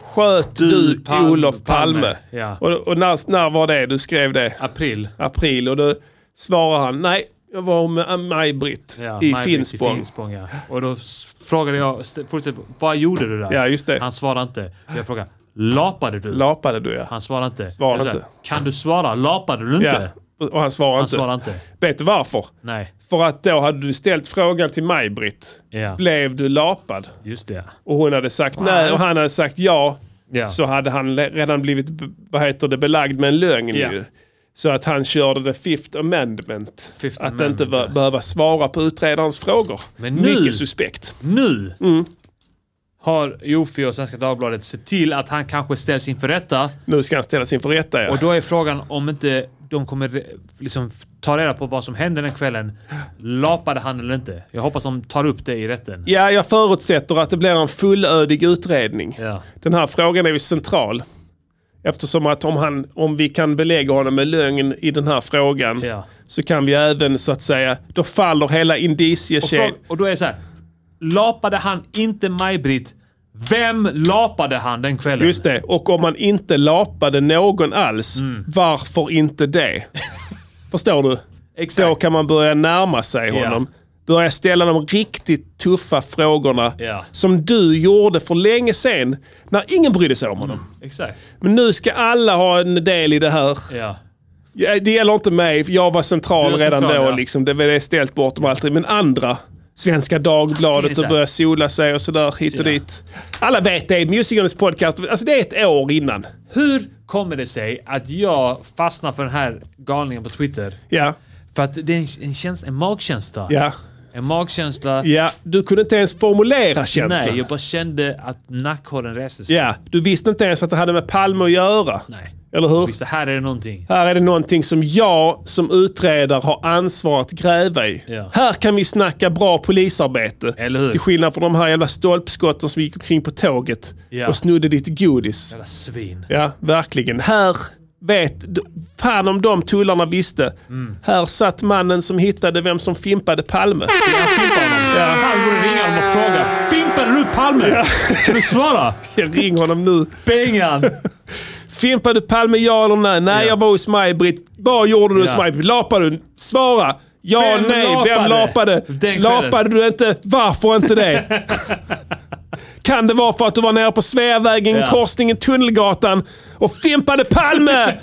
S7: Sköt du,
S5: Palme-
S7: Olof Palme?
S5: Palme, ja.
S7: Och, och när, när var det du skrev det?
S5: April.
S7: april och då svarar han nej, jag var med äh, Maj-Britt
S5: Ja,
S7: i
S5: Maj-Britt
S7: Finspång.
S5: I Finspång ja. Och då s- frågade jag, st- fortsätt, vad gjorde du där?
S7: Ja, just det.
S5: Han svarade inte. Jag frågade, lapade du?
S7: Lapade du ja.
S5: han svarade inte.
S7: Svarade
S5: Jag sa,
S7: inte.
S5: Kan du svara? Lapade du inte?
S7: ja. Och han svarar
S5: Han
S7: inte.
S5: svarade inte.
S7: Vet du varför?
S5: Nej.
S7: För att då hade du ställt frågan till Maj-Britt.
S5: Ja.
S7: Blev du lapad?
S5: Just det.
S7: Och hon hade sagt nej och han hade sagt ja.
S5: Ja.
S7: Så hade han le- redan blivit b- vad heter det, belagd med en lögn
S5: Ja.
S7: ju. Så att han körde the fifth amendment.
S5: Fifth
S7: att
S5: amendment,
S7: inte be-
S5: ja.
S7: behöva svara på utredarens frågor.
S5: Men nu-
S7: Mycket suspekt.
S5: Nu
S7: Mm.
S5: har Jofi och Svenska Dagbladet sett till att han kanske ställs inför rätta.
S7: Nu ska han ställas inför rätta ja.
S5: Och då är frågan om inte de kommer re- liksom f- ta reda på vad som hände den kvällen. Lapade han eller inte? Jag hoppas de tar upp det i rätten.
S7: Ja, jag förutsätter att det blir en fullödig utredning.
S5: Ja.
S7: Den här frågan är ju central. Eftersom att om, han, om vi kan belägga honom med lögn i den här frågan
S5: Ja.
S7: så kan vi även så att säga, då faller hela
S5: Och, fråga,
S7: indiciekedjan.
S5: och då är det så här. Lapade han inte Maj-Britt? Vem lapade han den kvällen?
S7: Just det, och om man inte lapade någon alls,
S5: Mm.
S7: varför inte det? Förstår du?
S5: Exakt.
S7: Då kan man börja närma sig
S5: Ja.
S7: honom. Börja ställa de riktigt tuffa frågorna
S5: Ja.
S7: som du gjorde för länge sedan när ingen brydde sig om honom.
S5: Mm. Exakt.
S7: Men nu ska alla ha en del i det här.
S5: Ja.
S7: Ja, Det gäller inte mig, för jag var central
S5: Du var
S7: redan
S5: central,
S7: då.
S5: ja.
S7: Liksom. Det var det ställt bortom allt. Men andra, Svenska
S5: Det är
S7: Dagbladet
S5: så
S7: och
S5: här.
S7: börja sola sig och sådär hit och dit. Alla vet det, musikernas podcast. Alltså det är ett år innan.
S5: Hur kommer det sig att jag fastnar för den här galningen på Twitter?
S7: Ja,
S5: För att det är en, en, känsla, en magkänsla.
S7: ja,
S5: En magkänsla.
S7: ja. Du kunde inte ens formulera känslan.
S5: Nej, jag bara kände att nackhåren reste sig.
S7: Ja, du visste inte ens att det hade med Palme att göra.
S5: Nej.
S7: Eller hur?
S5: Visst, här är det någonting.
S7: Här är det någonting som jag som utredare har ansvar att gräva i.
S5: Ja.
S7: Här kan vi snacka bra polisarbete.
S5: Eller hur?
S7: Till skillnad från de här jävla stolpskotten som gick omkring på tåget
S5: Ja.
S7: och snodde ditt godis.
S5: Jävla svin.
S7: Ja, verkligen. Här vet... d- Fan om de tullarna visste. Här satt mannen som hittade vem som fimpade Palme.
S5: Ja. Fan, borde ringa honom och fråga. Fimpade du Palme? Kan du svara?
S7: Jag ring honom nu.
S5: Bengan!
S7: Fimpade Palme ja eller nej? Nej,
S5: Ja.
S7: jag var hos Maj-Britt. Vad gjorde du
S5: Ja.
S7: hos Maj-Britt? Lapade du? Svara! Ja,
S5: Vem
S7: nej,
S5: lapade?
S7: vem lapade?
S5: Den kvällen.
S7: Lapade du inte? Varför inte det? kan det vara för att du var nere på Sveavägen,
S5: Ja.
S7: korsningen Tunnelgatan
S3: och fimpade Palme!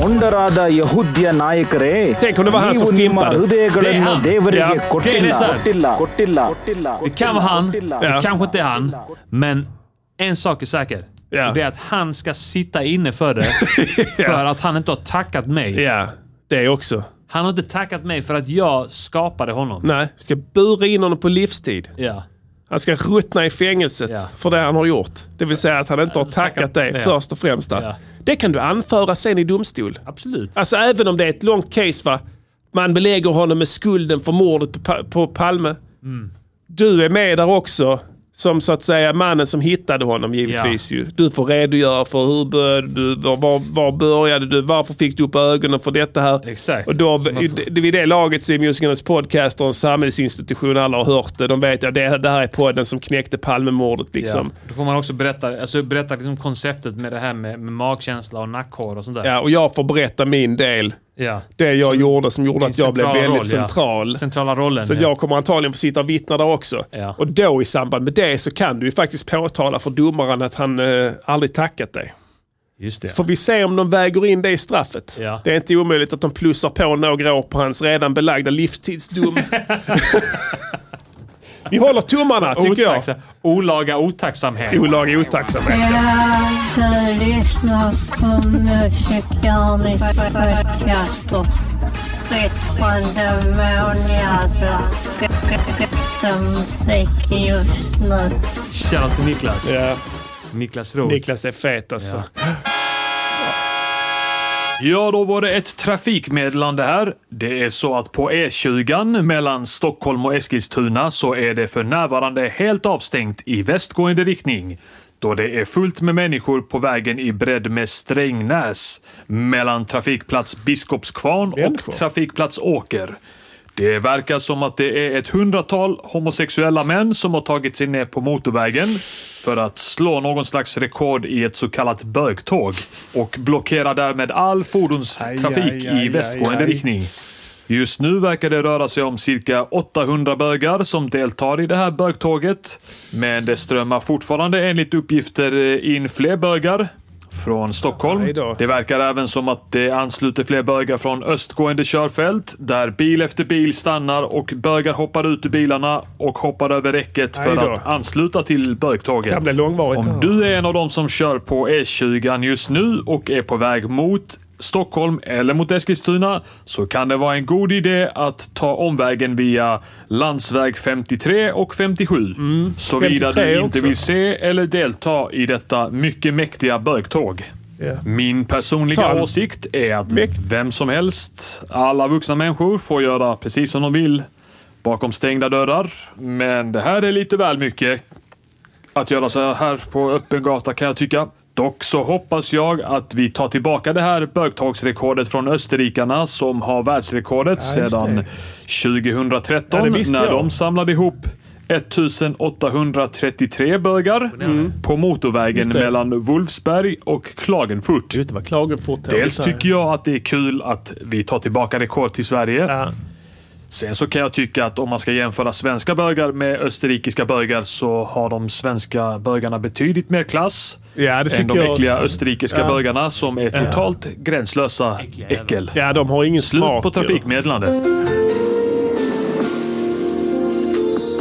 S10: ಮುಂಡರಾದ ಯಹುದ್ಯ ನಾಯಕರೇ
S3: Tänk om det var han
S10: ನೀವು
S3: som
S10: ನಿಮ್ಮ
S3: fimpade.
S10: ಹೃದಯಗಳನ್ನು
S7: Det är han.
S10: ದೇವರಿಗೆ
S7: Ja, det är
S10: ಕೊಟ್ಟಿಲ್ಲ
S7: sant.
S10: ಕೊಟ್ಟಿಲ್ಲ ಕೊಟ್ಟಿಲ್ಲ ಕೊಟ್ಟಿಲ್ಲ
S7: Det kan vara han, det
S10: Ja.
S7: kanske inte är han. Men en sak är säker.
S3: Ja.
S7: Det är att han ska sitta inne för det. För att han inte har tackat mig.
S3: Ja, det också.
S7: Han har inte tackat mig för att jag skapade honom.
S3: Nej, vi ska bura in honom på livstid.
S7: Ja.
S3: Han ska ruttna i fängelset för det han har gjort. Det vill säga att han inte har tackat dig
S7: ja.
S3: först och främst. Där.
S7: Ja.
S3: Det kan du anföra sen i domstol.
S7: Absolut.
S3: Alltså även om det är ett långt case va. Man belägger honom med skulden för mordet på, Pa- på Palme. Du är med där också. Som så att säga mannen som hittade honom givetvis ju. Du får redogöra för hur började du, var, var, var började du, varför fick du upp ögonen för detta här?
S7: Exakt.
S3: Och då,
S7: Så man
S3: i,
S7: får-
S3: det- vid det laget så är Musikernas podcast och en samhällsinstitution, alla har hört det. De vet att det, det här är podden som knäckte Palmemordet liksom.
S7: Ja. Då får man också berätta, alltså berätta liksom konceptet med det här med, med magkänsla och nackhår och sånt där.
S3: Ja, och jag får berätta min del.
S7: Ja.
S3: Det jag gjorde som gjorde att jag blev
S7: central
S3: väldigt
S7: roll, ja.
S3: central.
S7: Centrala rollen.
S3: Så
S7: ja.
S3: jag kommer antagligen få sitta och vittna där också. Och då i samband med det så kan du ju faktiskt påtala för domaren att han eh, aldrig tackat dig.
S7: Just det.
S3: Så får vi se om de väger in det i straffet.
S7: Ja.
S3: Det är inte omöjligt att de plussar på några år på hans redan belagda livstidsdom. vi håller tummarna tycker jag.
S7: Otacksa- Olaga otacksamhet.
S3: Olaga otacksamhet.
S11: Ты лично сумеешь подчасту. Ты пондавняться. Там всякие
S7: Shoutout till Niklas.
S3: Ja.
S7: Niklas Roth.
S3: Niklas är fet alltså.
S5: Ja, då var det ett trafikmeddelande här. Det är så att på E20 mellan Stockholm och Eskilstuna så är det för närvarande helt avstängt i västgående riktning då det är fullt med människor på vägen i bredd med Strängnäs mellan trafikplats Biskopskvarn och trafikplats Åker. Det verkar som att det är ett hundratal homosexuella män som har tagit sig ner på motorvägen för att slå någon slags rekord i ett så kallat bögtåg och blockera därmed all fordonstrafik
S7: Aj, aj, aj,
S5: i västgående
S7: aj, aj.
S5: riktning. Just nu verkar det röra sig om cirka 800 bögar som deltar i det här bögtåget. Men det strömmar fortfarande enligt uppgifter eh, in fler bögar från Stockholm. Det verkar även som att det ansluter fler bögar från östgående körfält där bil efter bil stannar och bögar hoppar ut ur bilarna och hoppar över räcket
S3: Aj
S5: för
S3: då.
S5: att ansluta till bögtåget.
S3: Kan bli långvarigt
S5: Om
S3: här.
S5: du är en av dem som kör på E20 just nu och är på väg mot Stockholm eller mot Eskilstuna så kan det vara en god idé att ta omvägen via landsväg 53 och 57. Såvida du
S3: 53
S5: inte
S3: Mm. också.
S5: vill se eller delta i detta mycket mäktiga bögtåg. Min personliga
S3: Sa-
S5: åsikt är att vem som helst, alla vuxna människor, får göra precis som de vill bakom stängda dörrar. Men det här är lite väl mycket att göra så här på öppen gata kan jag tycka. Dock så hoppas jag att vi tar tillbaka det här bögtagsrekordet från österrikarna som har världsrekordet
S7: Ja, just
S5: sedan 2013
S7: Ja, det visste
S5: när
S7: jag.
S5: de samlade ihop 1833 bögar
S7: Mm.
S5: på motorvägen
S3: Just det.
S5: mellan Wolfsberg och Klagenfurt.
S3: Just det, var Klagenfurt.
S5: Dels tycker jag att det är kul att vi tar tillbaka rekord till Sverige. Sen så kan jag tycka att om man ska jämföra svenska bögar med österrikiska bögar så har de svenska bögarna betydligt mer klass
S3: Ja, det
S5: än
S3: tycker
S5: de
S3: jag.
S5: äckliga österrikiska
S3: Ja.
S5: bögarna som är
S3: Ja.
S5: totalt gränslösa äckel.
S3: Ja, de har ingen
S5: Slut
S3: smak.
S5: på
S3: ju.
S5: trafikmeddelandet.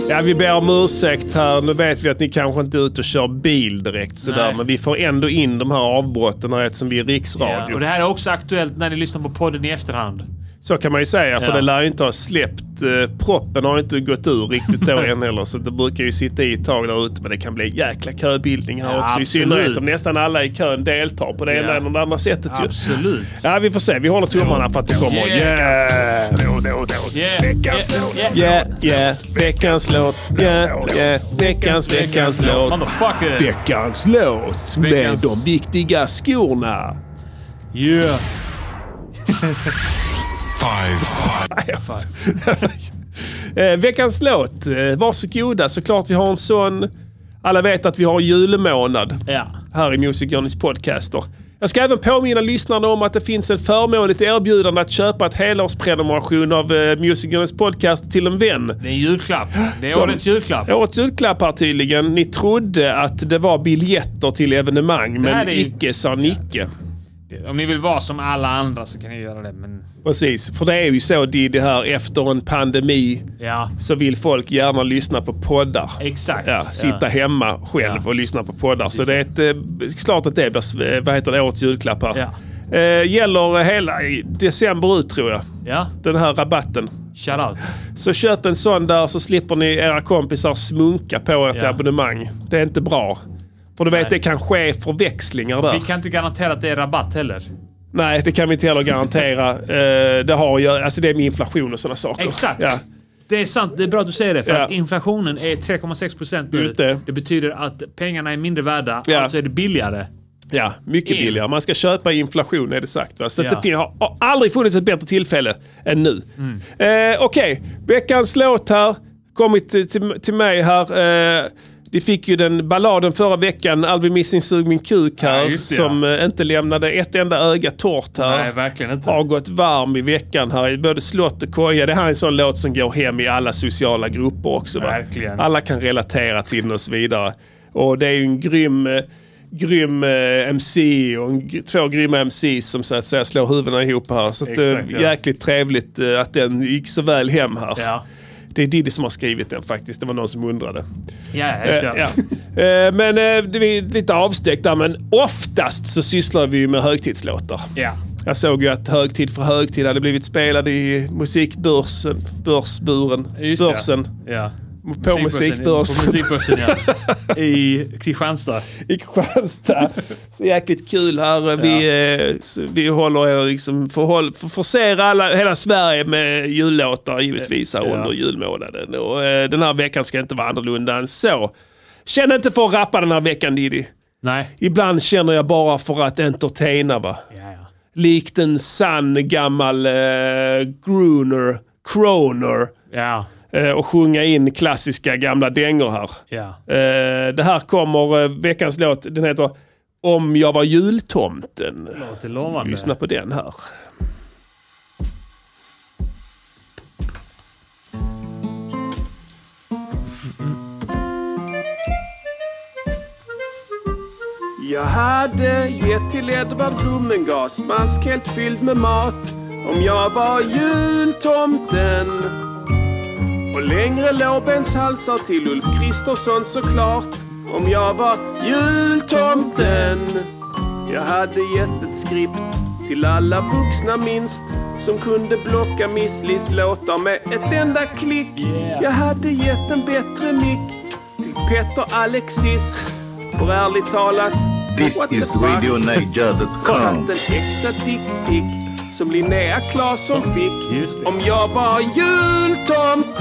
S3: Ja, vi ber om ursäkt här. Nu vet vi att ni kanske inte är ute och kör bil direkt sådär.
S7: Nej.
S3: Men vi får ändå in de här avbrotten här eftersom vi är
S7: Ja,
S3: riksradio.
S7: och det här är också aktuellt när ni lyssnar på podden i efterhand.
S3: Så kan man ju säga, för
S7: Ja.
S3: det lär ju inte ha släppt. Eh, proppen har ju inte gått ur riktigt då än heller. Så det brukar ju sitta i ett tag där ute. Men det kan bli jäkla köbildning här
S7: Ja,
S3: också.
S7: absolut.
S3: I synnerhet om nästan alla i kön deltar på det
S7: Ja.
S3: ena eller det andra sättet ju.
S7: Absolut.
S3: Ja, vi får se. Vi håller tummarna för att det kommer.
S7: Yeah.
S3: Yeah!
S7: Yeah,
S3: Veckans
S7: yeah, yeah.
S3: låt. Yeah, yeah. Veckans låt. Yeah, yeah. Veckans, veckans låt.
S7: Motherfucker.
S3: Veckans låt med
S7: Veckans-
S3: de viktiga skorna. Yeah.
S12: Five.
S3: Eh, veckans låt. Eh, varsågoda. Såklart vi har en sån. Alla vet att vi har julmånad
S7: Ja.
S3: här i Music Journeys podcaster. Jag ska även påminna lyssnarna om att det finns ett förmånligt erbjudande att köpa ett helårsprenumeration av eh, Music Journeys podcast till en vän.
S5: Det är en julklapp. Det är
S3: Som-
S5: årets julklapp.
S3: Årets julklapp här tydligen. Ni trodde att det var biljetter till evenemang,
S5: Det här
S3: men
S5: är ju-
S3: icke sa Nicke.
S5: Om ni vill vara som alla andra så kan ni göra det. Men
S3: Precis, för det är ju så Diddy här efter en pandemi
S5: ja,
S3: så vill folk gärna lyssna på poddar.
S5: exakt.
S3: Ja, sitta hemma själv och lyssna på poddar. Så det är ett, eh, klart att det blir eh, vad heter det, årets julklapp här. Eh, gäller hela i december ut tror jag.
S5: Ja.
S3: Den här rabatten.
S5: Shoutout.
S3: Så köp en sån där så slipper ni era kompisar smunka på ett
S5: Ja.
S3: abonnemang. Det är inte bra. För du vet
S5: Nej.
S3: det kan ske förväxlingar där.
S5: Vi kan inte garantera att det är rabatt heller.
S3: Nej, det kan vi inte heller garantera. Eh, det har att göra, alltså det är med inflation och sådana saker.
S5: Exakt.
S3: Ja.
S5: Det är sant, det är bra att du säger det. För
S3: Ja.
S5: att inflationen är 3,6 procent nu.
S3: Just det.
S5: betyder att pengarna är mindre värda,
S3: Ja.
S5: alltså är det billigare.
S3: Ja, mycket
S5: In.
S3: billigare. Man ska köpa i inflation är det sagt. Va? Så
S5: Ja.
S3: att det fin- har har aldrig funnits ett bättre tillfälle än nu.
S5: Mm.
S3: Eh, Okej, veckans låt här. Kommit till, till, till mig här. Eh, ni fick ju den balladen förra veckan, I'll be missing sug min kuk här.
S5: Ja, just det, ja.
S3: som eh, inte lämnade ett enda öga torrt här.
S5: Nej, verkligen inte.
S3: Har gått varm i veckan här i både slott och koja. Det här är en sån låt som går hem i alla sociala grupper också. Va?
S5: Verkligen.
S3: Alla kan relatera till den och så vidare. Och det är ju en grym, eh, grym eh, MC och en, gr- två grymma MCs som så att säga slår huvudena ihop här. Så att, eh,
S5: Exakt, ja.
S3: jäkligt trevligt eh, att den gick så väl hem här.
S5: Ja.
S3: Det är Diddy som har skrivit den faktiskt. Det var någon som undrade.
S5: Ja,
S3: Eh,
S5: jag kör.
S3: ja. Eh, Men eh, det är lite avsteg där, men oftast så sysslar vi ju med högtidslåtar.
S5: Ja.
S3: Jag såg ju att Högtid för högtid hade blivit spelad i musikbörsen, börsburen,
S5: Just det.
S3: börsen.
S5: Ja.
S3: På
S5: På
S3: musikbörsen.
S5: musikbörsen, ja. I Kristianstad.
S3: I Kristianstad. Så jäkligt kul här. Vi, eh, så vi håller er liksom förhåll, för, förser alla, hela Sverige med jullåtar givetvis här
S5: Ja.
S3: under julmånaden. Och, eh, den här veckan ska inte vara annorlunda än så. Känn inte för att rappa den här veckan Diddy.
S5: Nej.
S3: Ibland känner jag bara för att entertaina va. Likt en sann gammal eh, crooner, croner.
S5: Ja.
S3: Eh, och sjunga in klassiska gamla dängor här.
S5: Ja.
S3: Eh, det här kommer eh, veckans låt. Den heter Om jag var jultomten.
S5: Låter lovande.
S3: Lyssna på den här.
S7: Jag hade gett till Edvard Blom en gasmask helt fylld med mat om jag var jultomten. Och längre lårbenshalsar till Ulf Kristersson såklart om jag var jultomten. Jag hade gett ett skript till alla vuxna minst som kunde blocka Miss Lis låtar med ett enda klick. Jag hade gett en bättre mick till Petter Alexis. För ärligt talat,
S9: This
S7: what the
S9: is
S7: fuck? Satt
S9: RadioNiger.com.
S7: en äkta dick-pick som Linnea Claesson fick om jag var jultomten.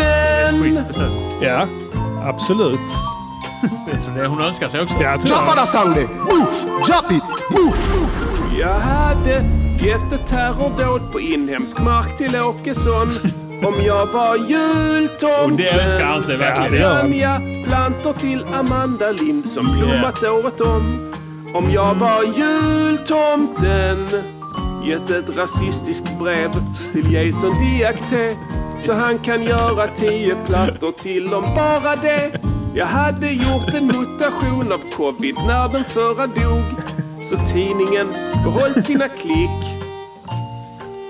S3: Ja, absolut.
S5: Jag tror det hon önskar sig också.
S7: Chapala Sunday, move, jump it, move. Jag hade gett ett terrordåd på inhemsk mark till Åkesson om jag var jultomten.
S5: Och det önskar han sig verkligen.
S7: Ja, det gör han.
S5: Ja.
S7: Nya plantor till Amanda Lind som blommat året om. Om jag var jultomten. Gett ett rasistiskt brev till Jason Diakité. Så han kan göra tio plattor till om bara det. Jag hade gjort en mutation av covid när den förra dog. Så tidningen behållit sina klick.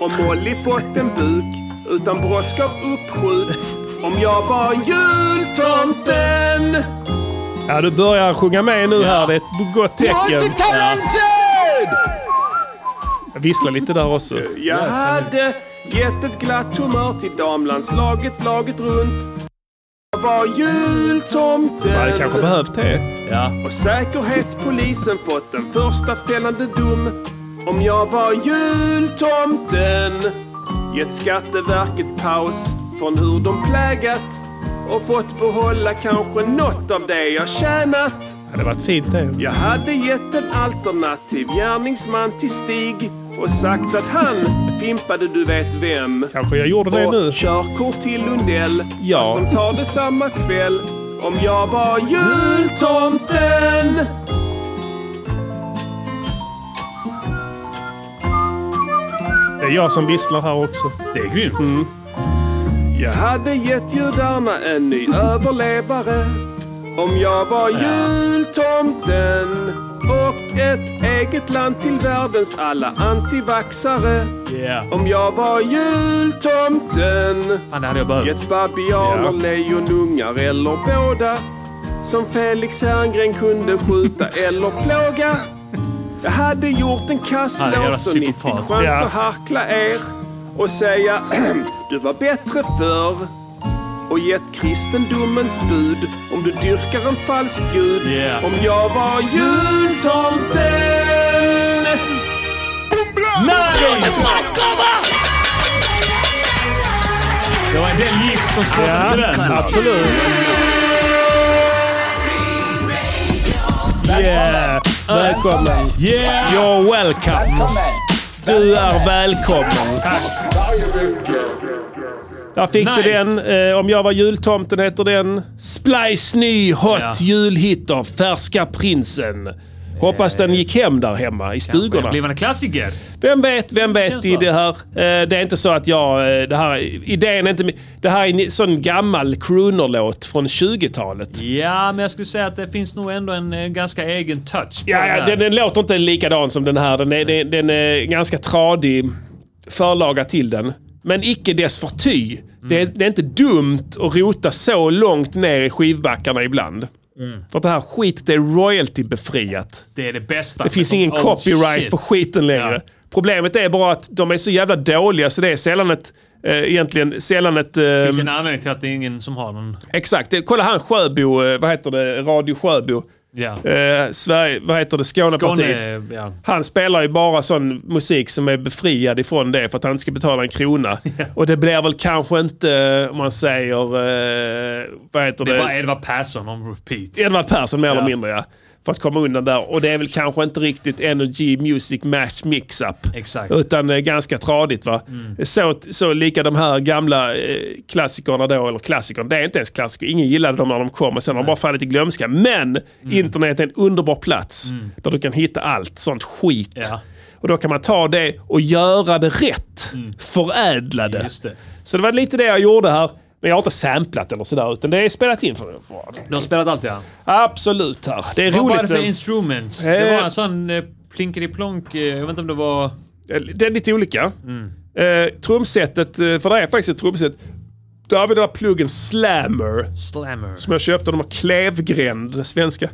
S7: Om Molly fått en buk utan brådska och uppskjut. Om jag var jultomten.
S3: Ja, du börjar sjunga med nu här. Det är ett gott tecken. Jag visslar lite där också.
S7: Jag hade gett ett glatt humör till damlandslaget laget runt. Jag var jultomten.
S3: Man hade kanske behövt det.
S5: Ja.
S7: Och säkerhetspolisen fått en första fällande dom. Om jag var jultomten. Gett Skatteverket paus från hur de plägat. Och fått behålla kanske något av det jag tjänat.
S3: Det hade varit fint det.
S7: Jag hade gett en alternativ gärningsman till Stig och sagt att han fimpade du vet vem.
S3: Kanske jag gjorde det
S7: och
S3: nu.
S7: körkort till Lundell.
S3: Ja.
S7: Fast de tar det samma kväll. Om jag var jultomten.
S3: Det är jag som visslar här också. Mm.
S5: Det är grymt.
S10: Jag hade gett judarna en ny överlevare om jag var jultomten och ett eget land till världens alla antivaxare.
S5: Yeah.
S10: Om jag var jultomten.
S5: Fan, det hade jag behövt.
S10: Gett babianer, lejonungar eller båda. Som Felix Herngren kunde skjuta eller plåga. Jag hade gjort en
S5: Han är en jävla
S10: kastlåt så ni fick
S5: psykopat.
S10: chans
S5: Ja.
S10: att harkla er. Och säga du var bättre förr. Och gett kristendomens bud om du dyrkar en falsk gud. Om jag var jultomten.
S5: Det var en del gift som spottades i den.
S3: Absolut. Yeah! Välkommen! Yeah! You're welcome! Du är välkommen! Där fick du
S7: Nice.
S3: den. Eh, om jag var jultomten heter den. Splice ny hot
S7: Ja.
S3: julhitter, Färska prinsen. Hoppas den gick hem där hemma i stugorna.
S5: Blivande klassiker.
S3: Vem vet, vem vet
S5: Känns
S3: i
S5: bra.
S3: det här. Eh, Det är inte så att jag... eh, Det här, idén är inte... min- Det här är en sån gammal croonerlåt från 20-talet.
S5: Ja, men jag skulle säga att det finns nog ändå en eh, ganska egen touch. på
S3: Ja,
S5: här.
S3: ja den, den låter inte likadan som den här. Den är, den, den är ganska tradig förlaga till den. Men icke dess förty. Det, är, det är inte dumt att rota så långt ner i skivbackarna ibland. För att det här skitet är royalty-befriat.
S5: Det är det bästa.
S3: Det finns ingen
S5: Oh,
S3: copyright
S5: shit.
S3: på skiten längre. Problemet är bara att de är så jävla dåliga så det är sällan ett... Eh, egentligen sällan ett...
S5: Det
S3: eh,
S5: finns en anledning till att det är ingen som har någon.
S3: Exakt. Det- Kolla han Sjöbo, eh, vad heter det, Radio Sjöbo.
S5: Ja.
S3: Eh, Sverige, vad heter det, Skånepartiet.
S5: Skåne, ja.
S3: Han spelar ju bara sån musik som är befriad ifrån det för att han inte ska betala en krona. Och det blir väl kanske inte, om man säger, eh, vad heter
S5: Det
S3: det?
S5: är bara Edvard Persson on repeat.
S3: Edvard Persson mer
S5: Ja.
S3: eller mindre ja. För att komma undan där. Och det är väl kanske inte riktigt Energy Music Match Mix-Up.
S5: Exakt.
S3: Utan eh, ganska tradigt va. Så, så lika de här gamla eh, klassikerna då, eller klassikerna, det är inte ens klassiker. Ingen gillade dem när de kom och sen har de bara fallit i glömska. Men internet är en underbar plats där du kan hitta allt sånt skit. Och då kan man ta det och göra det rätt. Förädla Mm. det. Så det var lite det jag gjorde här. Men jag har inte samplat eller sådär, utan det är spelat in för, för
S5: De har spelat allt ja.
S3: Absolut här. Det är
S5: Vad
S3: roligt.
S5: var det för instruments? Det
S3: Eh.
S5: var en sån eh, plinkeriplank. eh, Jag vet inte om det var...
S3: Det är lite olika.
S5: Mm.
S3: Eh, trumsetet, eh, för det är faktiskt ett trumset. Då har vi den här pluggen Slammer.
S5: Slammer.
S3: Som jag köpte. De har klevgränd, den svenska.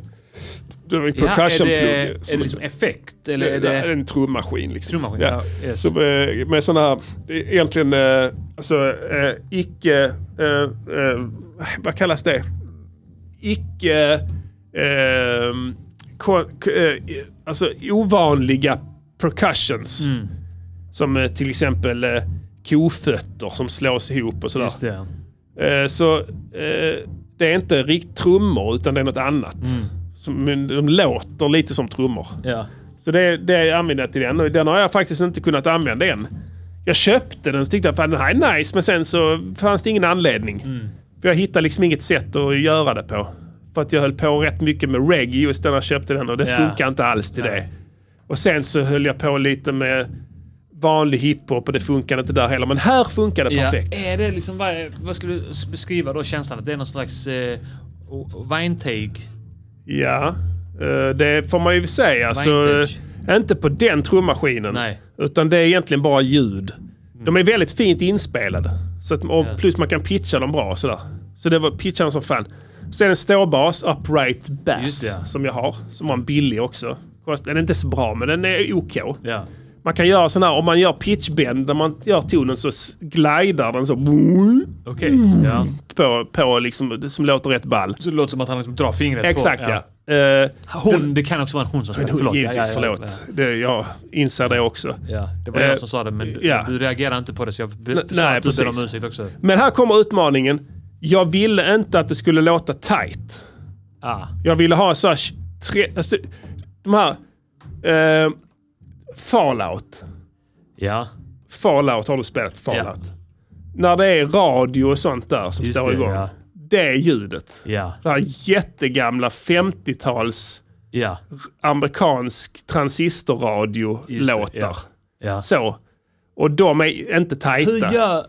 S3: Det var en
S5: Ja, är
S3: percussionplugg.
S5: det, är det
S3: som-
S5: liksom effekt? Eller är
S3: det
S5: det...
S3: är en trummaskin. Liksom.
S5: Trummaskin, ja, yes.
S3: Som, eh, med sådana här, eh, egentligen, eh, alltså eh, icke, eh, eh, vad kallas det? Icke, eh, ko, ko, eh, alltså ovanliga percussions.
S5: Mm.
S3: Som eh, till exempel eh, kofötter som slås ihop och sådär.
S5: Just det.
S3: Eh, så eh, det är inte rikt trummor utan det är något annat. Som, men de låter lite som trummor.
S5: Mm. Ja.
S3: Så det, det använde jag till den och den har jag faktiskt inte kunnat använda än. Jag köpte den och så tyckte jag fan den här är nice men sen så fanns det ingen anledning.
S5: Mm.
S3: För jag hittade liksom inget sätt att göra det på. För att jag höll på rätt mycket med reggae just när jag köpte den och det
S5: Ja.
S3: funkar inte alls till det. Och sen så höll jag på lite med vanlig hiphop och det funkade inte där heller. Men här funkar det
S5: Ja.
S3: perfekt.
S5: Är det liksom, vad, vad skulle du s- beskriva då känslan? Att det är någon slags eh, o- wine-take?
S3: Ja, eh, det får man ju säga. Alltså,
S5: Vintage.
S3: eh, inte på den trummaskinen. Utan det är egentligen bara ljud. De är väldigt fint inspelade. Så att, och Plus man kan pitcha dem bra. och Sådär. Så det var pitcharna som fan. Sen en ståbas, upright bass, som jag har. Som var en billig också. Kost, den är inte så bra, men den är OK. Man kan göra sån här, om man gör pitchbend, när man gör tonen så s- glidar den så.
S5: Okej,
S3: Mm.
S5: ja.
S3: På, på liksom, som låter rätt ball.
S5: Så det låter som att han liksom drar fingret
S3: Exakt
S5: på...
S3: ja. Eh,
S5: Hon, det kan också vara en hon som
S3: Men
S5: spelar.
S3: hon,
S5: Förlåt.
S3: givetvis,
S5: Ja, ja, ja,
S3: förlåt. Det, jag inser det också.
S5: Ja, det var
S3: Eh,
S5: jag som sa det, men
S3: ja.
S5: du reagerade inte på det så jag be-
S3: N-
S5: sa
S3: nej,
S5: att du ber om
S3: precis.
S5: ursäkt också.
S3: Men här kommer utmaningen. Jag ville inte att det skulle låta tight.
S5: Ah.
S3: Jag ville ha så här, sh- tre, alltså, de här eh, Fallout.
S5: Ja.
S3: Fallout har du spelat Fallout. När det är radio och sånt där som
S5: Just
S3: står
S5: det,
S3: igång.
S5: ja.
S3: Det är ljudet.
S5: Ja.
S3: Det här jättegamla 50-tals
S5: Ja.
S3: amerikansk transistorradio-låtar.
S5: Just det, ja. Ja.
S3: Så. Och de är inte tajta.
S5: Hur gör...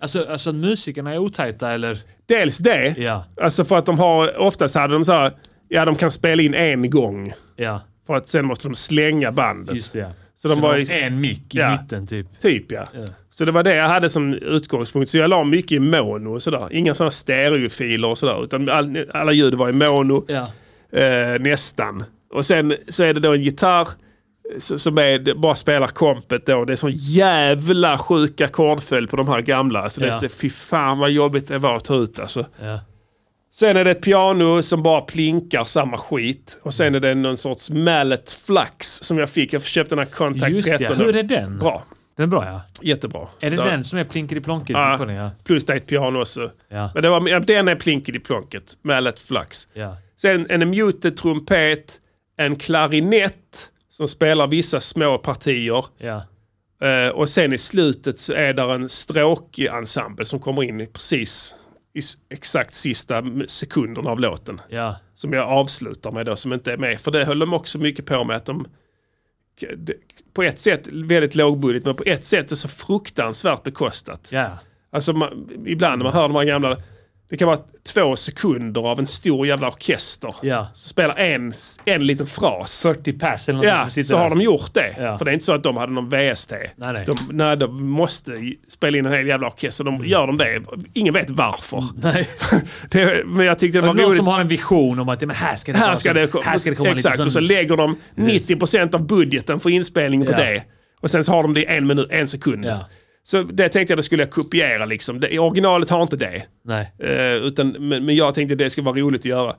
S5: Alltså, alltså att musikerna är otajta eller?
S3: Dels det.
S5: Ja.
S3: Alltså för att de har, oftast hade de så här, ja de kan spela in en gång.
S5: Ja.
S3: För att sen måste de slänga bandet.
S5: Just det, ja.
S3: Så de
S5: Så
S3: var
S5: de
S3: i-
S5: har en mick i mitten, typ.
S3: Typ ja.
S5: Ja.
S3: Så det var det jag hade som utgångspunkt. Så jag la mycket i mono och sådär. Inga sådana stereofiler och sådär. Utan all, alla ljud var i mono. Eh, nästan. Och sen så är det då en gitarr s- som är, det bara spelar kompet då. Det är sån jävla sjuk ackordföljd på de här gamla. Så det
S5: Ja.
S3: är, så- fy fan vad jobbigt det var att ta ut alltså.
S5: Ja.
S3: Sen är det ett piano som bara plinkar samma skit. Och sen är det någon sorts mallet flax som jag fick. Jag köpte den här Contact
S5: Just
S3: 13.
S5: det, hur är den?
S3: Bra.
S5: Den är bra ja.
S3: Jättebra.
S5: Är det
S3: Där-
S5: den som är plinker i plonker?
S3: Ja,
S5: Ja. Ja.
S3: Plus det är ett piano också.
S5: Ja.
S3: Men det var, ja, den är plinket i plonket. Mallet flax.
S5: Ja.
S3: Sen en muted trumpet, en klarinett som spelar vissa små partier.
S5: Ja.
S3: Eh, och sen i slutet så är där en stråkensemble som kommer in i precis i s- exakt sista m- sekunderna av låten.
S5: Ja.
S3: Som jag avslutar med då, som inte är med. För det höll de också mycket på med att de k- det- på ett sätt väldigt lågbudget men på ett sätt är så fruktansvärt bekostat.
S5: Ja.
S3: Alltså man, ibland när man hör de här gamla, det kan vara två sekunder av en stor jävla orkester.
S5: Ja.
S3: Så spelar en, en liten fras.
S5: 40 pers eller något
S3: Ja,
S5: som sitter
S3: så har
S5: där.
S3: de gjort det.
S5: Ja.
S3: För det är inte så att de hade någon VST.
S5: Nej, nej.
S3: De, nej, de måste ju spela in en hel jävla orkester. De, Gör de det? Ingen vet varför.
S5: Mm. Nej.
S3: det, men jag tyckte det var
S5: någon
S3: roligt.
S5: som har en vision om att ja, men här ska det,
S3: här
S5: vara
S3: ska
S5: så-
S3: det,
S5: här ska det komma
S3: Exakt,
S5: lite sån...
S3: och så lägger de 90% av budgeten för inspelning på
S5: Ja.
S3: det. Och sen så har de det i en minut, en sekund.
S5: Ja.
S3: Så det tänkte jag då skulle jag kopiera liksom. Det, originalet har inte det.
S5: Nej.
S3: Eh, utan, men, men jag tänkte det skulle vara roligt att göra.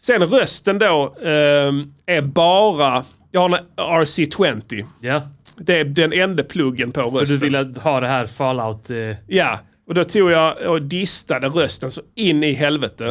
S3: Sen rösten då ehm, är bara, jag har en RC20.
S5: Ja.
S3: Det är den enda pluggen på
S5: För du
S3: rösten.
S5: ville ha det här fallout... Eh,
S3: Ja, och då tog jag och distade rösten så in i helvete.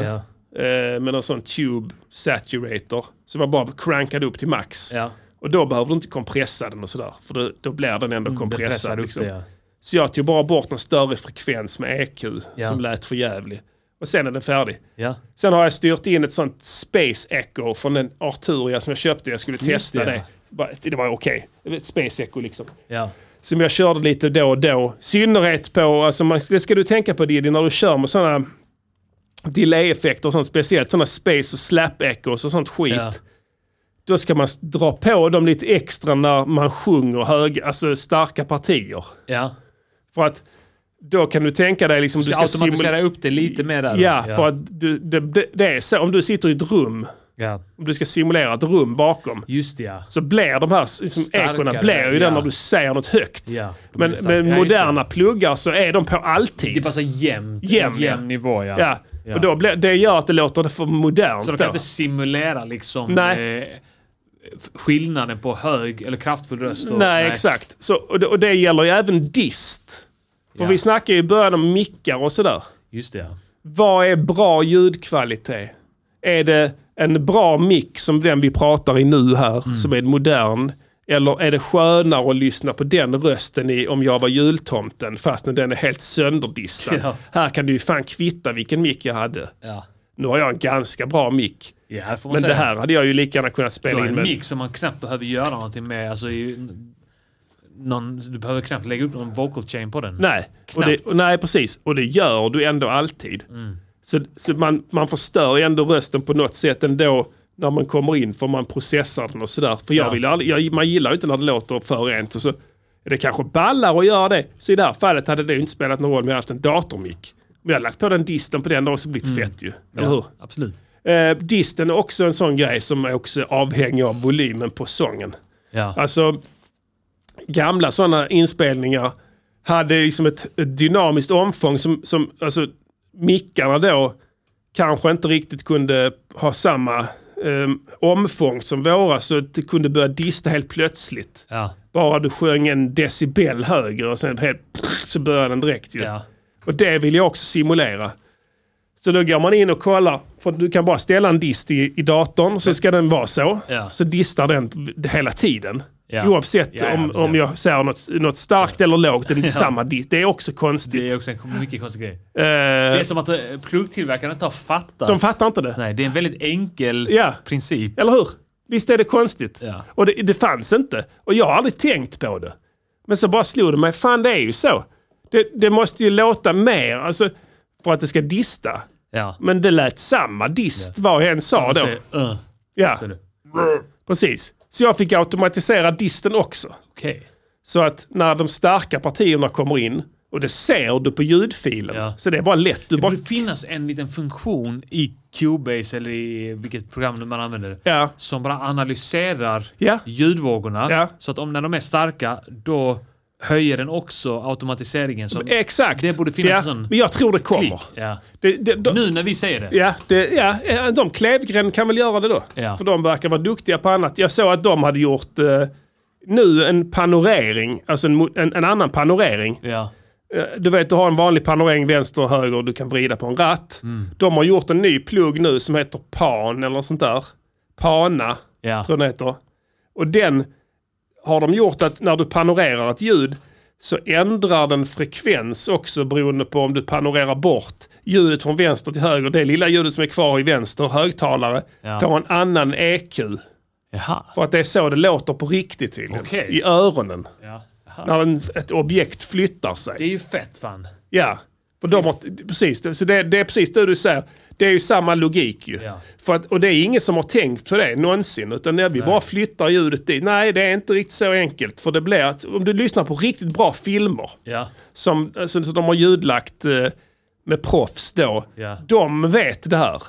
S3: Eh, med någon sån tube saturator. Som jag bara crankade upp till max. Och då behöver du inte kompressa den och sådär. För då, då blir den
S5: pressar
S3: ändå
S5: upp
S3: kompressad.
S5: Mm, det,
S3: Liksom.
S5: ja.
S3: Så jag tog bara bort en större frekvens med EQ
S5: Ja.
S3: som lät för jävlig. Och sen är den färdig.
S5: Ja.
S3: Sen har jag styrt in ett sånt Space Echo från en Arturia som jag köpte. Jag skulle
S5: Just
S3: testa
S5: det,
S3: det.
S5: ja.
S3: Bara- Det var okej. Okay. Space Echo liksom.
S5: ja.
S3: Som jag körde lite då och då. Synnerhet på, alltså man, det ska du tänka på Diddy när du kör med sådana delay-effekter och sånt. Speciellt sådana space och slap echoes och sånt skit. Då ska man s- dra på dem lite extra när man sjunger hög, alltså starka partier.
S5: Ja.
S3: För att då kan du tänka dig liksom...
S5: Du ska
S3: simul-
S5: automatisera upp det lite mer där.
S3: Ja, för att du, det, det- det är så. Om du sitter i ett rum,
S5: Ja.
S3: om du ska simulera ett rum bakom.
S5: Just det, ja.
S3: Så blir de här liksom,
S5: Starkare,
S3: ekona blir ju
S5: ja.
S3: det när du säger något högt.
S5: Ja, de
S3: men
S5: blir starka.
S3: men
S5: Ja, just det.
S3: moderna pluggar så är de på alltid. Det är
S5: bara så jämnt.
S3: Jämn,
S5: jämn
S3: ja.
S5: nivå, ja.
S3: ja.
S5: Ja.
S3: Och då blir, det gör att det låter för modernt.
S5: Så de kan
S3: då.
S5: inte simulera liksom
S3: Nej.
S5: eh, f- skillnaden på hög eller kraftfull röst. och-
S3: Nej, exakt. Så, och, det, och det gäller ju även dist. För
S5: Ja.
S3: vi snackar ju i början om mickar och sådär.
S5: Just det, ja.
S3: Vad är bra ljudkvalitet? Är det en bra mick som den vi pratar i nu här,
S5: Mm.
S3: som är modern? Eller är det skönare att lyssna på den rösten i Om jag var jultomten fast när den är helt sönderdistad?
S5: Ja.
S3: Här kan du ju fan kvitta vilken mick jag hade.
S5: Ja.
S3: Nu har jag en ganska bra mick.
S5: Ja, det får man
S3: Men det
S5: säga.
S3: här hade jag ju lika gärna kunnat
S5: Du har
S3: spela in
S5: en
S3: med.
S5: mick som man knappt behöver göra någonting med. Alltså, i, någon, du behöver knappt lägga upp någon vocal chain på den.
S3: Nej, och det,
S5: Knappt.
S3: och nej, precis. Och det gör du ändå alltid.
S5: Mm.
S3: Så, så man, man förstör ju ändå rösten på något sätt ändå när man kommer in för man processar den och sådär. För jag
S5: Ja.
S3: vill aldrig, jag, man gillar ju inte när det låter för rent. Och så, det kanske ballar att göra det. Så i det här fallet hade det ju inte spelat någon roll om jag haft en datormick. Om jag hade lagt på den disten på den, det hade också blivit fett ju. Eller
S5: Mm. Ja,
S3: hur?
S5: Absolut.
S3: Eh, disten är också en sån grej som är också avhängig av volymen på sången.
S5: Ja.
S3: Alltså, gamla sådana inspelningar hade liksom ett, ett dynamiskt omfång som, som alltså, mickarna då kanske inte riktigt kunde ha samma eh, omfång som våra så att det kunde börja dista helt plötsligt.
S5: Ja.
S3: Bara du sjöng en decibel högre och sen helt, så började den direkt ju.
S5: Ja.
S3: Och det vill jag också simulera. Så då går man in och kollar. För du kan bara ställa en dist i, i datorn så ska den vara så.
S5: Ja.
S3: Så distar den hela tiden.
S5: Ja.
S3: Oavsett
S5: Ja, ja,
S3: om,
S5: precis.
S3: om jag säger något, något starkt eller lågt. Det är,
S5: Ja.
S3: inte samma dist. det är också konstigt.
S5: Det är också en mycket konstig grej.
S3: Eh,
S5: det är som att eh, pluggtillverkarna inte har fattat.
S3: De fattar inte det.
S5: Nej, det är en väldigt enkel princip.
S3: Eller hur? Visst är det konstigt?
S5: Ja.
S3: Och det, det fanns inte. Och jag har aldrig tänkt på det. Men så bara slog det mig, fan det är ju så. Det, det måste ju låta mer alltså, för att det ska dista.
S5: Ja.
S3: Men det lät samma dist vad jag än sa då.
S5: uh.
S3: Ja. Precis. Så jag fick automatisera disten också. Så att när de starka partierna kommer in, och det ser du på ljudfilen, så det är bara lätt. Du
S5: det
S3: bara
S5: borde finnas en liten funktion i Cubase eller i vilket program nu man använder som bara analyserar ljudvågorna. Så att om när de är starka, då höjer den också automatiseringen. Så
S3: Exakt.
S5: Det borde finnas
S3: ja,
S5: en sån...
S3: Men jag tror det kommer.
S5: klick. Ja.
S3: Det- det- de-
S5: Nu när vi säger det.
S3: Ja, det, ja, eh, de Klevgren kan väl göra det då.
S5: Ja.
S3: För de verkar vara duktiga på annat. Jag såg att de hade gjort eh, nu en panorering, alltså en, mo- en, en annan panorering.
S5: Ja.
S3: Eh, du vet, du har en vanlig panorering vänster och höger och du kan vrida på en ratt.
S5: Mm.
S3: De har gjort en ny plugg nu som heter PAN eller något sånt där. PANA,
S5: Ja.
S3: tror jag den heter. Och den har de gjort att när du panorerar ett ljud så ändrar den frekvens också beroende på om du panorerar bort ljudet från vänster till höger. Det lilla ljudet som är kvar i vänster högtalare
S5: Ja.
S3: får en annan EQ. För att det är så det låter på riktigt tydligen.
S5: Okej.
S3: I öronen.
S5: Ja.
S3: När en, ett objekt flyttar sig.
S5: Det är ju fett fan.
S3: Ja, för de har, precis. Så det, det är precis det du säger. Det är ju samma logik ju.
S5: Ja.
S3: För att, och det är ingen som har tänkt på det någonsin. Utan när vi bara flyttar ljudet dit. Nej, det är inte riktigt så enkelt. För det blir att om du lyssnar på riktigt bra filmer.
S5: Ja.
S3: Som, alltså, som de har ljudlagt eh, med proffs då.
S5: Ja.
S3: De vet det här.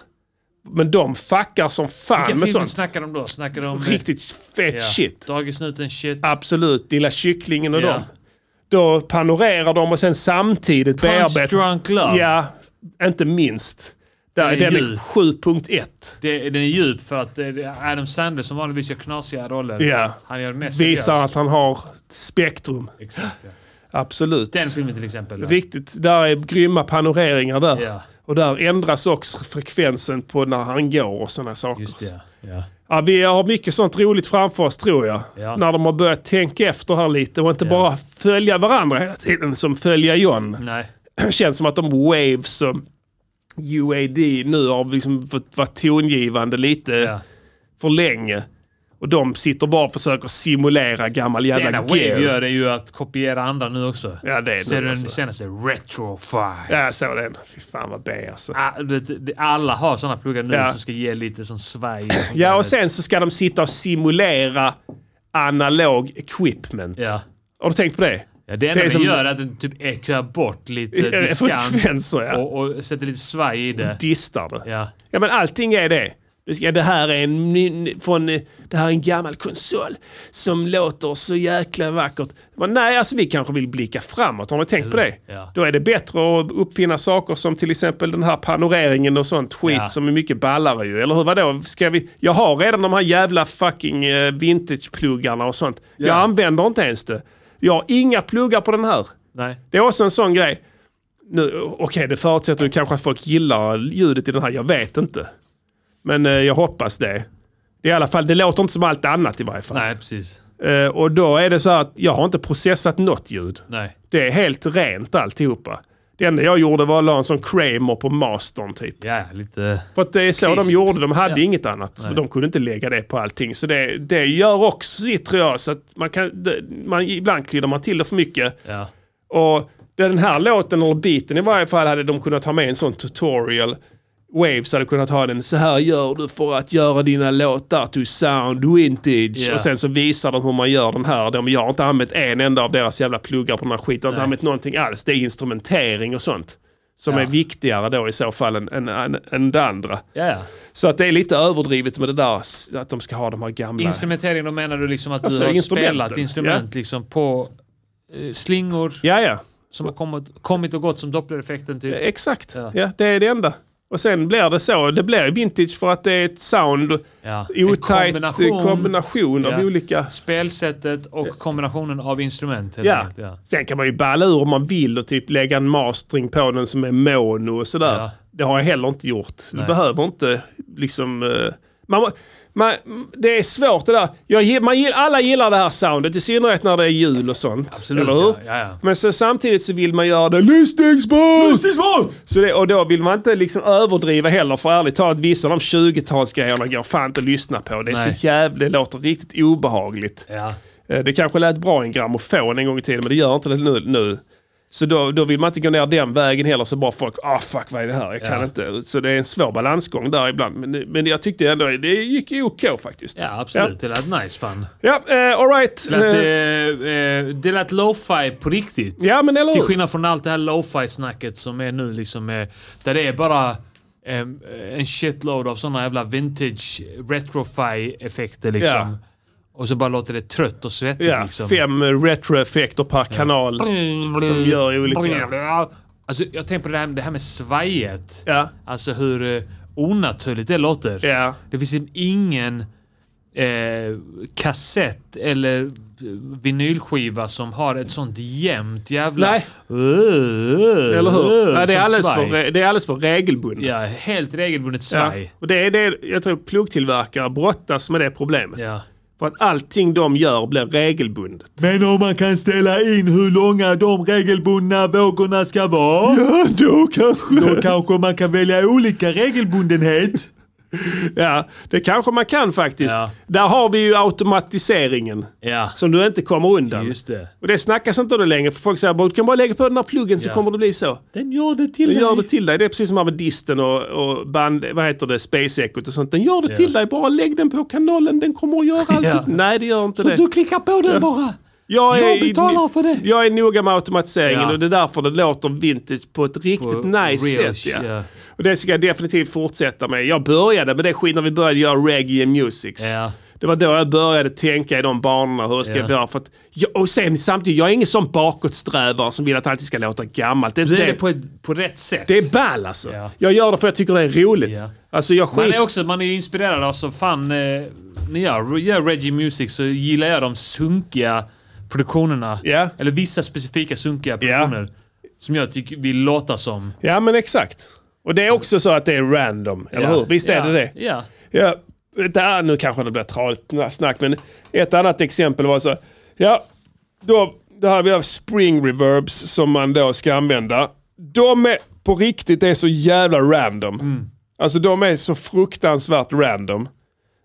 S3: Men de fuckar som fan
S5: Vilka filmer
S3: med sånt.
S5: snackar de då? Snackar de... eh,
S3: Riktigt fett
S5: Ja.
S3: shit.
S5: Dagisnuten shit.
S3: Absolut, Lilla Kycklingen och
S5: Ja.
S3: dem. Då panorerar de och sen samtidigt
S5: Punch
S3: bearbetar...
S5: Drunk Love.
S3: Ja, inte minst. Där,
S5: Den är
S3: den är
S5: djup. Typ.
S3: 7.1.
S5: Det, den är djup för att eh, det är Adam Sandler som vanligtvis gör knasiga roller.
S3: Ja.
S5: Han gör det mest
S3: Visar
S5: seriöst.
S3: att han har ett spektrum.
S5: Exakt, ja.
S3: Absolut.
S5: Den filmen till exempel. ja.
S3: Riktigt, där är grymma panoreringar där.
S5: Ja.
S3: Och där ändras också frekvensen på när han går och sådana saker.
S5: Ja.
S3: Ja, vi har mycket sånt roligt framför oss tror jag.
S5: Ja.
S3: När de har börjat tänka efter här lite och inte bara följa varandra hela tiden som följa John.
S5: Nej.
S3: Känns som att de Waves och UAD nu har liksom fått vara tongivande lite för länge. Och de sitter bara och försöker simulera gammal
S5: Det
S3: jävla
S5: enda Wave
S3: gear.
S5: gör är ju att kopiera andra nu också.
S3: Ja, det är
S5: Ser
S3: det
S5: du den
S3: alltså.
S5: senaste? Retrofire.
S3: Ja, jag såg den. Fy fan vad B alltså.
S5: Ah, du vet, det- Alla har sådana pluggar nu
S3: Ja.
S5: som ska ge lite sån svaj.
S3: Ja, och sen så ska de sitta och simulera analog equipment.
S5: Ja.
S3: Har du tänkt på det?
S5: Ja, det enda
S3: är
S5: vi
S3: som-
S5: gör är att den typ ekar bort lite
S3: Ja,
S5: diskant
S3: frekvenser, ja.
S5: och, och sätter lite svaj i det.
S3: Distar det.
S5: Eh, Ja.
S3: Ja men allting är det. Du ska- Det här är en, ny- från, eh, det här är en gammal konsol som låter så jäkla vackert. Men nej, alltså vi kanske vill blicka framåt. Har ni tänkt på det?
S5: Ja.
S3: Då är det bättre att uppfinna saker som till exempel den här panoreringen och sånt skit
S5: Ja.
S3: som är mycket ballare ju. Eller hur? Vadå? Ska vi... Jag har redan de här jävla fucking eh, vintagepluggarna och sånt. Jag använder inte ens det. Jag har inga pluggar på den här.
S5: Nej.
S3: Det är också en sån grej. Nu, Okej, det förutsätter ju kanske att folk gillar ljudet i den här. Jag vet inte. Men eh, jag hoppas det. Det, är i alla fall, det låter inte som allt annat i varje fall.
S5: Nej, precis.
S3: Eh, och då är det så här att jag har inte processat något ljud.
S5: Nej.
S3: Det är helt rent alltihopa. Det enda jag gjorde var att la en sån Kramer på mastern typ.
S5: Ja, lite...
S3: För att det är så
S5: Crisp.
S3: de gjorde, de hade
S5: Ja.
S3: inget annat.
S5: Nej.
S3: De kunde inte lägga det på allting. Så det, det gör också sitt tror jag. Så att man kan, det, man, ibland kliddar man till det för mycket.
S5: Ja.
S3: Och den här låten, eller biten i varje fall, hade de kunnat ha med en sån tutorial. Waves hade kunnat ha den, så här gör du för att göra dina låtar to sound vintage.
S5: Ja.
S3: Och sen så visar de hur man gör den här. De, jag har inte använt en enda av deras jävla pluggar på den här skiten. Jag har inte
S5: Nej.
S3: använt någonting alls. Det är instrumentering och sånt. Som
S5: Ja.
S3: är viktigare då i så fall än, än, än, än det andra.
S5: Ja, ja.
S3: Så att det är lite överdrivet med det där s- att de ska ha de här gamla...
S5: Instrumentering, då menar du liksom att
S3: Alltså,
S5: du har
S3: instrumenten.
S5: spelat instrument liksom på eh, slingor
S3: ja, ja.
S5: som har kommit, kommit och gått som dopplereffekten typ?
S3: Exakt. Ja, det är det enda. Och sen blir det så. Det blir vintage för att det är ett sound,
S5: Ja. En
S3: otajt kombination, kombination av
S5: Ja.
S3: olika...
S5: Spelsättet och kombinationen av instrument. helt
S3: Ja.
S5: enkelt, ja.
S3: Sen kan man ju balla ur om man vill och typ lägga en mastering på den som är mono och sådär.
S5: Ja.
S3: Det har jag heller inte gjort.
S5: Nej.
S3: Du behöver inte liksom... eh, Man, må- man, det är svårt det där. Jag, gi- man, gill- alla gillar det här soundet, i synnerhet när det är jul och sånt.
S5: Absolut,
S3: eller hur?
S5: ja, ja, ja.
S3: Men så, samtidigt så vill man göra det lyssningsbart! Så det, och då vill man inte liksom överdriva heller för ärligt talat vissa av de 20-talsgrejerna går fan inte att lyssna på. Det, är
S5: Nej.
S3: så jävla, det låter riktigt obehagligt.
S5: Ja.
S3: Eh, Det kanske lät bra i en grammofon en gång i tiden, men det gör inte det nu. nu. Så då, då vill man inte gå ner den vägen heller, så bara folk, ah fuck vad är det här, jag kan
S13: Ja.
S3: inte. Så det är en svår balansgång där ibland. Men, det- men jag tyckte ändå det gick ju okej faktiskt.
S13: Ja, absolut. Det lät nice fan.
S3: Ja, eh, all right.
S13: Det lät,
S3: Eh,
S13: eh, eh, det lät lo-fi på riktigt.
S3: Ja, men eller
S13: Till
S3: hur?
S13: skillnad från allt det här lo-fi snacket som är nu liksom, eh, där det är bara eh, en shitload av sådana jävla vintage retrofi effekter liksom.
S3: Ja.
S13: Och så bara låter det trött och svettigt
S3: Ja,
S13: liksom.
S3: fem eh, retroeffekter per kanal som gör ju olika...
S13: Alltså, jag tänker på det här, det här med svajet.
S3: Ja.
S13: Alltså hur eh, onaturligt det låter.
S3: Ja.
S13: Det finns liksom ingen eh, kassett eller eh, vinylskiva som har ett sånt jämnt jävla...
S3: Nej.
S13: Eller
S3: Eller hur? Ja, det, är alldeles
S13: svaj.
S3: för, det är alldeles för regelbundet.
S13: Ja, helt regelbundet
S3: Ja.
S13: svaj.
S3: Och det är det, jag tror plugtillverkare brottas med det problemet.
S13: Ja.
S3: För att allting de gör blir regelbundet.
S14: Men om man kan ställa in hur långa de regelbundna vågorna ska vara.
S3: Ja, då kanske.
S14: Då kanske man kan välja olika regelbundenhet.
S3: Ja, det kanske man kan faktiskt. Där har vi ju automatiseringen. Som du inte kommer undan.
S13: Just det.
S3: Och det snackas inte om det längre. För folk säger bara du kan bara lägga på den här pluggen så
S13: Ja.
S3: kommer det bli så.
S13: Den gör det till
S3: Den gör det till dig. Det är precis som här med disten och, och band, vad heter det, space Echoet och sånt. Den gör det
S13: Ja.
S3: till dig. Bara lägg den på kanalen. Den kommer att göra allt.
S13: Ja.
S3: Nej, det gör inte det.
S13: klickar på
S3: Ja.
S13: bara.
S3: Jag,
S13: Jag
S3: är,
S13: betalar för det.
S3: Jag är noga med automatiseringen
S13: Ja.
S3: och det är därför det låter vintage på ett riktigt
S13: På
S3: nice
S13: real
S3: sätt. Ja.
S13: shit, ja.
S3: Och det ska jag definitivt fortsätta med. Jag började med det skit när vi började göra reggae music.
S13: Ja.
S3: Det var då jag började tänka i de banorna hur jag ska
S13: Ja.
S3: göra. För att jag, och sen samtidigt, jag är ingen sån bakåtsträvare som vill att allting ska låta gammalt. Det är,
S13: Du
S3: inte
S13: är det
S3: det.
S13: på, ett, på rätt sätt.
S3: det är ball alltså.
S13: Ja.
S3: Jag gör det för jag tycker det är roligt. Alltså jag
S13: Man
S3: skiter
S13: är också man är ju inspirerad av så fan... Eh, när jag gör reggae music så gillar jag de sunkiga produktionerna. Eller vissa specifika sunkiga produktioner. Som jag tycker vill låta som.
S3: Ja men exakt. Och det är också så att det är random, eller
S13: Ja.
S3: hur? Visst
S13: Ja.
S3: är det det?
S13: Ja.
S3: Ja, det här, nu kanske det blir tradigt snack, men ett annat exempel var så. Ja, då, det här vi har spring reverbs som man då ska använda. De är på riktigt är så jävla random.
S13: Mm.
S3: Alltså de är så fruktansvärt random.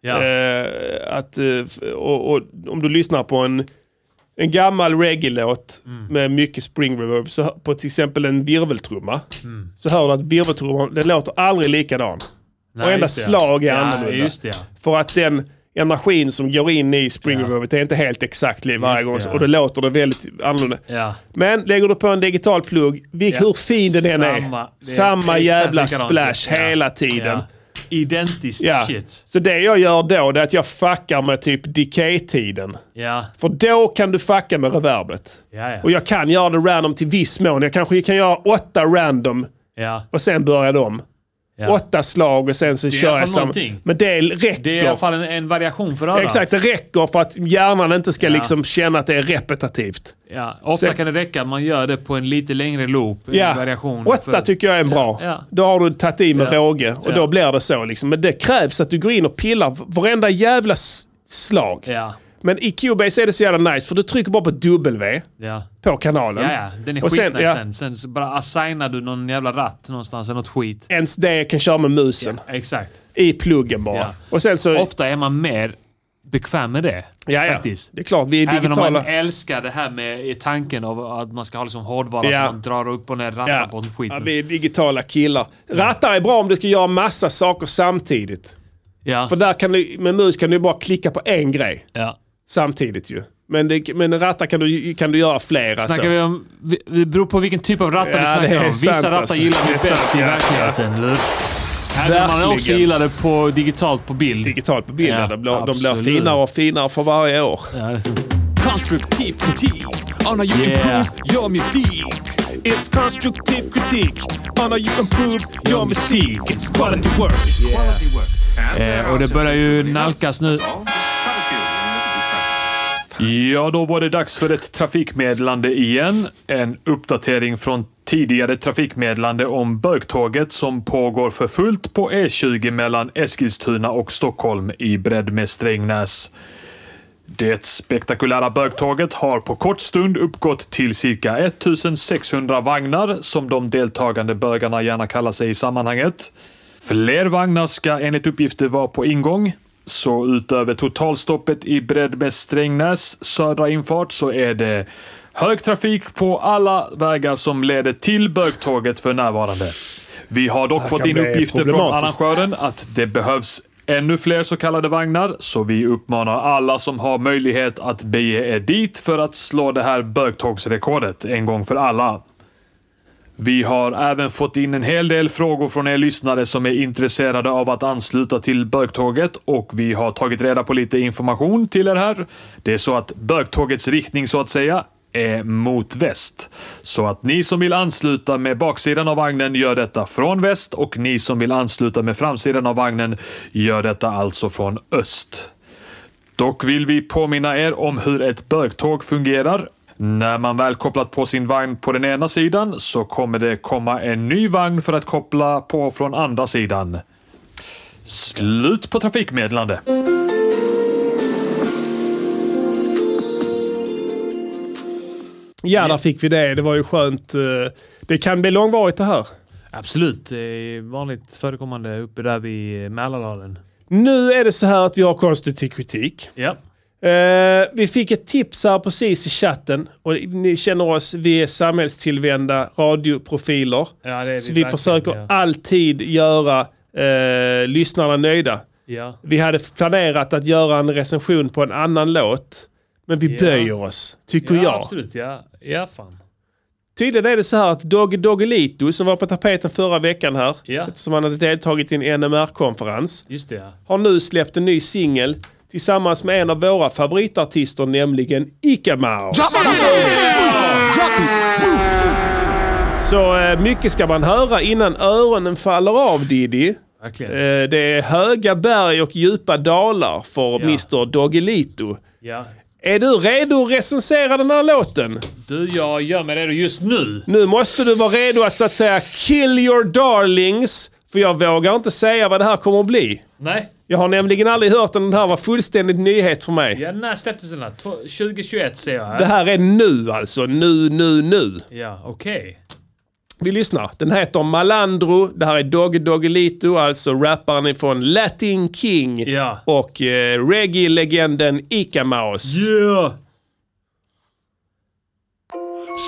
S13: Ja.
S3: Eh, att, eh, f- och, och om du lyssnar på en, en gammal reggae-låt
S13: Mm.
S3: med mycket spring reverb, så, hör- på till exempel en virveltrumma,
S13: Mm.
S3: så hör du att virveltrumman, den låter aldrig likadan.
S13: Nej,
S3: Varenda
S13: just det, ja.
S3: slag är
S13: Ja,
S3: annorlunda.
S13: just det, ja.
S3: För att den energin som går in i spring reverbet är inte helt exakt lik varje
S13: Just
S3: gång,
S13: det, ja.
S3: och då låter det väldigt annorlunda.
S13: Ja.
S3: Men lägger du på en digital plugg, vilk,
S13: Ja.
S3: hur fin den än är,
S13: Samma- det är
S3: samma
S13: exakt
S3: jävla
S13: likadant.
S3: splash
S13: Ja.
S3: hela tiden.
S13: Ja. Identiskt
S3: Ja.
S13: shit.
S3: Så det jag gör då det är att jag fuckar med typ decay-tiden.
S13: Ja.
S3: För då kan du fucka med reverbet.
S13: Ja, ja.
S3: Och jag kan göra det random till viss mån. Jag kanske kan göra åtta random
S13: Ja.
S3: och sen börjar de.
S13: Ja.
S3: Åtta slag och sen så
S13: Det är i
S3: kör
S13: alla fall
S3: jag samma.
S13: någonting.
S3: Men det räcker.
S13: Det är i alla fall en, en variation för örat.
S3: Exakt, det räcker för att hjärnan inte ska
S13: Ja.
S3: liksom känna att det är repetitivt.
S13: Ja. Ofta
S3: Sen-
S13: kan det räcka att man gör det på en lite längre loop. En variation.
S3: Åtta tycker jag är en bra.
S13: ja.
S3: Då har du tagit i med
S13: Ja.
S3: råge och
S13: Ja.
S3: då blir det så. Liksom. Men det krävs att du går in och pillar varenda jävla s- slag.
S13: Ja.
S3: Men i Cubase är det så jävla nice för du trycker bara på W
S13: Ja.
S3: på kanalen.
S13: Ja, ja. Den är
S3: Och sen-
S13: skitnice
S3: ja.
S13: den. Sen så bara assignar du någon jävla ratt någonstans eller något skit.
S3: Ens det kan köra med musen.
S13: Exakt.
S3: I pluggen bara.
S13: Ja.
S3: Och sen så...
S13: Ofta är man mer bekväm med det.
S3: Ja, ja.
S13: Faktiskt.
S3: Det är klart, vi är
S13: Även om
S3: digitala.
S13: man älskar det här med i tanken av att man ska ha liksom hårdvara
S3: Ja.
S13: som man drar upp och ner rattar
S3: Ja.
S13: på en skit.
S3: Ja, vi är digitala killar. Rattar är bra om du ska göra massa saker samtidigt.
S13: Ja.
S3: För där kan du, med mus kan du bara klicka på en grej. Samtidigt ju. Men, det, men rattar kan du, kan du göra alltså. flera.
S13: Snackar vi om... vi- Det beror på vilken typ av rattar vi
S3: Ja, det
S13: snackar
S3: är
S13: om. Vissa
S3: sant,
S13: rattar
S3: alltså.
S13: gillar vi
S3: Det är sant,
S13: bäst i
S3: ja.
S13: verkligheten, eller hur? Även om man också
S3: Verkligen.
S13: gillar det på, digitalt på bild. Digitalt
S3: på bilden. de, blir, de blir finare och finare för varje år.
S15: Konstruktiv kritik on how you
S3: Yeah.
S15: improve your musik. It's constructive critique on how you improve your musik. It's quality work. Quality work.
S13: Eh, och det börjar ju nalkas nu.
S5: Ja, då var det dags för ett trafikmeddelande igen. En uppdatering från tidigare trafikmeddelande om bögtåget som pågår för fullt på E20 mellan Eskilstuna och Stockholm i bredd med Strängnäs. Det spektakulära bögtåget har på kort stund uppgått till cirka 1600 vagnar som de deltagande bögarna gärna kallar sig i sammanhanget. Fler vagnar ska enligt uppgifter vara på ingång. så utöver totalstoppet i Bredbäst-Strängnäs södra infart så är det hög trafik på alla vägar som leder till bögtåget för närvarande. Vi har
S13: Det
S5: dock
S13: här
S5: fått
S13: kan
S5: in
S13: bli
S5: uppgifter från
S13: problematiskt.
S5: arrangören att det behövs ännu fler så kallade vagnar, så vi uppmanar alla som har möjlighet att bege er dit för att slå det här bögtågsrekordet en gång för alla. Vi har även fått in en hel del frågor från er lyssnare som är intresserade av att ansluta till Bögtåget och vi har tagit reda på lite information till er här. Det är så att Bögtågets riktning så att säga är mot väst. Så att ni som vill ansluta med baksidan av vagnen gör detta från väst och ni som vill ansluta med framsidan av vagnen gör detta alltså från öst. Dock vill vi påminna er om hur ett bögtåg fungerar. När man väl kopplat på sin vagn på den ena sidan så kommer det komma en ny vagn för att koppla på från andra sidan. Slut på trafikmeddelande.
S3: Ja, där fick vi det. Det var ju skönt. eh, Det kan bli långvarigt det här.
S13: Absolut. Det är vanligt förekommande uppe där vid Mälardalen.
S3: Nu är det så här att vi har konstruktiv kritik.
S13: Ja.
S3: Eh, vi fick ett tips här precis i chatten. Och ni känner oss, vi är samhällstillvända radioprofiler.
S13: Ja, det är vi
S3: så vi
S13: verkligen,
S3: försöker
S13: ja.
S3: alltid göra eh, lyssnarna nöjda.
S13: Ja.
S3: Vi hade planerat att göra en recension på en annan låt. Men vi
S13: Ja.
S3: böjer oss, tycker
S13: ja,
S3: jag.
S13: Absolut, ja. Ja, fan.
S3: Tydligen är det så här att Dogge Doggelito som var på tapeten förra veckan här,
S13: Ja.
S3: eftersom han hade deltagit i en NMR-konferens,
S13: Just det, ja.
S3: har nu släppt en ny singel tillsammans med en av våra favoritartister, nämligen Ica Mouse. Så eh, mycket ska man höra innan öronen faller av Diddy.
S13: Verkligen.
S3: Eh, det är höga berg och djupa dalar för Mr Doggelito.
S13: Ja.
S3: Är du redo att recensera den här låten?
S13: Du, jag gör mig redo just nu.
S3: Nu måste du vara redo att så att säga kill your darlings. För jag vågar inte säga vad det här kommer att bli.
S13: Nej.
S3: Jag har nämligen aldrig hört den. Den här var fullständigt nyhet för mig.
S13: Ja, när släpptes den här? Två- 2021 ser jag här.
S3: Det här är nu alltså. Nu, nu, nu.
S13: Ja, okej.
S3: Vi lyssnar. Den heter Malandro. Det här är Dogge Doggelito, alltså rapparen ifrån Latin King. Och eh, reggae-legenden Ica Mouse.
S13: Yeah!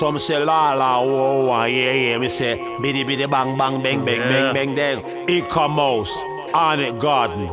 S11: Some say la la oh ah, yeah yeah me say biddy biddy bang bang bang bang
S16: Yeah.
S11: bang bang bang Ica Mouse on it garden.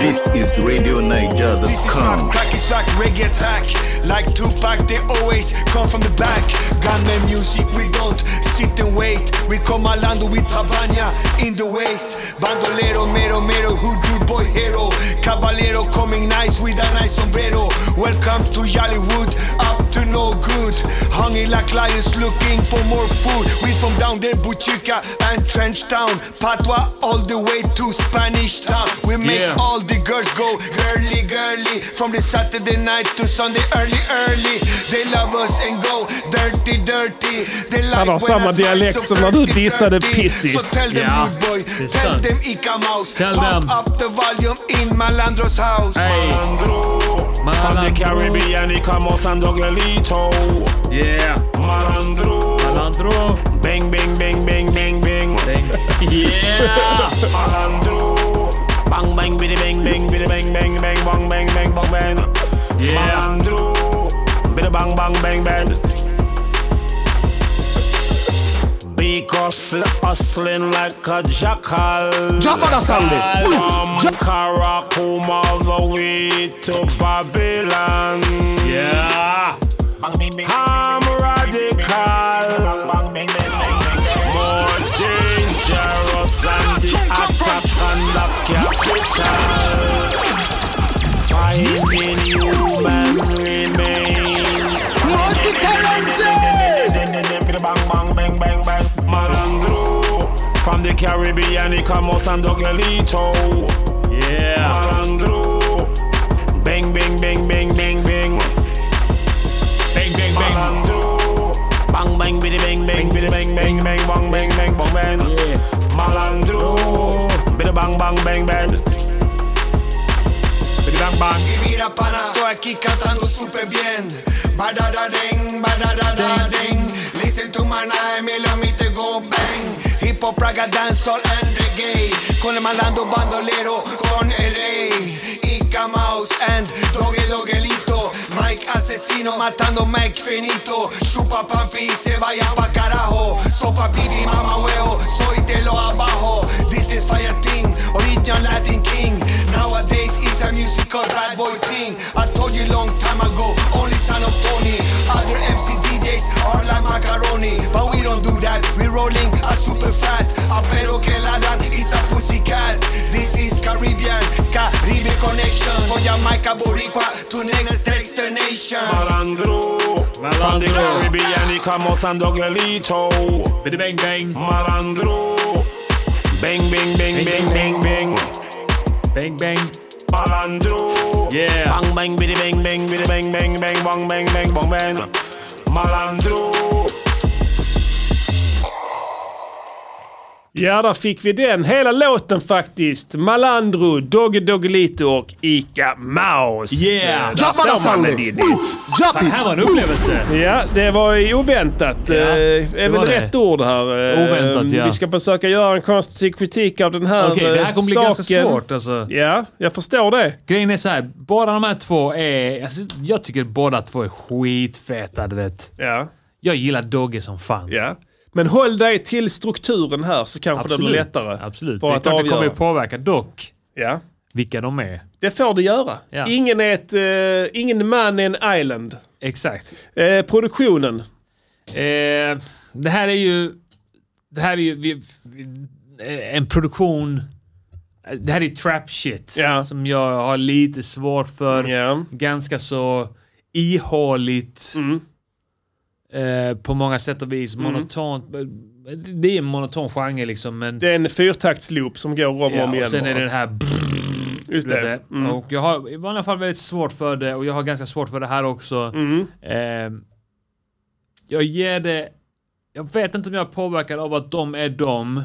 S16: This is
S7: This is rap
S16: RadioNiger.com.
S7: crack, it's like reggae attack. Like Tupac, they always come from the back. Gunman music, we don't sit and wait. We come malando with Habana in the waist. Bandolero, mero, mero, hoodoo boy hero. Caballero coming nice with a nice sombrero. Welcome to Yollywood, up to no good. Hungry like lions looking for more food. We from down there, Buchica and Trench Town. Patois all the way to Spanish Town. We make
S17: Yeah.
S7: all all the girls go girly, girly. From the Saturday night to Sunday early, early. They love us and go dirty, dirty. They like
S3: Han har
S7: when
S3: samma
S7: I smile
S3: dialekt
S7: so
S3: som när du
S7: dirty,
S3: dissade
S7: dirty.
S3: Pissy.
S7: So tell them
S3: Ja,
S7: rude boy,
S3: det är
S7: tell
S3: sant.
S7: them Ica Mouse.
S3: Tell
S7: Pump
S3: them.
S7: up the volume in Malandro's house.
S11: From the Caribbean Ica Mouse and Doggelito.
S13: Yeah.
S11: Malandro.
S13: Malandro.
S11: Bang bang bang bang bang bang.
S13: Yeah.
S11: Malandro. Bang bang biddy bang bang biddy bang bang bang bang bang bang bang bang.
S13: Yeah.
S11: Malandro. Biddy bang bang bang bang. Because hustling like a jackal.
S18: Jackal sound it.
S11: From Karakum all the way to Babylon.
S13: Yeah.
S11: I'm radical. More dangerous than the attack on the capital. Finding human remains. Multi-talented! Bang, bang, bang, bang, bang. Malandro. From the Caribbean, Icamos and Dogelito.
S13: Yeah.
S11: Malandro. Bang, bang, bang, bang, bang, bang. Bang, bang, bang. Malandro. Bang, bang, biddy, bang, bang, biddy, bang, bang, bang, bang, bang, bang, bang, bang. Malandro. Biddy, bang, bang, bang, bang. Biddy, bang, bang.
S7: Y mira pana, estoy aquí cantando súper bien. Badadading, badadadading. Listen to my name, let me to go bang. Hip
S16: hop, raga, dancehall and reggae Con el malando bandolero, con el rey Inca Mouse and Doge Dogelito Mike asesino matando Mike finito Chupa pampi y se vaya pa' carajo Sopa pigri, mama huevo, soy de lo abajo This is fire team, original Latin king Nowadays it's a musical bad boy thing I told you long time ago, only son of Tony Other MCs, DJs are like macaroni But we don't do that, we rolling a super fat A pero que la dan is a pussycat This is Caribbean, Caribe connection For Jamaica, Boricua, to next destination
S19: Malandro, From the Caribbean y como Sandogelito. Bidi bang bang. Malandro. Bang bang bang bang bang bang. Bang bang. Malandro. Yeah. Bang bang bidi bang bang bidi bang bang bang bang bang bang bang bang. Malandro.
S3: Ja, där fick vi den. Hela låten faktiskt. Malandro, Dogge Doggelito och Ica Mouse.
S13: Yeah!
S3: Där får man det, Diddy.
S13: Fan, Det här var en upplevelse.
S3: Ja, det var ju oväntat. Ja, det är väl
S13: var det.
S3: rätt ord här. Eh,
S13: Oväntat, ja.
S3: Vi ska försöka göra en konstruktiv kritik av den här eh,
S13: Okej, det här kommer bli
S3: saken.
S13: ganska svårt alltså.
S3: Ja, jag förstår det.
S13: Grejen är så här, båda de här två är... Alltså, jag tycker båda två är skitfeta, du vet.
S3: Ja.
S13: Jag gillar Dogge som fan.
S3: Ja. Men håll dig till strukturen här så kanske det blir
S13: Absolut,
S3: lättare. Absolut.
S13: Det är klart det kommer ju påverka dock
S3: Ja.
S13: vilka de är.
S3: Det får det göra.
S13: Ja.
S3: Ingen, är ett, eh, ingen man är en island.
S13: Exakt.
S3: Eh, produktionen.
S13: Eh, det här är ju... Det här är ju vi, vi- eh, en produktion... eh, Det här är trap shit som jag har lite svårt för. Ganska så ihåligt. Eh, på många sätt och vis.
S3: Mm.
S13: Monotont. Det är en monoton genre liksom. Men,
S3: Det är en fyrtaktsloop som går om och om igen.
S13: och sen är
S3: bara.
S13: det den här... brrrr,
S3: Just
S13: vet
S3: det.
S13: du.
S3: Mm.
S13: Och jag har i vanliga fall väldigt svårt för det och jag har ganska svårt för det här också.
S3: Mm.
S13: Ehm, jag ger det... Jag vet inte om jag är påverkad av att de är de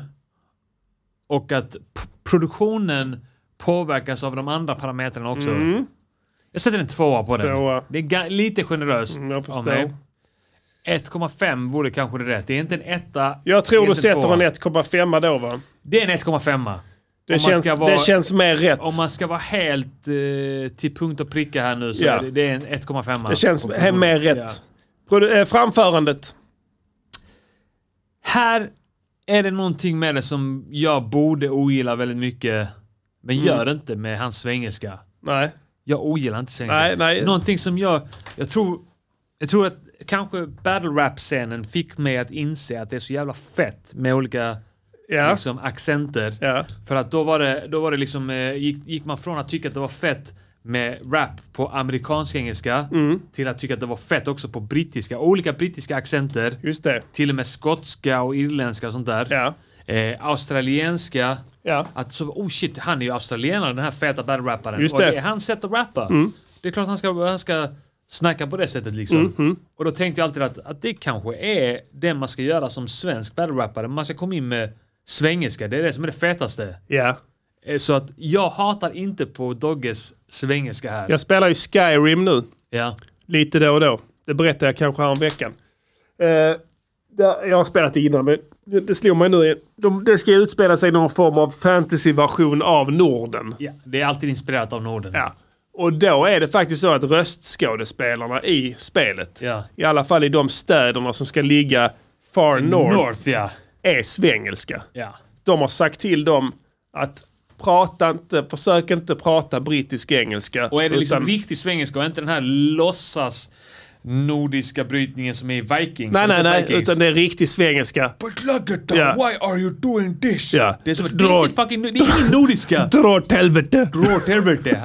S13: och att p- produktionen påverkas av de andra parametrarna också.
S3: Mm.
S13: Jag sätter en tvåa på
S3: Tvåa.
S13: den. Det är ga- lite generöst
S3: Mm, jag förstår.
S13: av mig. 1,5 vore kanske det rätt. Det är inte en etta.
S3: Jag
S13: det
S3: tror
S13: är
S3: du
S13: inte
S3: sätter
S13: tvåa.
S3: en 1,5 då va?
S13: Det är en 1,5.
S3: Det
S13: Om man
S3: känns-
S13: ska
S3: det känns mer rätt.
S13: Om man ska vara helt eh, till punkt och pricka här nu så
S3: Ja.
S13: är det, det är en 1,5.
S3: Det känns he- mer rätt.
S13: Ja.
S3: Produ- eh, framförandet.
S13: Här är det någonting med det som jag borde ogilla väldigt mycket. Men
S3: Mm.
S13: gör det inte med hans svengelska.
S3: Nej.
S13: Jag ogillar inte svengelska.
S3: Nej, nej.
S13: Någonting som jag... Jag tror, jag tror att kanske battle rap-scenen fick mig att inse att det är så jävla fett med olika
S3: Ja.
S13: liksom, accenter. För att då var det, då var det liksom, eh, gick, gick man från att tycka att det var fett med rap på amerikansk engelska
S3: Mm.
S13: till att tycka att det var fett också på brittiska. Olika brittiska accenter.
S3: Just det.
S13: Till och med skotska och irländska och sånt där. Eh, australienska. Att så, oh shit, han är ju australienare den här feta battle-rapparen.
S3: Just
S13: Och
S3: det.
S13: det är hans sätt att rappa.
S3: Mm.
S13: Det är klart han ska, han ska snacka på det sättet liksom.
S3: Mm, mm.
S13: Och då tänkte jag alltid att, att det kanske är det man ska göra som svensk battle-rappare. Man ska komma in med svengelska, det är det som är det fetaste.
S3: Ja.
S13: Eh, Så att jag hatar inte på Dogges svengelska här.
S3: Jag spelar ju Skyrim nu.
S13: Ja.
S3: Lite då och då. Det berättade jag kanske häromveckan. Eh, där- jag har spelat det innan men det- det slog mig nu. De, det ska utspela sig i någon form av fantasyversion av Norden.
S13: Ja, det är alltid inspirerat av Norden.
S3: Ja. Och då är det faktiskt så att röstskådespelarna i spelet, i alla fall i de städerna som ska ligga far north,
S13: North, ja.
S3: är svengelska.
S13: Ja.
S3: De har sagt till dem att prata inte, försök inte prata brittisk engelska.
S13: Och är det liksom
S3: utan-
S13: riktig svengelska och inte den här låtsas nordiska brytningen som är i Vikings?
S3: Nej,
S13: Har du
S3: nej,
S13: sett
S3: nej,
S13: Vikings?
S3: utan det är riktig svengelska.
S13: But look at
S3: Ja.
S13: are you doing this?
S3: Ja.
S13: Det är som ett
S3: Dra-
S13: riktigt fucking... Det är ingen nordiska!
S3: Dra åt helvete!
S13: Dra åt helvete!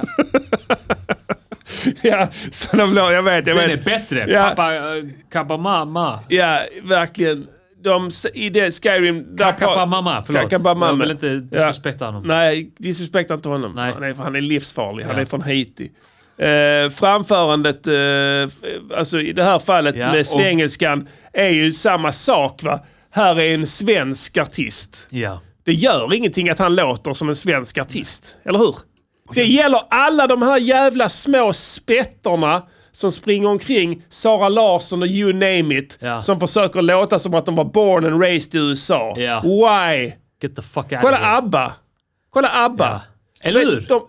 S3: ja, så de, lå- jag vet, jag
S13: Den
S3: vet.
S13: är bättre.
S3: Ja.
S13: Pappa, eh, kappa mamma.
S3: Ja, verkligen. De, s- I det Skyrim...
S13: Kakapa mamma, förlåt.
S3: Kakapa mamma.
S13: Jag vill inte disrespekta honom.
S3: Nej, disrespekta inte honom. Han, är, han är livsfarlig. Han
S13: Ja.
S3: är från Haiti. Eh, framförandet, eh, f- alltså i det här fallet
S13: Ja,
S3: med
S13: och-
S3: svengelskan, är ju samma sak. va Här är en svensk artist.
S13: Ja.
S3: Det gör ingenting att han låter som en svensk artist, eller hur? Det gäller alla de här jävla små spetterna som springer omkring, Sara Larsson och you name it, som försöker låta som att de var born and raised i USA. Why?
S13: Get the fuck out
S3: Kolla
S13: of here.
S3: ABBA! Kolla ABBA!
S13: Eller
S3: De-
S13: hur?
S3: De,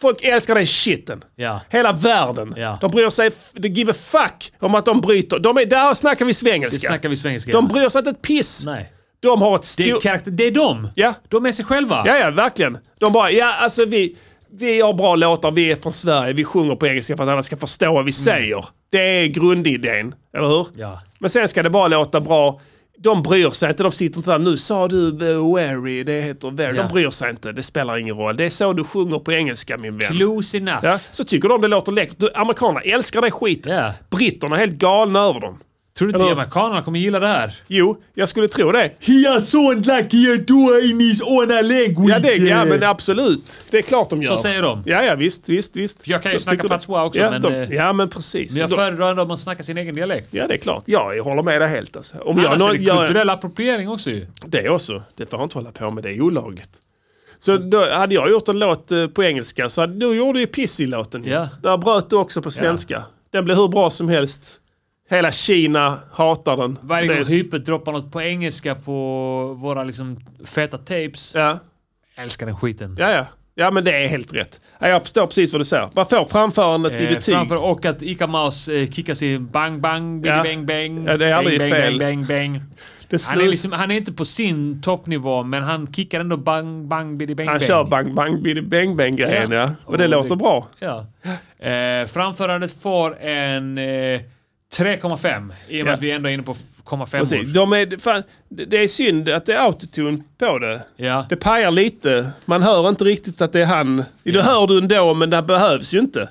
S3: folk älskar den shiten.
S13: Ja.
S3: Hela världen.
S13: Ja.
S3: De bryr sig, f- de give a fuck om att de bryter. De är, där snackar vi
S13: Det
S3: svengelska.
S13: snackar vi svengelska.
S3: De bryr sig inte ett piss.
S13: Nej.
S3: De har ett
S13: Det är,
S3: stort...
S13: karaktär, det är de.
S3: Ja.
S13: De är sig själva.
S3: Ja, ja, verkligen. De bara, ja alltså vi, vi har bra låtar, vi är från Sverige, vi sjunger på engelska för att alla ska förstå vad vi säger. Det är grundidén, eller hur?
S13: Mm. Ja.
S3: Men sen ska det bara låta bra. De bryr sig inte, de sitter inte där. Nu sa du eh, Weary, det heter Weary.
S13: Ja.
S3: De bryr sig inte, det spelar ingen roll. Det är så du sjunger på engelska min vän.
S13: Close enough.
S3: Ja, så tycker de det låter läckert. Du, Amerikanerna älskar den skiten. Britterna är helt galna över dem.
S13: Tror du inte
S3: Eller-
S13: amerikanerna kommer gilla det här?
S3: Jo, jag skulle tro det.
S20: He has so unlucky a door in his own language.
S3: Ja, det, ja men absolut. Det är klart de gör.
S13: Så säger de.
S3: Ja, ja visst, visst, visst.
S13: Jag kan ju
S3: Så
S13: snacka
S3: tycker de-
S13: patois också,
S3: Ja,
S13: men,
S3: de,
S13: eh,
S3: ja men precis.
S13: Men jag
S3: De-
S13: föredrar ändå om man snackar sin egen dialekt.
S3: Ja, det är klart. Ja, jag håller med dig helt alltså. Om jag,
S13: Annars är det
S3: jag-
S13: kulturell appropriering också ju.
S3: Det också. Det får jag inte hålla på med. Det är olagligt. Så då, hade jag gjort en låt eh, på engelska så hade, då gjorde ju piss i låten. ju.
S13: Ja.
S3: Där bröt du också på svenska. Den blev hur bra som helst. Hela Kina hatar den.
S13: Varje gång
S3: Det-
S13: hypet droppar något på engelska på våra liksom feta tapes.
S3: Ja.
S13: Älskar den skiten.
S3: Ja, ja. Ja, men det är helt rätt. Ja, jag förstår precis vad du säger. Vad får framförandet i
S13: Eh,
S3: betyg?
S13: framför och att Ica Maus eh, kickas i bang bang, bing
S3: Ja.
S13: bang bang.
S3: Ja, det är aldrig
S13: bang,
S3: fel.
S13: Bang, bang, bang.
S3: Det
S13: Han, är
S3: snus-
S13: liksom, han är inte på sin toppnivå, men han kickar ändå bang bang bidi bang
S3: Han
S13: bang.
S3: kör bang bang bidi bang bang grejen ja. Och det
S13: Och
S3: låter
S13: det-
S3: bra.
S13: Ja. Eh, framförandet får en eh, 3,5 i och med
S3: Ja.
S13: att vi ändå är inne på f- 0,5
S3: Precis.
S13: år.
S3: De är, fan, det det är synd att det är autotune på det.
S13: Ja.
S3: Det pajar lite. Man hör inte riktigt att det är han. Det hör du ändå men det behövs ju inte.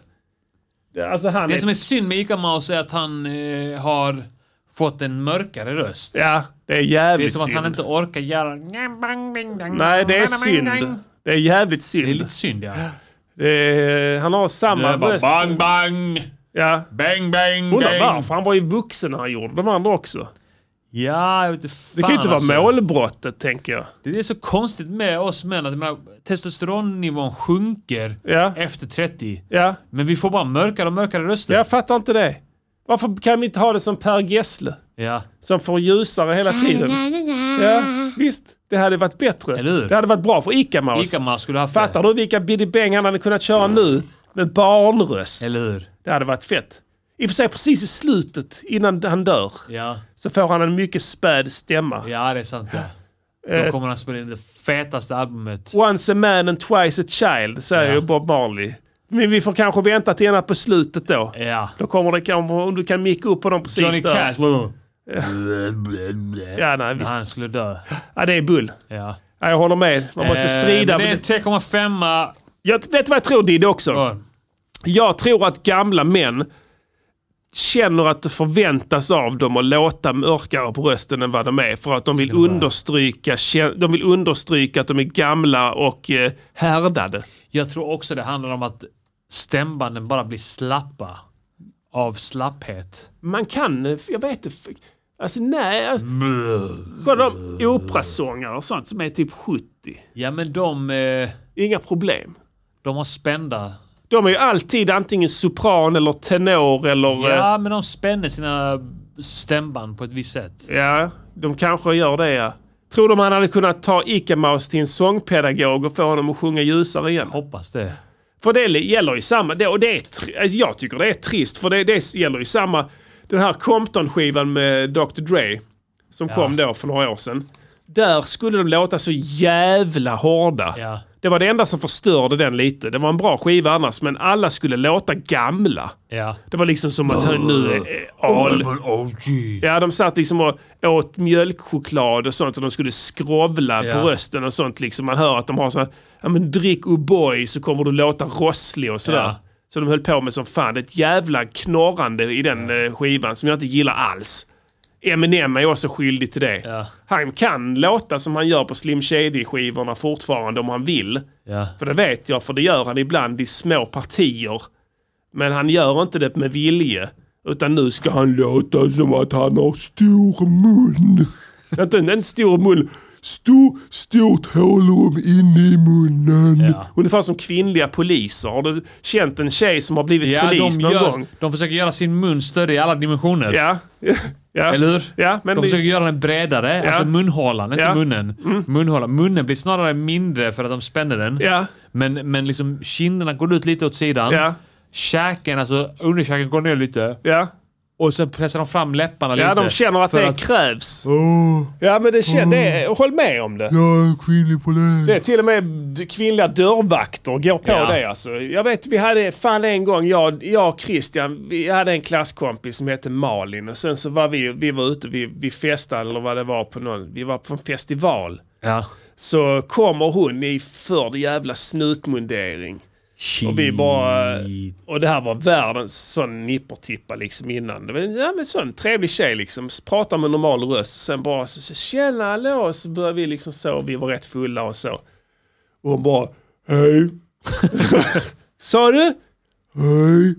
S3: Det, alltså han
S13: Det
S3: är-
S13: som är synd med Ica Maus är att han eh, har fått en mörkare röst.
S3: Ja, det är
S13: Det är
S3: jävligt
S13: som att
S3: synd.
S13: han inte orkar göra... Bang, bing, bang,
S3: Nej, det är
S13: bang, bang, bang.
S3: synd. Det är jävligt synd. Det är lite
S13: synd ja.
S3: han har
S13: Det
S3: samma
S13: är bara
S3: röst.
S13: bang bang!
S3: Ja.
S13: Bang bang
S3: Undrar
S13: bang!
S3: varför. Han var ju vuxen när han gjorde de andra också.
S13: Ja, jag vet inte
S3: Det kan ju inte
S13: fan,
S3: vara
S13: alltså.
S3: målbrottet tänker jag.
S13: Det är så konstigt med oss män att jag menar, testosteronnivån sjunker efter 30.
S3: Ja.
S13: Men vi får bara mörkare och mörkare röster.
S3: Jag fattar inte det. Varför kan vi inte ha det som Per Gessle?
S13: Ja.
S3: Som får ljusare hela tiden. Ja, visst. Det hade varit bättre. Det hade varit bra för Ica Mouse.
S13: Ica Mouse skulle haft
S3: Fattar du vilka Biddy Bang han hade kunnat köra nu? Med barnröst.
S13: Eller hur?
S3: Det hade varit fett. I och för sig precis i slutet, innan han dör,
S13: Ja.
S3: så får han en mycket späd stämma.
S13: ja, det är sant. Ja. Då
S3: Eh.
S13: kommer han spela in det fetaste albumet.
S3: Once a man and twice a child, säger
S13: Ja.
S3: ju Bob Marley. Men vi får kanske vänta till ena på slutet då.
S13: Ja.
S3: Då kommer det kanske, om du kan micka upp på dem precis
S13: Johnny
S3: där.
S13: Cash. Ja.
S3: Ja, nej, visst.
S13: Han skulle dö.
S3: Ja, det är bull.
S13: Ja.
S3: Ja, jag håller med. Man måste
S13: Eh,
S3: strida.
S13: men det är en 3,5.
S3: Jag vet du vad jag tror Didde också? Jag tror att gamla män känner att det förväntas av dem att låta mörkare på rösten än vad de är. För att de vill understryka, kä- de vill understryka att de är gamla och eh, härdade.
S13: Jag tror också det handlar om att stämbanden bara blir slappa av slapphet.
S3: Man kan, eh, jag vet inte. f- Alltså nej. alltså- Kolla de operasångare och sånt som är typ 70.
S13: Ja, men de... Eh,
S3: Inga problem.
S13: De har spända...
S3: De är ju alltid antingen sopran eller tenor eller... eh,
S13: Ja, men de spänner sina stämband på ett visst sätt.
S3: eh, Ja, de kanske gör det ja. Tror de han hade kunnat ta Ica-Maus till en sångpedagog och få honom att sjunga ljusare igen?
S13: Hoppas det.
S3: För det gäller ju samma, det, och det är, tr- alltså, jag tycker det är trist för det, det gäller ju samma, den här Compton-skivan med Dr Dre som
S13: Ja.
S3: kom då för några år sedan. Där skulle de låta så jävla hårda.
S13: Ja.
S3: Det var det enda som förstörde den lite. Det var en bra skiva annars men alla skulle låta gamla.
S13: Ja.
S3: Det var liksom som att hör, nu är all... Ja, de satt liksom och åt mjölkchoklad och sånt och de skulle skrovla
S13: Ja.
S3: på rösten och sånt. Liksom. Man hör att de har så här, ja men drick O'boy så kommer du låta rosslig och sådär.
S13: Ja.
S3: Så de höll på med som fan. Det är ett jävla knorrande i den eh, skivan som jag inte gillar alls. Eminem är också skyldig till det. Han kan låta som han gör på Slim Shady-skivorna fortfarande om han vill.
S13: Ja.
S3: För det vet jag, för det gör han ibland i små partier. Men han gör inte det med vilje. Utan nu ska han låta som att han har stor mun. inte en, en stor mun.
S7: Stor, stort hålrum inne i munnen.
S3: Ungefär som kvinnliga poliser. Har du känt en tjej som har blivit
S13: Ja,
S3: polis
S13: de,
S3: någon
S13: gör,
S3: gång?
S13: de försöker göra sin mun större i alla dimensioner.
S3: Ja. Ja.
S13: Eller hur?
S3: Ja, men
S13: de
S3: det-
S13: försöker göra den bredare,
S3: Ja.
S13: alltså munhålan, inte
S3: Ja. Mm.
S13: munnen. Munhålan. Munnen blir snarare mindre för att de spänner den.
S3: Ja.
S13: Men, men liksom kinderna går ut lite åt sidan.
S3: Ja.
S13: Käken, alltså underkäken går ner lite.
S3: Ja.
S13: Och sen pressar de fram läpparna lite.
S3: Ja, de känner att
S13: för Mm.
S3: det krävs. Ja, men det känner, det, håll med om det.
S7: Jag är kvinnlig polis.
S3: Det är till och med d- kvinnliga dörrvakter går på
S7: Ja.
S3: det alltså. Jag vet, vi hade fan en gång, jag, jag och Christian, vi hade en klasskompis som hette Malin och sen så var vi, vi var ute, vi, vi festade eller vad det var på någon, vi var på en festival.
S13: Ja.
S3: Så kommer hon i för jävla snutmundering. Och vi bara... Och det här var världens sån nippertippa liksom innan. Det var, ja men sån trevlig tjej liksom. Pratar med normal röst och sen bara så, så tjena hallå. Så började vi liksom så. Vi var rätt fulla och så. Och hon bara hej. Sa du? Hej.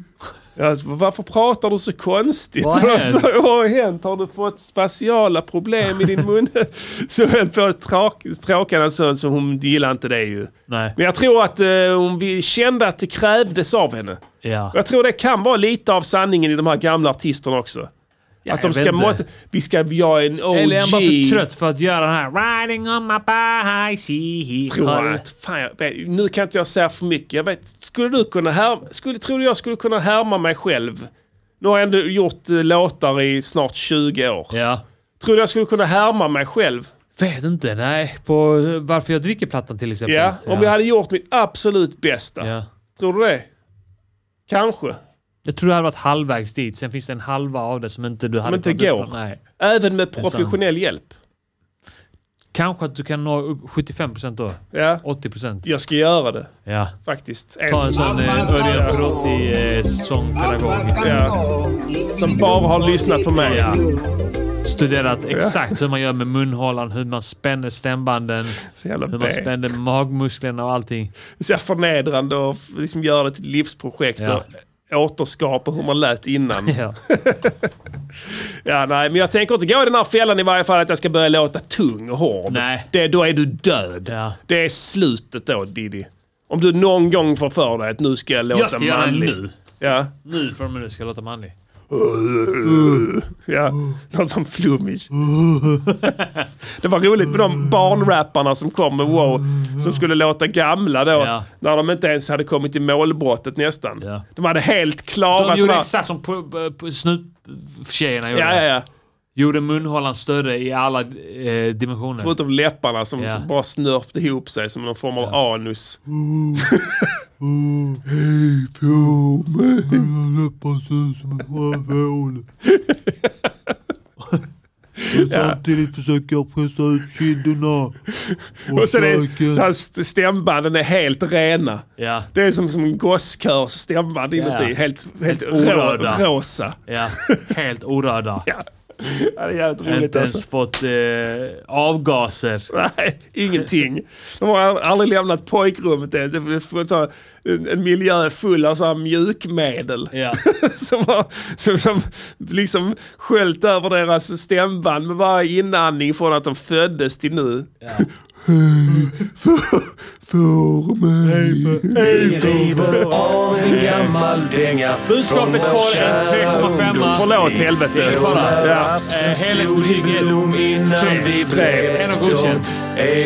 S3: Alltså, varför pratar du så konstigt? Alltså,
S21: Vad har hänt?
S3: Vad har hänt? Har du fått spatiala problem i din mun? så höll på att tråk- tråka en sån, så hon gillar inte det ju.
S13: Nej.
S3: Men jag tror att eh, hon vi- kände att det krävdes av henne.
S13: Ja.
S3: Jag tror det kan vara lite av sanningen i de här gamla artisterna också.
S13: Ja,
S3: att de
S13: jag
S3: ska
S13: vet inte.
S3: måste, vi ska göra en OG.
S13: Eller är han bara för trött för att göra den här riding on my
S3: Tror jag,
S13: bicycle.
S3: att- fan, jag vet, nu kan inte jag säga för mycket. Jag vet, skulle du kunna härma, skulle, tror du jag skulle kunna härma mig själv? Nu har jag ändå gjort eh, låtar i snart 20 år.
S13: Ja.
S3: Tror du jag skulle kunna härma mig själv?
S13: Vet inte, nej. På eh, varför jag dricker-plattan till exempel.
S3: Ja, om jag hade gjort mitt absolut bästa. Tror du det? Kanske.
S13: Jag tror det hade varit halvvägs dit. Sen finns det en halva av det som inte du
S3: Som
S13: hade
S3: inte
S13: tagit upp.
S3: går. Även med
S13: Det är sant.
S3: professionell hjälp.
S13: Kanske att du kan nå upp 75% då.
S3: Ja.
S13: 80%.
S3: Jag ska göra det.
S13: Ja.
S3: Faktiskt.
S13: Ta en sån eh, Örjan Brotti eh, sångpedagog.
S3: Ja. Som bara har lyssnat på mig.
S13: Ja. Studerat exakt hur man gör med munhålan, hur man spänner stämbanden,
S3: jävla
S13: hur man
S3: B.
S13: spänner magmusklerna och allting.
S3: Så jag förnedrande och f- liksom göra det till ett livsprojekt
S13: Ja.
S3: och återskapa hur man lät innan.
S13: Ja.
S3: ja, nej, men jag tänker inte gå i den här fällan i varje fall att jag ska börja låta tung och hård.
S13: Nej.
S3: Det, då är du död. Det är slutet då, Diddy. Om du någon gång får för dig att nu ska jag låta
S13: Jag ska göra det
S3: manlig.
S13: nu.
S3: Ja.
S13: Nu från och med nu ska jag låta manlig.
S3: Ja, något som flummig. Det var roligt med de barnrapparna som kom med wow, som skulle låta gamla då. När de inte ens hade kommit i målbrottet nästan. De hade helt klara
S13: De gjorde
S3: såna-
S13: exakt som på, på, på snuttjejerna gjorde.
S3: Ja, ja, ja.
S13: Gjorde munhålan större i alla eh, dimensioner.
S3: Förutom läpparna som
S13: Ja.
S3: bara snörpte ihop sig som någon form av anus.
S7: Hej, fjol mig. Mina läppar ser ut som en sjöfågel.
S22: Och samtidigt försöker jag pressa ut kinderna.
S3: Och sen är,
S22: käken.
S3: så här st- stämbanden är helt rena.
S13: Ja.
S3: Det är som, som en gosskör så stämband
S13: Ja.
S3: inuti. Helt, helt,
S13: orörda.
S3: rå, rosa.
S13: Ja, helt orörda.
S3: Ja. Ja, det är jävligt roligt
S13: Inte ens
S3: alltså.
S13: fått eh, avgaser.
S3: Nej, ingenting. De har aldrig lämnat pojkrummet. Det det är så här en- en miljö full av så här mjukmedel. som har som, som liksom sköljt över deras stämband med varje inandning från att de föddes till nu.
S7: Hej, för, för mig.
S21: Vi river av en gammal dänga
S13: Budskapet får en 3,5.
S3: Förlåt helvete.
S13: Eh,
S3: Ja.
S13: Helhetsbetyg är 3.
S3: Tre.
S13: En och godkänd.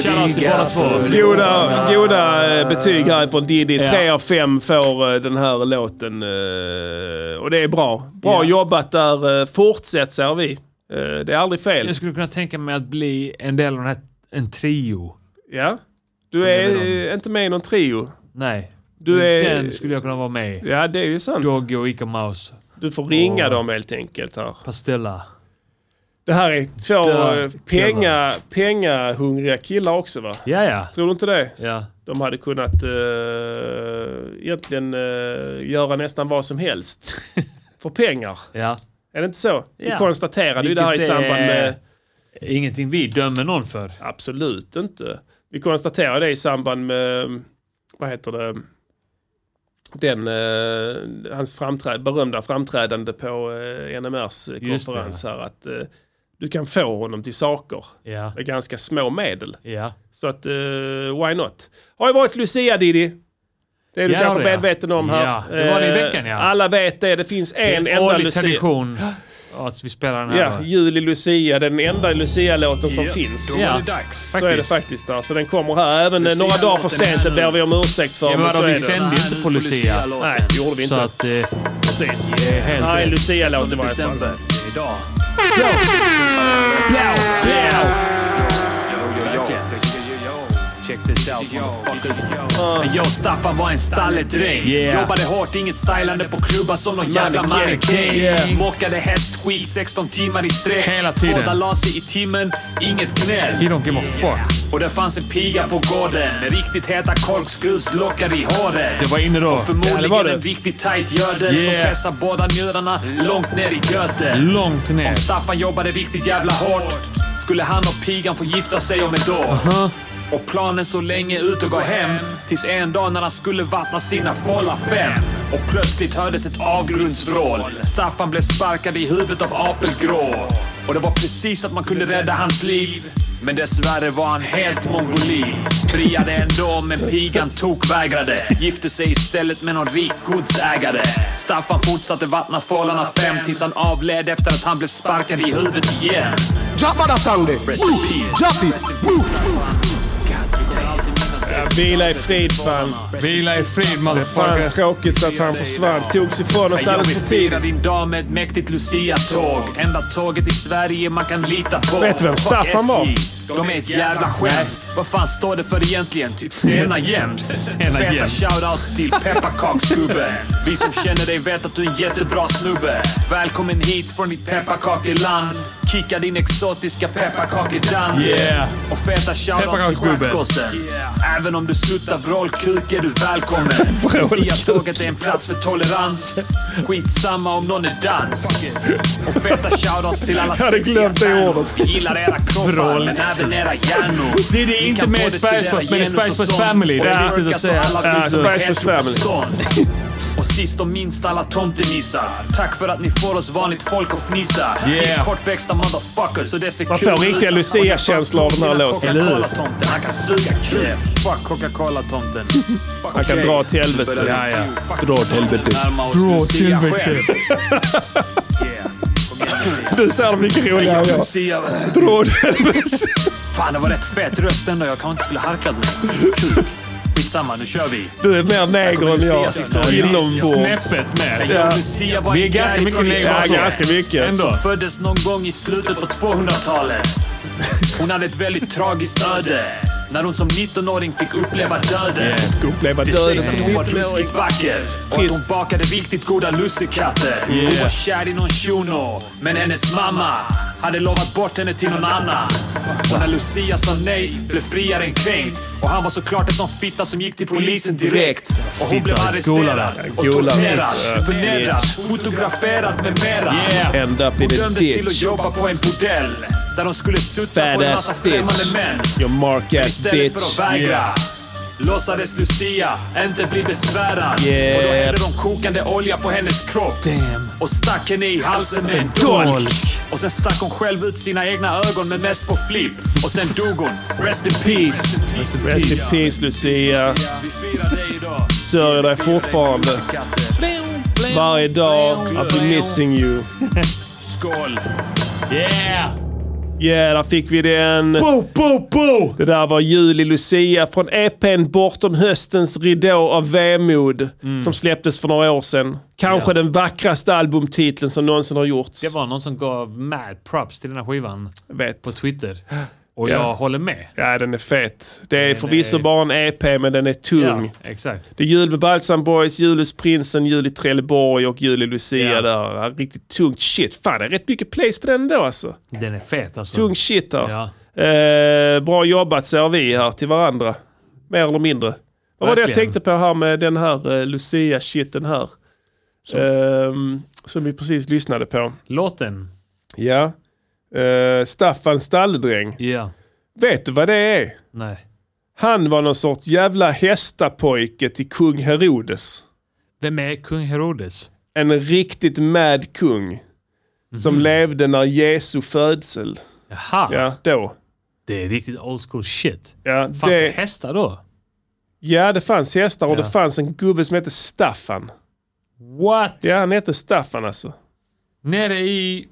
S13: Shoutouts till båda två.
S3: Goda, goda eh, betyg härifrån Diddy.
S13: Ja.
S3: Tre av fem får eh, den här låten. eh, Och det är bra. Bra
S13: Ja.
S3: jobbat där. eh, Fortsätt säger vi. Eh, Det är aldrig fel.
S13: Jag skulle kunna tänka mig att bli en del av den här, en trio.
S3: Ja. Du
S13: Som jag
S3: är
S13: vill
S3: eh, inte med i någon trio.
S13: Nej.
S3: Du
S13: Men
S3: är-
S13: Den skulle jag kunna vara med i.
S3: Ja, det är ju sant.
S13: Doggy och Ica Mouse.
S3: Du får ringa
S13: Och-
S3: dem helt enkelt här.
S13: Pastella.
S3: Det här är två
S13: Där,
S3: eh, penga, pengahungriga killar också va?
S13: Ja, ja.
S3: Tror du inte det?
S13: Ja.
S3: De hade kunnat eh, egentligen eh, göra nästan vad som helst. För pengar.
S13: Ja.
S3: Är det inte så? Vi
S13: Ja.
S3: konstaterade ju det här i
S13: Vilket eh,
S3: samband med...
S13: är Ingenting vi dömer någon för.
S3: Absolut inte. Vi konstaterade det i samband med... Vad heter det? Den, eh, hans framträd, berömda framträdande på eh, NMRs
S13: Just det.
S3: konferens här. Att, eh,
S7: du kan få honom till saker.
S13: Ja.
S7: Med ganska små medel.
S13: Ja.
S7: Så att, eh, why not? Har ju varit Lucia Diddy. Det är du
S13: Ja,
S7: kanske
S13: det, ja.
S7: medveten om här.
S13: Ja, det var det i
S7: Eh,
S13: veckan, ja.
S7: Alla vet det. Det finns
S13: Det är
S7: en,
S13: en
S7: enda
S13: årlig
S7: Lucia.
S13: tradition att vi spelar den här.
S7: Ja, Juli Lucia, den enda Lucia-låten som
S13: Ja,
S7: finns.
S13: då var det dags.
S7: Så är det faktiskt där. Så den kommer här. Även eh, några dagar för sent, det ber vi om ursäkt för.
S13: Ja, men
S7: men så
S13: vadå,
S7: är
S13: vi
S7: det.
S13: sände ju inte på Lucia.
S7: Nej, det gjorde vi inte.
S13: Så att, eh,
S7: precis.
S13: helt
S7: Nej,
S13: rätt.
S7: Lucia-låt i varje fall.
S13: Idag.
S5: Check this out, motherfuckers. Jag Staffan var en stalledräng.
S13: Yeah.
S5: Jobbade hårt, inget stylande på klubbar som någon jävla
S13: Mannekäng.
S5: mannekäng.
S13: Yeah.
S5: Mockade hästskit 16 timmar i sträck.
S13: Hela tiden.
S5: Två dalasser i timmen, inget gnäll.
S13: He don't give a fuck.
S5: Och där fanns en piga på gården med riktigt heta korkskruvslockar i håret.
S13: Det var inne då.
S5: Och förmodligen
S13: Ja, det var det.
S5: en riktigt tight gödel
S13: Yeah.
S5: som pressar båda njurarna långt ner i göten.
S13: Långt ner.
S5: Om Staffan jobbade riktigt jävla hårt skulle han och pigan få gifta sig om ett år.
S13: Aha.
S5: Och planen så länge ut och gå hem tills en dag när han skulle vattna sina fålla fem. Och plötsligt hördes ett avgrundsvrål. Staffan blev sparkad i huvudet av apelgrå. Och det var precis att man kunde rädda hans liv. Men dessvärre var han helt mongolid. Friade ändå, men pigan tokvägrade. Gifte sig istället med någon rik godsägare. Staffan fortsatte vattna fållarna fem tills han avled efter att han blev sparkad i huvudet igen.
S23: Jabba Sunday!
S5: Rest in peace.
S7: Ja, Vila i frid fan.
S13: Vila i frid
S7: motherfucker. Det är fan tråkigt att han försvann. Togs ifrån oss
S5: Jag vill
S7: alldeles för
S5: fira
S7: tidigt.
S5: din dag med ett mäktigt Lucia-tåg. Enda tåget i Sverige man kan lita på.
S7: Vet du vem
S5: Fuck
S7: Staffan var?
S5: SJ. De är ett jävla skämt. Vad fan står det för egentligen? Typ sena jämt.
S13: Sena
S5: Feta
S13: jämt.
S5: shoutouts till pepparkaksgubben. Vi som känner dig vet att du är en jättebra snubbe. Välkommen hit från ditt pepparkakeland. Kicka din exotiska pepparkakedans.
S13: Yeah.
S5: Och feta shoutouts till
S13: Pepparkaksgubben.
S5: stjärtgossen. Även om du suttar vrålkuk är du välkommen. Lucia-tåget är en plats för tolerans. Skitsamma om någon är dansk. Och feta shoutouts till alla
S13: Jag hade glömt det
S5: sexiga
S13: ordet.
S5: Vi gillar era kroppar,
S13: Vrål.
S5: men även era hjärnor.
S13: Det är det
S5: Ni
S13: inte
S5: kan
S13: med
S5: både
S13: Spice
S5: studera
S13: Boys, men det är
S5: genus
S13: Spice
S5: och
S13: Boys
S5: sånt,
S13: Family.
S5: och
S13: Det är viktigt att
S5: så
S13: säga.
S5: alla
S13: Ja,
S5: visor
S13: Spice
S5: helt
S13: Boys Family.
S5: oförstånd. Och sist och minst alla tomtenissar. Tack för att ni får oss vanligt folk att fnissa. Ni är
S7: Yeah.
S5: kortväxta motherfuckers och det ser
S7: Man
S5: kul
S7: får riktiga
S5: ut.
S7: Lucia-känslor av den här låten. Eller hur?
S5: Coca-Cola-tomten, han kan suga kuk. Fuck Coca-Cola-tomten. Fuck
S7: Han kan
S5: Jay.
S7: dra åt helvete.
S5: Ja, ja.
S7: Dra åt helvete.
S5: Närma oss
S7: Dra åt
S5: Lucia
S7: helvete.
S5: själv.
S7: Du ser dem lika roliga än jag.
S5: Lucia.
S7: Dra åt helvete.
S5: Fan, det var rätt fet röst ändå. Jag kanske inte skulle harklat mig. Kuk. Skitsamma, nu kör vi.
S7: Du är mer neger än jag. Inombords. Ja.
S5: Vi är ganska mycket
S7: negrer. Ja, ganska mycket.
S5: Som föddes någon gång i slutet på 200-talet. Hon hade ett väldigt tragiskt öde. När hon som 19-åring fick uppleva döden.
S7: Yeah. Fick uppleva
S5: det
S7: döden.
S5: sägs att hon var ruskigt vacker. Och att hon
S7: Trist.
S5: bakade riktigt goda lussekatter. Hon
S7: Yeah.
S5: var kär i någon shuno. Men hennes mamma hade lovat bort henne till någon annan. Och när Lucia sa nej blev friaren kränkt. Och han var såklart en sån fitta som gick till polisen direkt. Och hon blev
S7: Fitta,
S5: arresterad
S7: golare,
S5: och
S7: golare.
S5: torterad,
S7: Ja,
S5: förnedrad, fotograferad med mera.
S7: Yeah. End up
S5: Hon
S7: in a
S5: dömdes till att
S7: ditch.
S5: jobba på en bordell. Där de skulle sutta på en massa
S7: Badass
S5: främmande
S7: bitch.
S5: män.
S7: Your mark ass
S5: Istället
S7: bitch.
S5: för att vägra. Låtsades Lucia inte bli besvärad.
S7: Yeah.
S5: Och då hällde de kokande olja på hennes kropp.
S13: Damn.
S5: Och stack henne i halsen med en dolk. Och sen stack hon själv ut sina egna ögon men mest på flipp. Och sen dog hon. Rest in peace.
S7: Rest in peace Lucia. Sörjer dig fortfarande. Varje dag. I'll be missing you.
S5: Skål!
S13: Yeah!
S7: Yeah, där fick vi den.
S13: Bo, bo, bo!
S7: Det där var Juli Lucia från EPn Bortom höstens ridå av vemod
S5: Mm.
S7: som släpptes för några år sedan. Kanske den vackraste albumtiteln som någonsin har gjorts.
S13: Det var någon som gav mad props till den här skivan.
S7: Vet.
S3: Alltså.
S13: På Twitter. Och
S7: Ja.
S13: jag håller med.
S7: Ja, den är fet. Det är
S13: Den
S7: förvisso
S13: är-
S7: bara en
S3: E
S7: EP, men den är tung.
S13: Ja, exakt.
S7: Det är jul med Balsam Boys, jul hos Prinsen, jul i Trelleborg och jul i Lucia där. Ja, Riktigt tungt shit. Fan, det är rätt mycket plays på den då alltså.
S13: Den är fet alltså.
S7: Tung shit där. Eh, bra jobbat säger vi här till varandra. Mer eller mindre. Vad var det jag
S13: Verkligen.
S7: tänkte på här med den här eh, Lucia-shiten här? Ehm, som vi precis lyssnade på.
S13: Låten.
S7: Ja. Eh, Staffan Stalledräng.
S13: Ja.
S7: Vet du vad det är?
S13: Nej.
S7: Han var någon sorts jävla hästapojke till kung Herodes.
S13: Vem är kung Herodes?
S7: En riktigt mad kung.
S3: som
S13: Mhm.
S3: levde när Jesu födsel.
S13: Jaha.
S3: Ja, då.
S13: Det är riktigt old school shit.
S3: Ja,
S13: Fanns det hästar då?
S3: Ja, det fanns hästar och
S13: Ja.
S3: det fanns en gubbe som hette Staffan.
S13: What?
S3: Ja, han hette Staffan alltså.
S13: Nere i...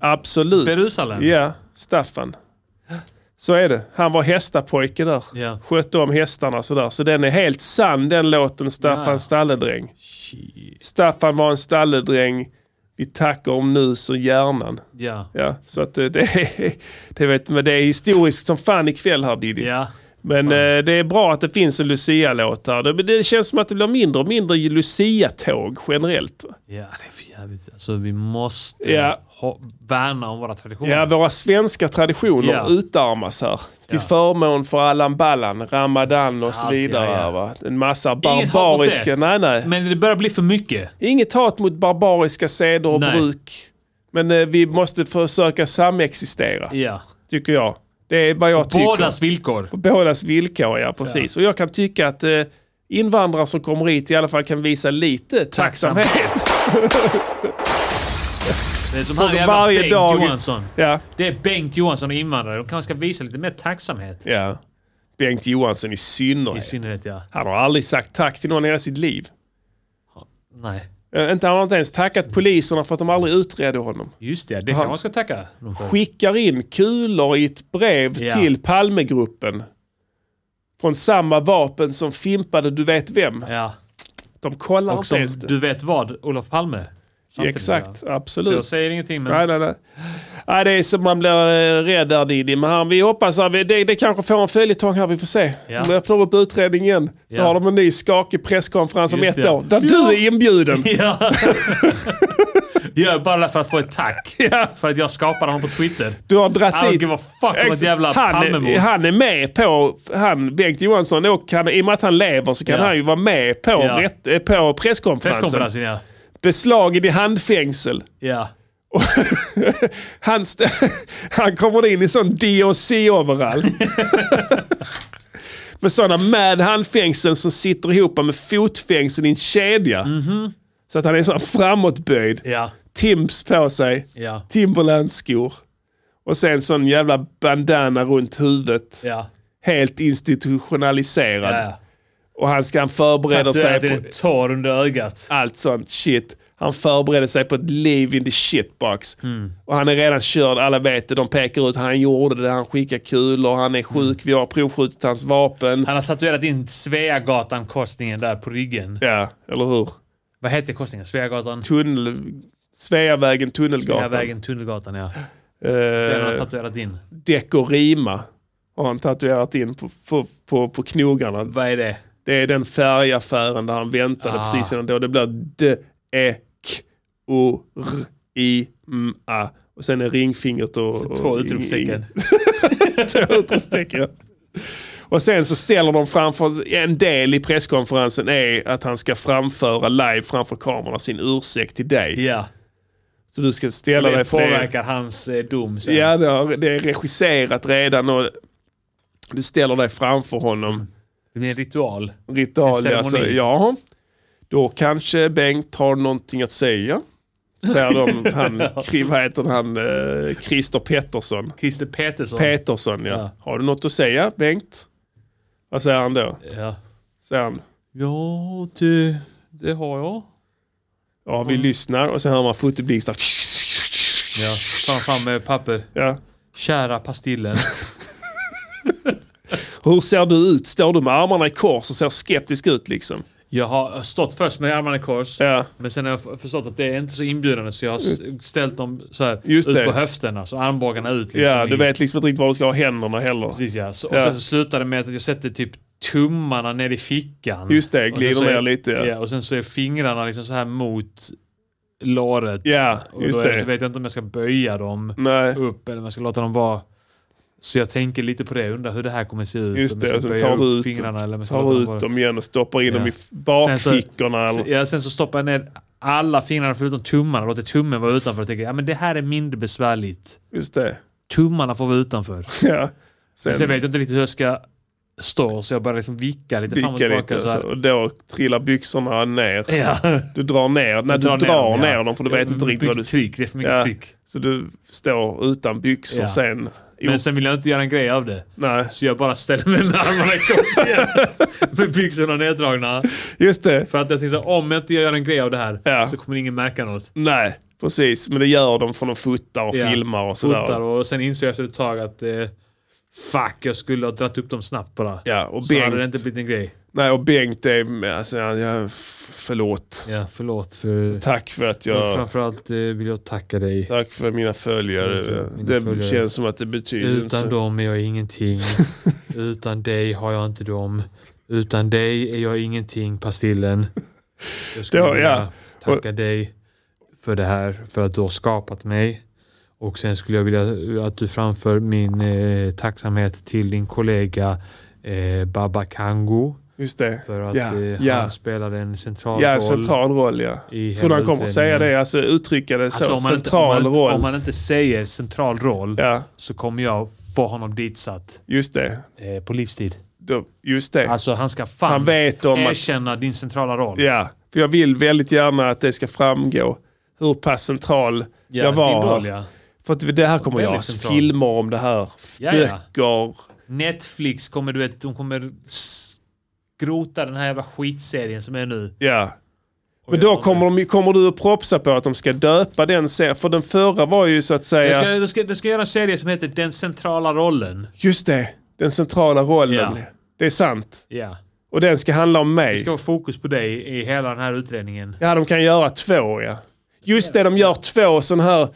S3: Absolut.
S13: Jerusalem?
S3: Ja, Staffan. Så är det. Han var hästapojke där.
S13: Ja.
S3: Skötte om hästarna och sådär. Så den är helt sann den låten Staffan
S13: Ja.
S3: stalledräng. Staffan var en stalledräng. Vi tackar om nus och hjärnan.
S13: Ja.
S3: Ja, så att eh, det är, det, vet, men det är historiskt som fan ikväll här Diddy. Men eh, det är bra att det finns en Lucia-låt här. Det, det känns som att det blir mindre och mindre Lucia-tåg generellt. Va?
S13: Ja, det är för jävligt. Alltså vi måste
S3: Ja.
S13: ha, värna om våra traditioner.
S3: Ja, våra svenska traditioner
S13: Ja.
S3: utarmas här. Till förmån för Allan Ballan, Ramadan och så
S13: Allt, ja,
S3: vidare.
S13: ja.
S3: Va? En massa
S13: Inget hat mot
S3: barbariska...
S13: det.
S3: Nej, nej.
S13: Men det börjar bli för mycket.
S3: Inget hat mot barbariska seder och
S13: Nej.
S3: bruk. Men eh, vi måste försöka samexistera.
S13: Ja.
S3: Tycker jag. Det är vad jag
S13: På
S3: tycker.
S13: bådas villkor.
S3: På bådas villkor, ja precis. Och jag kan tycka att eh, invandrare som kommer hit i alla fall kan visa lite tacksamhet.
S13: Det är som
S3: För
S13: han jävla
S3: varje
S13: Bengt
S3: dag-
S13: Johansson.
S3: Ja.
S13: Det är Bengt Johansson och invandrare. De kanske ska visa lite mer tacksamhet.
S3: Ja. Bengt Johansson i synnerhet. I
S13: synnerhet ja.
S3: Han har aldrig sagt tack till någon i hela sitt liv.
S13: Nej.
S3: Eh, inte, han har inte ens tackat poliserna för att de aldrig utredde honom.
S13: Just det, det
S3: Han-
S13: kan man ska tacka dem för.
S3: Skickar in kulor i ett brev
S13: Ja.
S3: till Palmegruppen. Från samma vapen som fimpade du vet vem.
S13: Ja.
S3: De kollar
S13: Och
S3: inte
S13: som
S3: ens det.
S13: du vet vad, Olof Palme. Samtidigt,
S3: Exakt,
S13: ja.
S3: absolut.
S13: Så jag säger ingenting men...
S3: Nej, nej, nej. nej, det är som man blir eh, rädd där Diddy. Men han, vi hoppas att vi- det, det kanske får en följetong här, vi får se.
S13: Ja.
S3: Om de öppnar upp utredningen igen så
S13: Ja.
S3: har de en ny skakig presskonferens om
S13: Just
S3: ett
S13: det.
S3: år. Där du är inbjuden.
S13: Ja. Gör jag bara för att få ett tack. För att jag skapade honom på Twitter.
S3: Du har dratt
S13: I don't
S3: dit-
S13: give a fuck om ett
S3: Ex-
S13: jävla
S3: han, är,
S13: Palmemord.
S3: han är med på, han, Bengt Johansson, och han, i och med att han lever så kan
S13: Ja.
S3: han ju vara med på,
S13: Ja.
S3: rätt, eh, på presskonferensen.
S13: Presskonferensen ja.
S3: Beslagen i handfängsel.
S13: Ja.
S3: Han, st- han kommer in i sån DOC-overall. med sådana mad handfängseln som sitter ihop med fotfängseln i en kedja. Så att han är sån framåtböjd.
S13: Ja.
S3: Timps på sig.
S13: Ja.
S3: Timberlandskor. Och sen sån jävla bandana runt huvudet.
S13: Ja.
S3: Helt institutionaliserad.
S13: Ja, ja.
S3: Och han ska han förbereder sig
S13: Tatuerad i
S3: på...
S13: en tår under ögat.
S3: Allt sånt shit. Han förbereder sig på ett liv in the shitbox. Och han är redan körd, alla vet det. De pekar ut, han gjorde det, han skickar kulor, han är sjuk, vi har provskjutit hans vapen.
S13: Han har tatuerat in Sveagatan-korsningen där på ryggen.
S3: Ja, eller hur?
S13: Vad heter korsningen? Sveagatan?
S3: Tunnel... Sveavägen, Tunnelgatan.
S13: Sveavägen, Tunnelgatan ja. Den har han
S3: Eh,
S13: tatuerat in.
S3: Dekorima har han tatuerat in på, på, på, på knogarna.
S13: Vad är det?
S3: Det är den färgaffären där han väntade
S13: Ah.
S3: precis innan då. Det blir d e k o r i m a Och sen är ringfingret och... och
S13: Två
S3: ing-
S13: utropstecken.
S3: ing- Två utropstecken, ja. Och sen så ställer de framför, en del i presskonferensen är att han ska framföra live framför kamerorna sin ursäkt till dig.
S13: Ja.
S3: Så du ska ställa dig
S13: Det
S3: för det.
S13: påverkar hans eh, dom sen.
S3: Ja, det, har, det är regisserat redan och du ställer dig framför honom.
S13: Det blir en ritual. En
S3: Ritual,
S13: ceremoni.
S3: alltså, ja. Då kanske Bengt har någonting att säga. Säger de, han, kri- vad heter han, eh, Christer Pettersson.
S13: Christer Petersson.
S3: Petersson, ja.
S13: Ja.
S3: Har du något att säga, Bengt? Vad säger han då?
S13: Ja.
S3: Säger han,
S13: Ja, det, det har jag.
S3: ja
S13: Mm.
S3: vi lyssnar och sen hör man fotoblixtar.
S13: Ja. Fram, fram med papper.
S3: Ja.
S13: Kära pastillen.
S3: Hur ser du ut? Står du med armarna i kors och ser skeptisk ut liksom?
S13: Jag har stått först med armarna i kors.
S3: Ja.
S13: Men sen har jag f- förstått att det är inte så inbjudande så jag har s- ställt dem så här
S3: Mm. Just
S13: ut
S3: det.
S13: på höfterna. Så armbågarna ut. Liksom
S3: Ja, du
S13: i-
S3: vet liksom inte riktigt var du ska ha händerna heller.
S13: Precis ja. Så, och
S3: Ja.
S13: sen så slutar det med att jag sätter typ tummarna ner i fickan.
S3: Just det,
S13: Och sen
S3: glider
S13: så är-
S3: ner lite, ja.
S13: ja. Och sen så är fingrarna liksom så här mot låret.
S3: Ja,
S13: och
S3: just
S13: då är-
S3: det. Mm.
S13: Så vet jag inte om jag ska böja dem
S3: Nej.
S13: upp eller om jag ska låta dem vara. Så jag tänker lite på det, undrar hur det här kommer se ut.
S3: Just
S13: Om jag
S3: det,
S13: ska
S3: och sen
S13: böja
S3: tar du
S13: upp
S3: ut,
S13: fingrarna eller om jag ska låta
S3: tar
S13: dem
S3: ut
S13: vara-
S3: dem igen och stoppar in dem i
S13: Ja.
S3: f- bakfickorna.
S13: Sen så,
S3: eller?
S13: ja, sen så stoppar jag ner alla fingrarna förutom tummarna och låter tummen vara utanför. Och tänker, ja men det här är mindre besvärligt.
S3: Just det.
S13: Tummarna får vara utanför.
S3: Ja.
S13: Sen,
S3: Sen-
S13: sen vet jag inte riktigt hur jag ska står så jag börjar liksom vicka lite fram och
S3: Vicka
S13: tillbaka.
S3: lite
S13: så här.
S3: och då trillar byxorna ner.
S13: Ja.
S3: Du drar ner, när
S13: Jag
S3: du drar,
S13: drar ner dem, ja.
S3: ner dem för du
S13: Ja,
S3: vet inte riktigt vad du...
S13: tryck, det är för mycket tryck.
S3: Så du står utan byxor
S13: Ja.
S3: sen.
S13: Men sen vill jag inte göra en grej av det.
S3: Nej.
S13: Så jag bara ställer mig med armarna i kors igen. med byxorna neddragna.
S3: Just det.
S13: För att jag tänkte så här, om jag inte gör en grej av det här så kommer ingen märka något.
S3: Nej, precis. Men det gör de för de fotar och
S13: Ja,
S3: filmar och sådär.
S13: fotar och sen insåg jag efter ett tag att eh, fuck, jag skulle ha dragit upp dem snabbt bara.
S3: Ja, och
S13: så hade
S3: Bengt-
S13: det inte blivit en grej.
S3: Nej, och Bengt är... Alltså, jag, f- förlåt.
S13: Ja, förlåt för...
S3: Tack för att
S13: Men
S3: jag...
S13: framförallt eh, vill jag tacka dig.
S3: Tack för mina följare.
S13: Mina
S3: det
S13: följare.
S3: känns som att det betyder
S13: Utan
S3: inte-
S13: dem är jag ingenting. Utan dig har jag inte dem. Utan dig är jag ingenting, Pastillen. Jag skulle
S3: Då,
S13: vilja
S3: ja.
S13: tacka dig för det här, för att du har skapat mig. Och sen skulle jag vilja att du framför min eh, tacksamhet till din kollega eh, Baba Kango.
S3: Just det.
S13: För att
S3: Ja,
S13: eh,
S3: ja.
S13: han spelade en central
S3: Ja,
S13: roll.
S3: central roll ja.
S13: i
S3: Tror du han
S13: hela
S3: kommer att säga
S13: utredningen.
S3: det? Alltså uttrycka det så.
S13: Alltså, om, man inte, om,
S3: central
S13: man, inte-
S3: roll.
S13: om man inte säger central roll så kommer jag få honom ditsatt.
S3: Just det.
S13: Eh, på livstid.
S3: Då, just det.
S13: Alltså han ska fan
S3: Han vet om att-
S13: erkänna din centrala roll.
S3: Ja, för jag vill väldigt gärna att det ska framgå hur pass central
S13: Ja,
S3: jag var.
S13: din roll, ja.
S3: För att det här kommer
S13: Väldigt
S3: jag
S13: central.
S3: filmer om det här.
S13: Ja, ja.
S3: Böcker. Ja.
S13: Netflix kommer du vet, de kommer skrota den här jävla skitserien som är nu.
S3: Men då kommer, de, kommer du att propsa på att de ska döpa den serien. För den förra var ju så att säga...
S13: Jag ska, jag, ska, jag ska göra en serie som heter Den centrala rollen.
S3: Just det, den centrala rollen.
S13: Ja.
S3: Det är sant.
S13: Ja.
S3: Och den ska handla om mig.
S13: Det ska vara fokus på dig i hela den här utredningen.
S3: Ja, de kan göra två ja. Just det, de gör två sån här...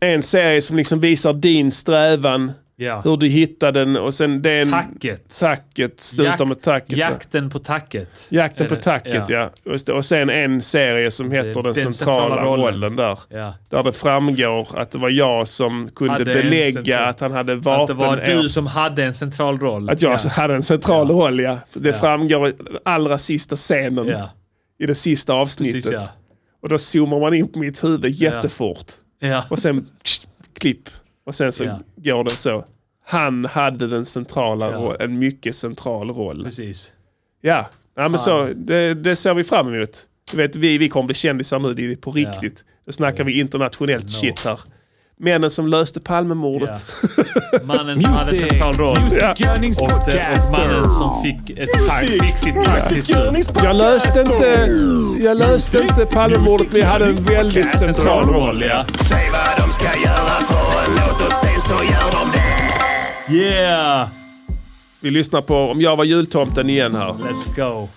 S3: En serie som liksom visar din strävan.
S13: Ja.
S3: Hur du hittade den och sen det är en...
S13: Tacket.
S3: Tacket. Slutar
S13: Jak-
S3: med tacket. ja.
S13: Jakten på tacket.
S3: Jakten på
S13: Eller-
S3: tacket ja. Just det. Och sen en serie som heter Den,
S13: den
S3: centrala,
S13: centrala rollen.
S3: rollen. där.
S13: Ja.
S3: Där det framgår att det var jag som kunde
S13: Hade en
S3: belägga
S13: central-
S3: att han hade vapen.
S13: Att det var du som hade en central roll.
S3: Att jag
S13: Ja.
S3: alltså hade en central roll, ja. Det
S13: Ja.
S3: framgår i den allra sista scenen.
S13: Ja.
S3: I det sista avsnittet.
S13: Precis, ja.
S3: Och då zoomar man in på mitt huvud jättefort.
S13: Ja.
S3: Och sen tsch, klipp. Och sen så
S13: Ja.
S3: går det så. Han hade den centrala roll, en mycket central roll.
S13: Precis.
S3: Ja, ja men så,
S13: Fan.
S3: det, det ser vi fram emot. Du vet, vi, vi kommer bli kändisar nu, det är på
S13: Ja.
S3: riktigt. Då snackar vi internationellt shit här. Männen som löste Palmemordet.
S13: Mannen som hade
S3: Music.
S13: central roll.
S3: Music
S13: Och det-
S3: Yearnings
S13: Och mannen som fick, ett tack, fick sitt tack till slut.
S3: Jag löste inte, jag löste inte Palmemordet, men jag hade en väldigt central roll.
S13: ja.
S24: Säg vad de ska göra för en låt och sen så gör de det.
S13: Yeah!
S3: Vi lyssnar på Om jag var jultomten igen här.
S13: Let's go.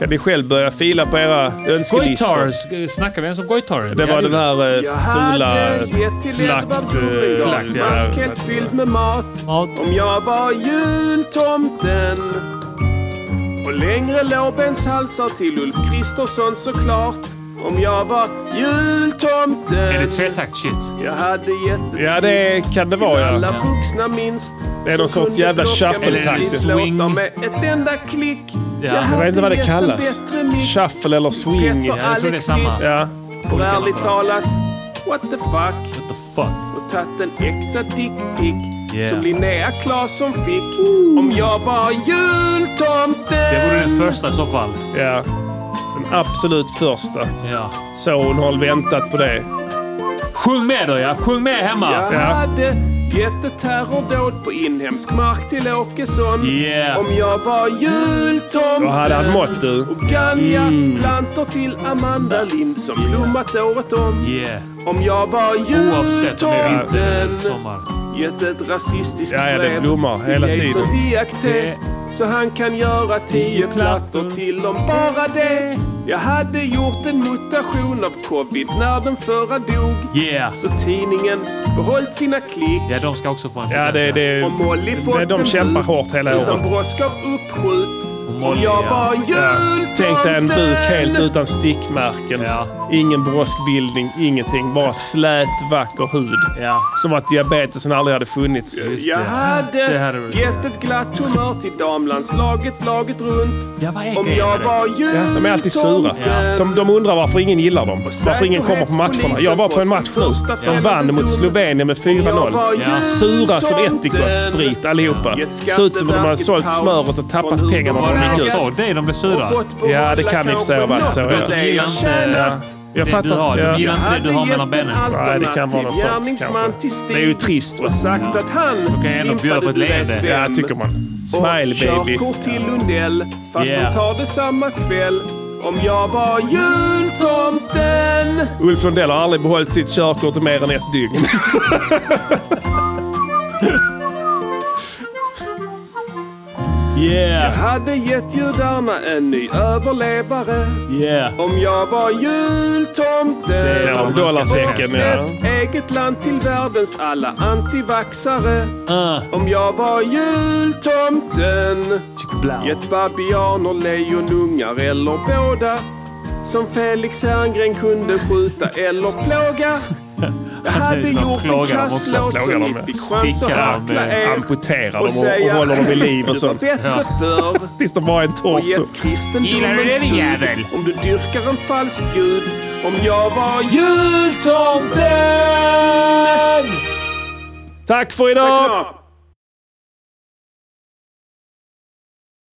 S3: Kan ni själv börja fila på era önskelistor?
S13: Goitars. Snackar vi ens om Goitars?
S3: Det var den här eh,
S10: Jag hade
S3: fula
S10: gett till
S3: lakt... eh,
S10: Edvard basket fylld med mat. Om jag var jultomten. Och längre lårbenshalsar till Ulf Kristersson såklart. Om jag var jultomten.
S13: Är det tretaktsshit?
S10: Jag hade gett
S3: Ja, det kan det vara
S10: alla
S3: ja.
S10: vuxna minst.
S3: Det är någon
S10: som
S3: sorts
S10: kunde
S3: jävla
S10: plocka med
S3: shuffle-takt.
S10: sitt låtar med ett enda klick. Jag
S3: Jag vet
S10: hade
S3: inte vad det
S10: gett en
S3: kallas.
S10: bättre mix.
S3: Shuffle eller swing.
S10: Rätt på Ja, jag tror det är samma. Alexis.
S3: Ja.
S10: Och ärligt talat, what the fuck? What the fuck? Och tagit en äkta dickpic
S13: Yeah.
S10: som Linnea Claesson fick. Om jag var jultomten.
S13: Det vore den första i så fall.
S3: Ja. Den absolut första.
S13: Ja.
S3: Så hon har väntat på det.
S13: Sjung med då ja. Sjung med hemma.
S10: Jag hade gett ett terrordåd på inhemsk mark till Åkesson.
S3: Yeah.
S10: Om jag var jultomten.
S3: Då hade han mått du.
S10: Och Ganja
S3: Mm.
S10: plantor till Amanda Lind som blommat året om.
S13: Yeah.
S10: Om jag var
S13: Oavsett om det är vinter eller
S10: jultomten.
S13: sommar.
S10: Gett ett rasistiskt
S3: Ja, ja, det
S10: brev
S3: blommar
S10: till
S3: hela tiden.
S10: Jason Diakte. Så han kan göra tio plattor till om bara det. Jag hade gjort en mutation av covid när den förra dog.
S13: Yeah.
S10: Så tidningen behållit sina klick.
S13: Ja, de ska också få en
S3: Ja, det, det,
S10: Och Molly
S3: det,
S10: fått
S3: Eh, de
S10: en
S3: kämpar
S10: bud
S3: hårt hela
S10: Utan
S3: året.
S10: brådska och uppskjut.
S7: Om jag var jultomten.
S3: Tänk dig en buk helt utan stickmärken. Ingen broskbildning, ingenting. Bara slät, vacker hud. Som att diabetesen aldrig hade funnits.
S7: Jag
S3: Det
S7: hade
S3: hade varit-
S7: gett ett glatt humör till damlandslaget laget runt. Om
S3: grejen
S7: jag
S3: med
S7: var
S3: Ja, de är alltid sura.
S7: jultomten.
S3: De, de undrar varför ingen gillar dem. Varför ingen kommer på matcherna. Jag var på en match nu. De vann mot Slovenien med 4-0.
S7: Ja.
S3: Sura som ättikossprit allihopa. Ser ut som om de hade sålt smöret och tappat pengarna när de
S13: Var
S3: gick
S13: det så?
S3: ut.
S13: Det de blev sura?
S3: Ja, det kan i och för sig ha varit så.
S13: De
S3: ja.
S13: gillar inte
S3: Ja.
S13: det
S3: Jag fattar.
S13: du har.
S3: ja.
S13: De gillar inte det du har mellan benen.
S3: Nej, det kan vara något sånt kanske. Det är ju trist. va?
S7: Sagt att han
S13: Du kan ändå bjuda på ett leende.
S3: Ja, tycker man. Smile
S7: och
S3: baby.
S7: körkort till Lundell. Fast
S3: Yeah.
S7: de tar det samma kväll. Om jag var jultomten.
S3: Ulf Lundell har aldrig behållit sitt körkort i mer än ett dygn.
S7: Jag
S3: Yeah,
S7: hade gett judarna en ny överlevare.
S3: yeah.
S7: Om jag var jultomten.
S3: Ser de dollartecken, ja.
S7: Ett eget land till världens alla antivaxare.
S3: Uh.
S7: Om jag var jultomten. Gett babianer, lejonungar eller båda. Som Felix Herngren kunde skjuta eller plåga. Jag hade
S3: De
S7: gjort en
S3: plågar dem också.
S7: klasslåt
S3: Plågar
S7: som
S3: dem
S7: ni
S3: med-
S7: fick chans att
S3: stickar dem
S7: hackla
S3: med-
S7: er.
S3: amputerar dem och-
S7: säga,
S3: och håller dem vid liv
S7: "Du var
S3: och sånt."
S7: bättre
S3: Ja.
S7: förr.
S3: Tills de var en torso.
S7: Och ge kristendomen
S3: Gillar du det, din
S7: stöd
S3: jävel?
S7: Om du dyrkar en falsk gud. Om jag var jultomten!
S3: Tack för idag!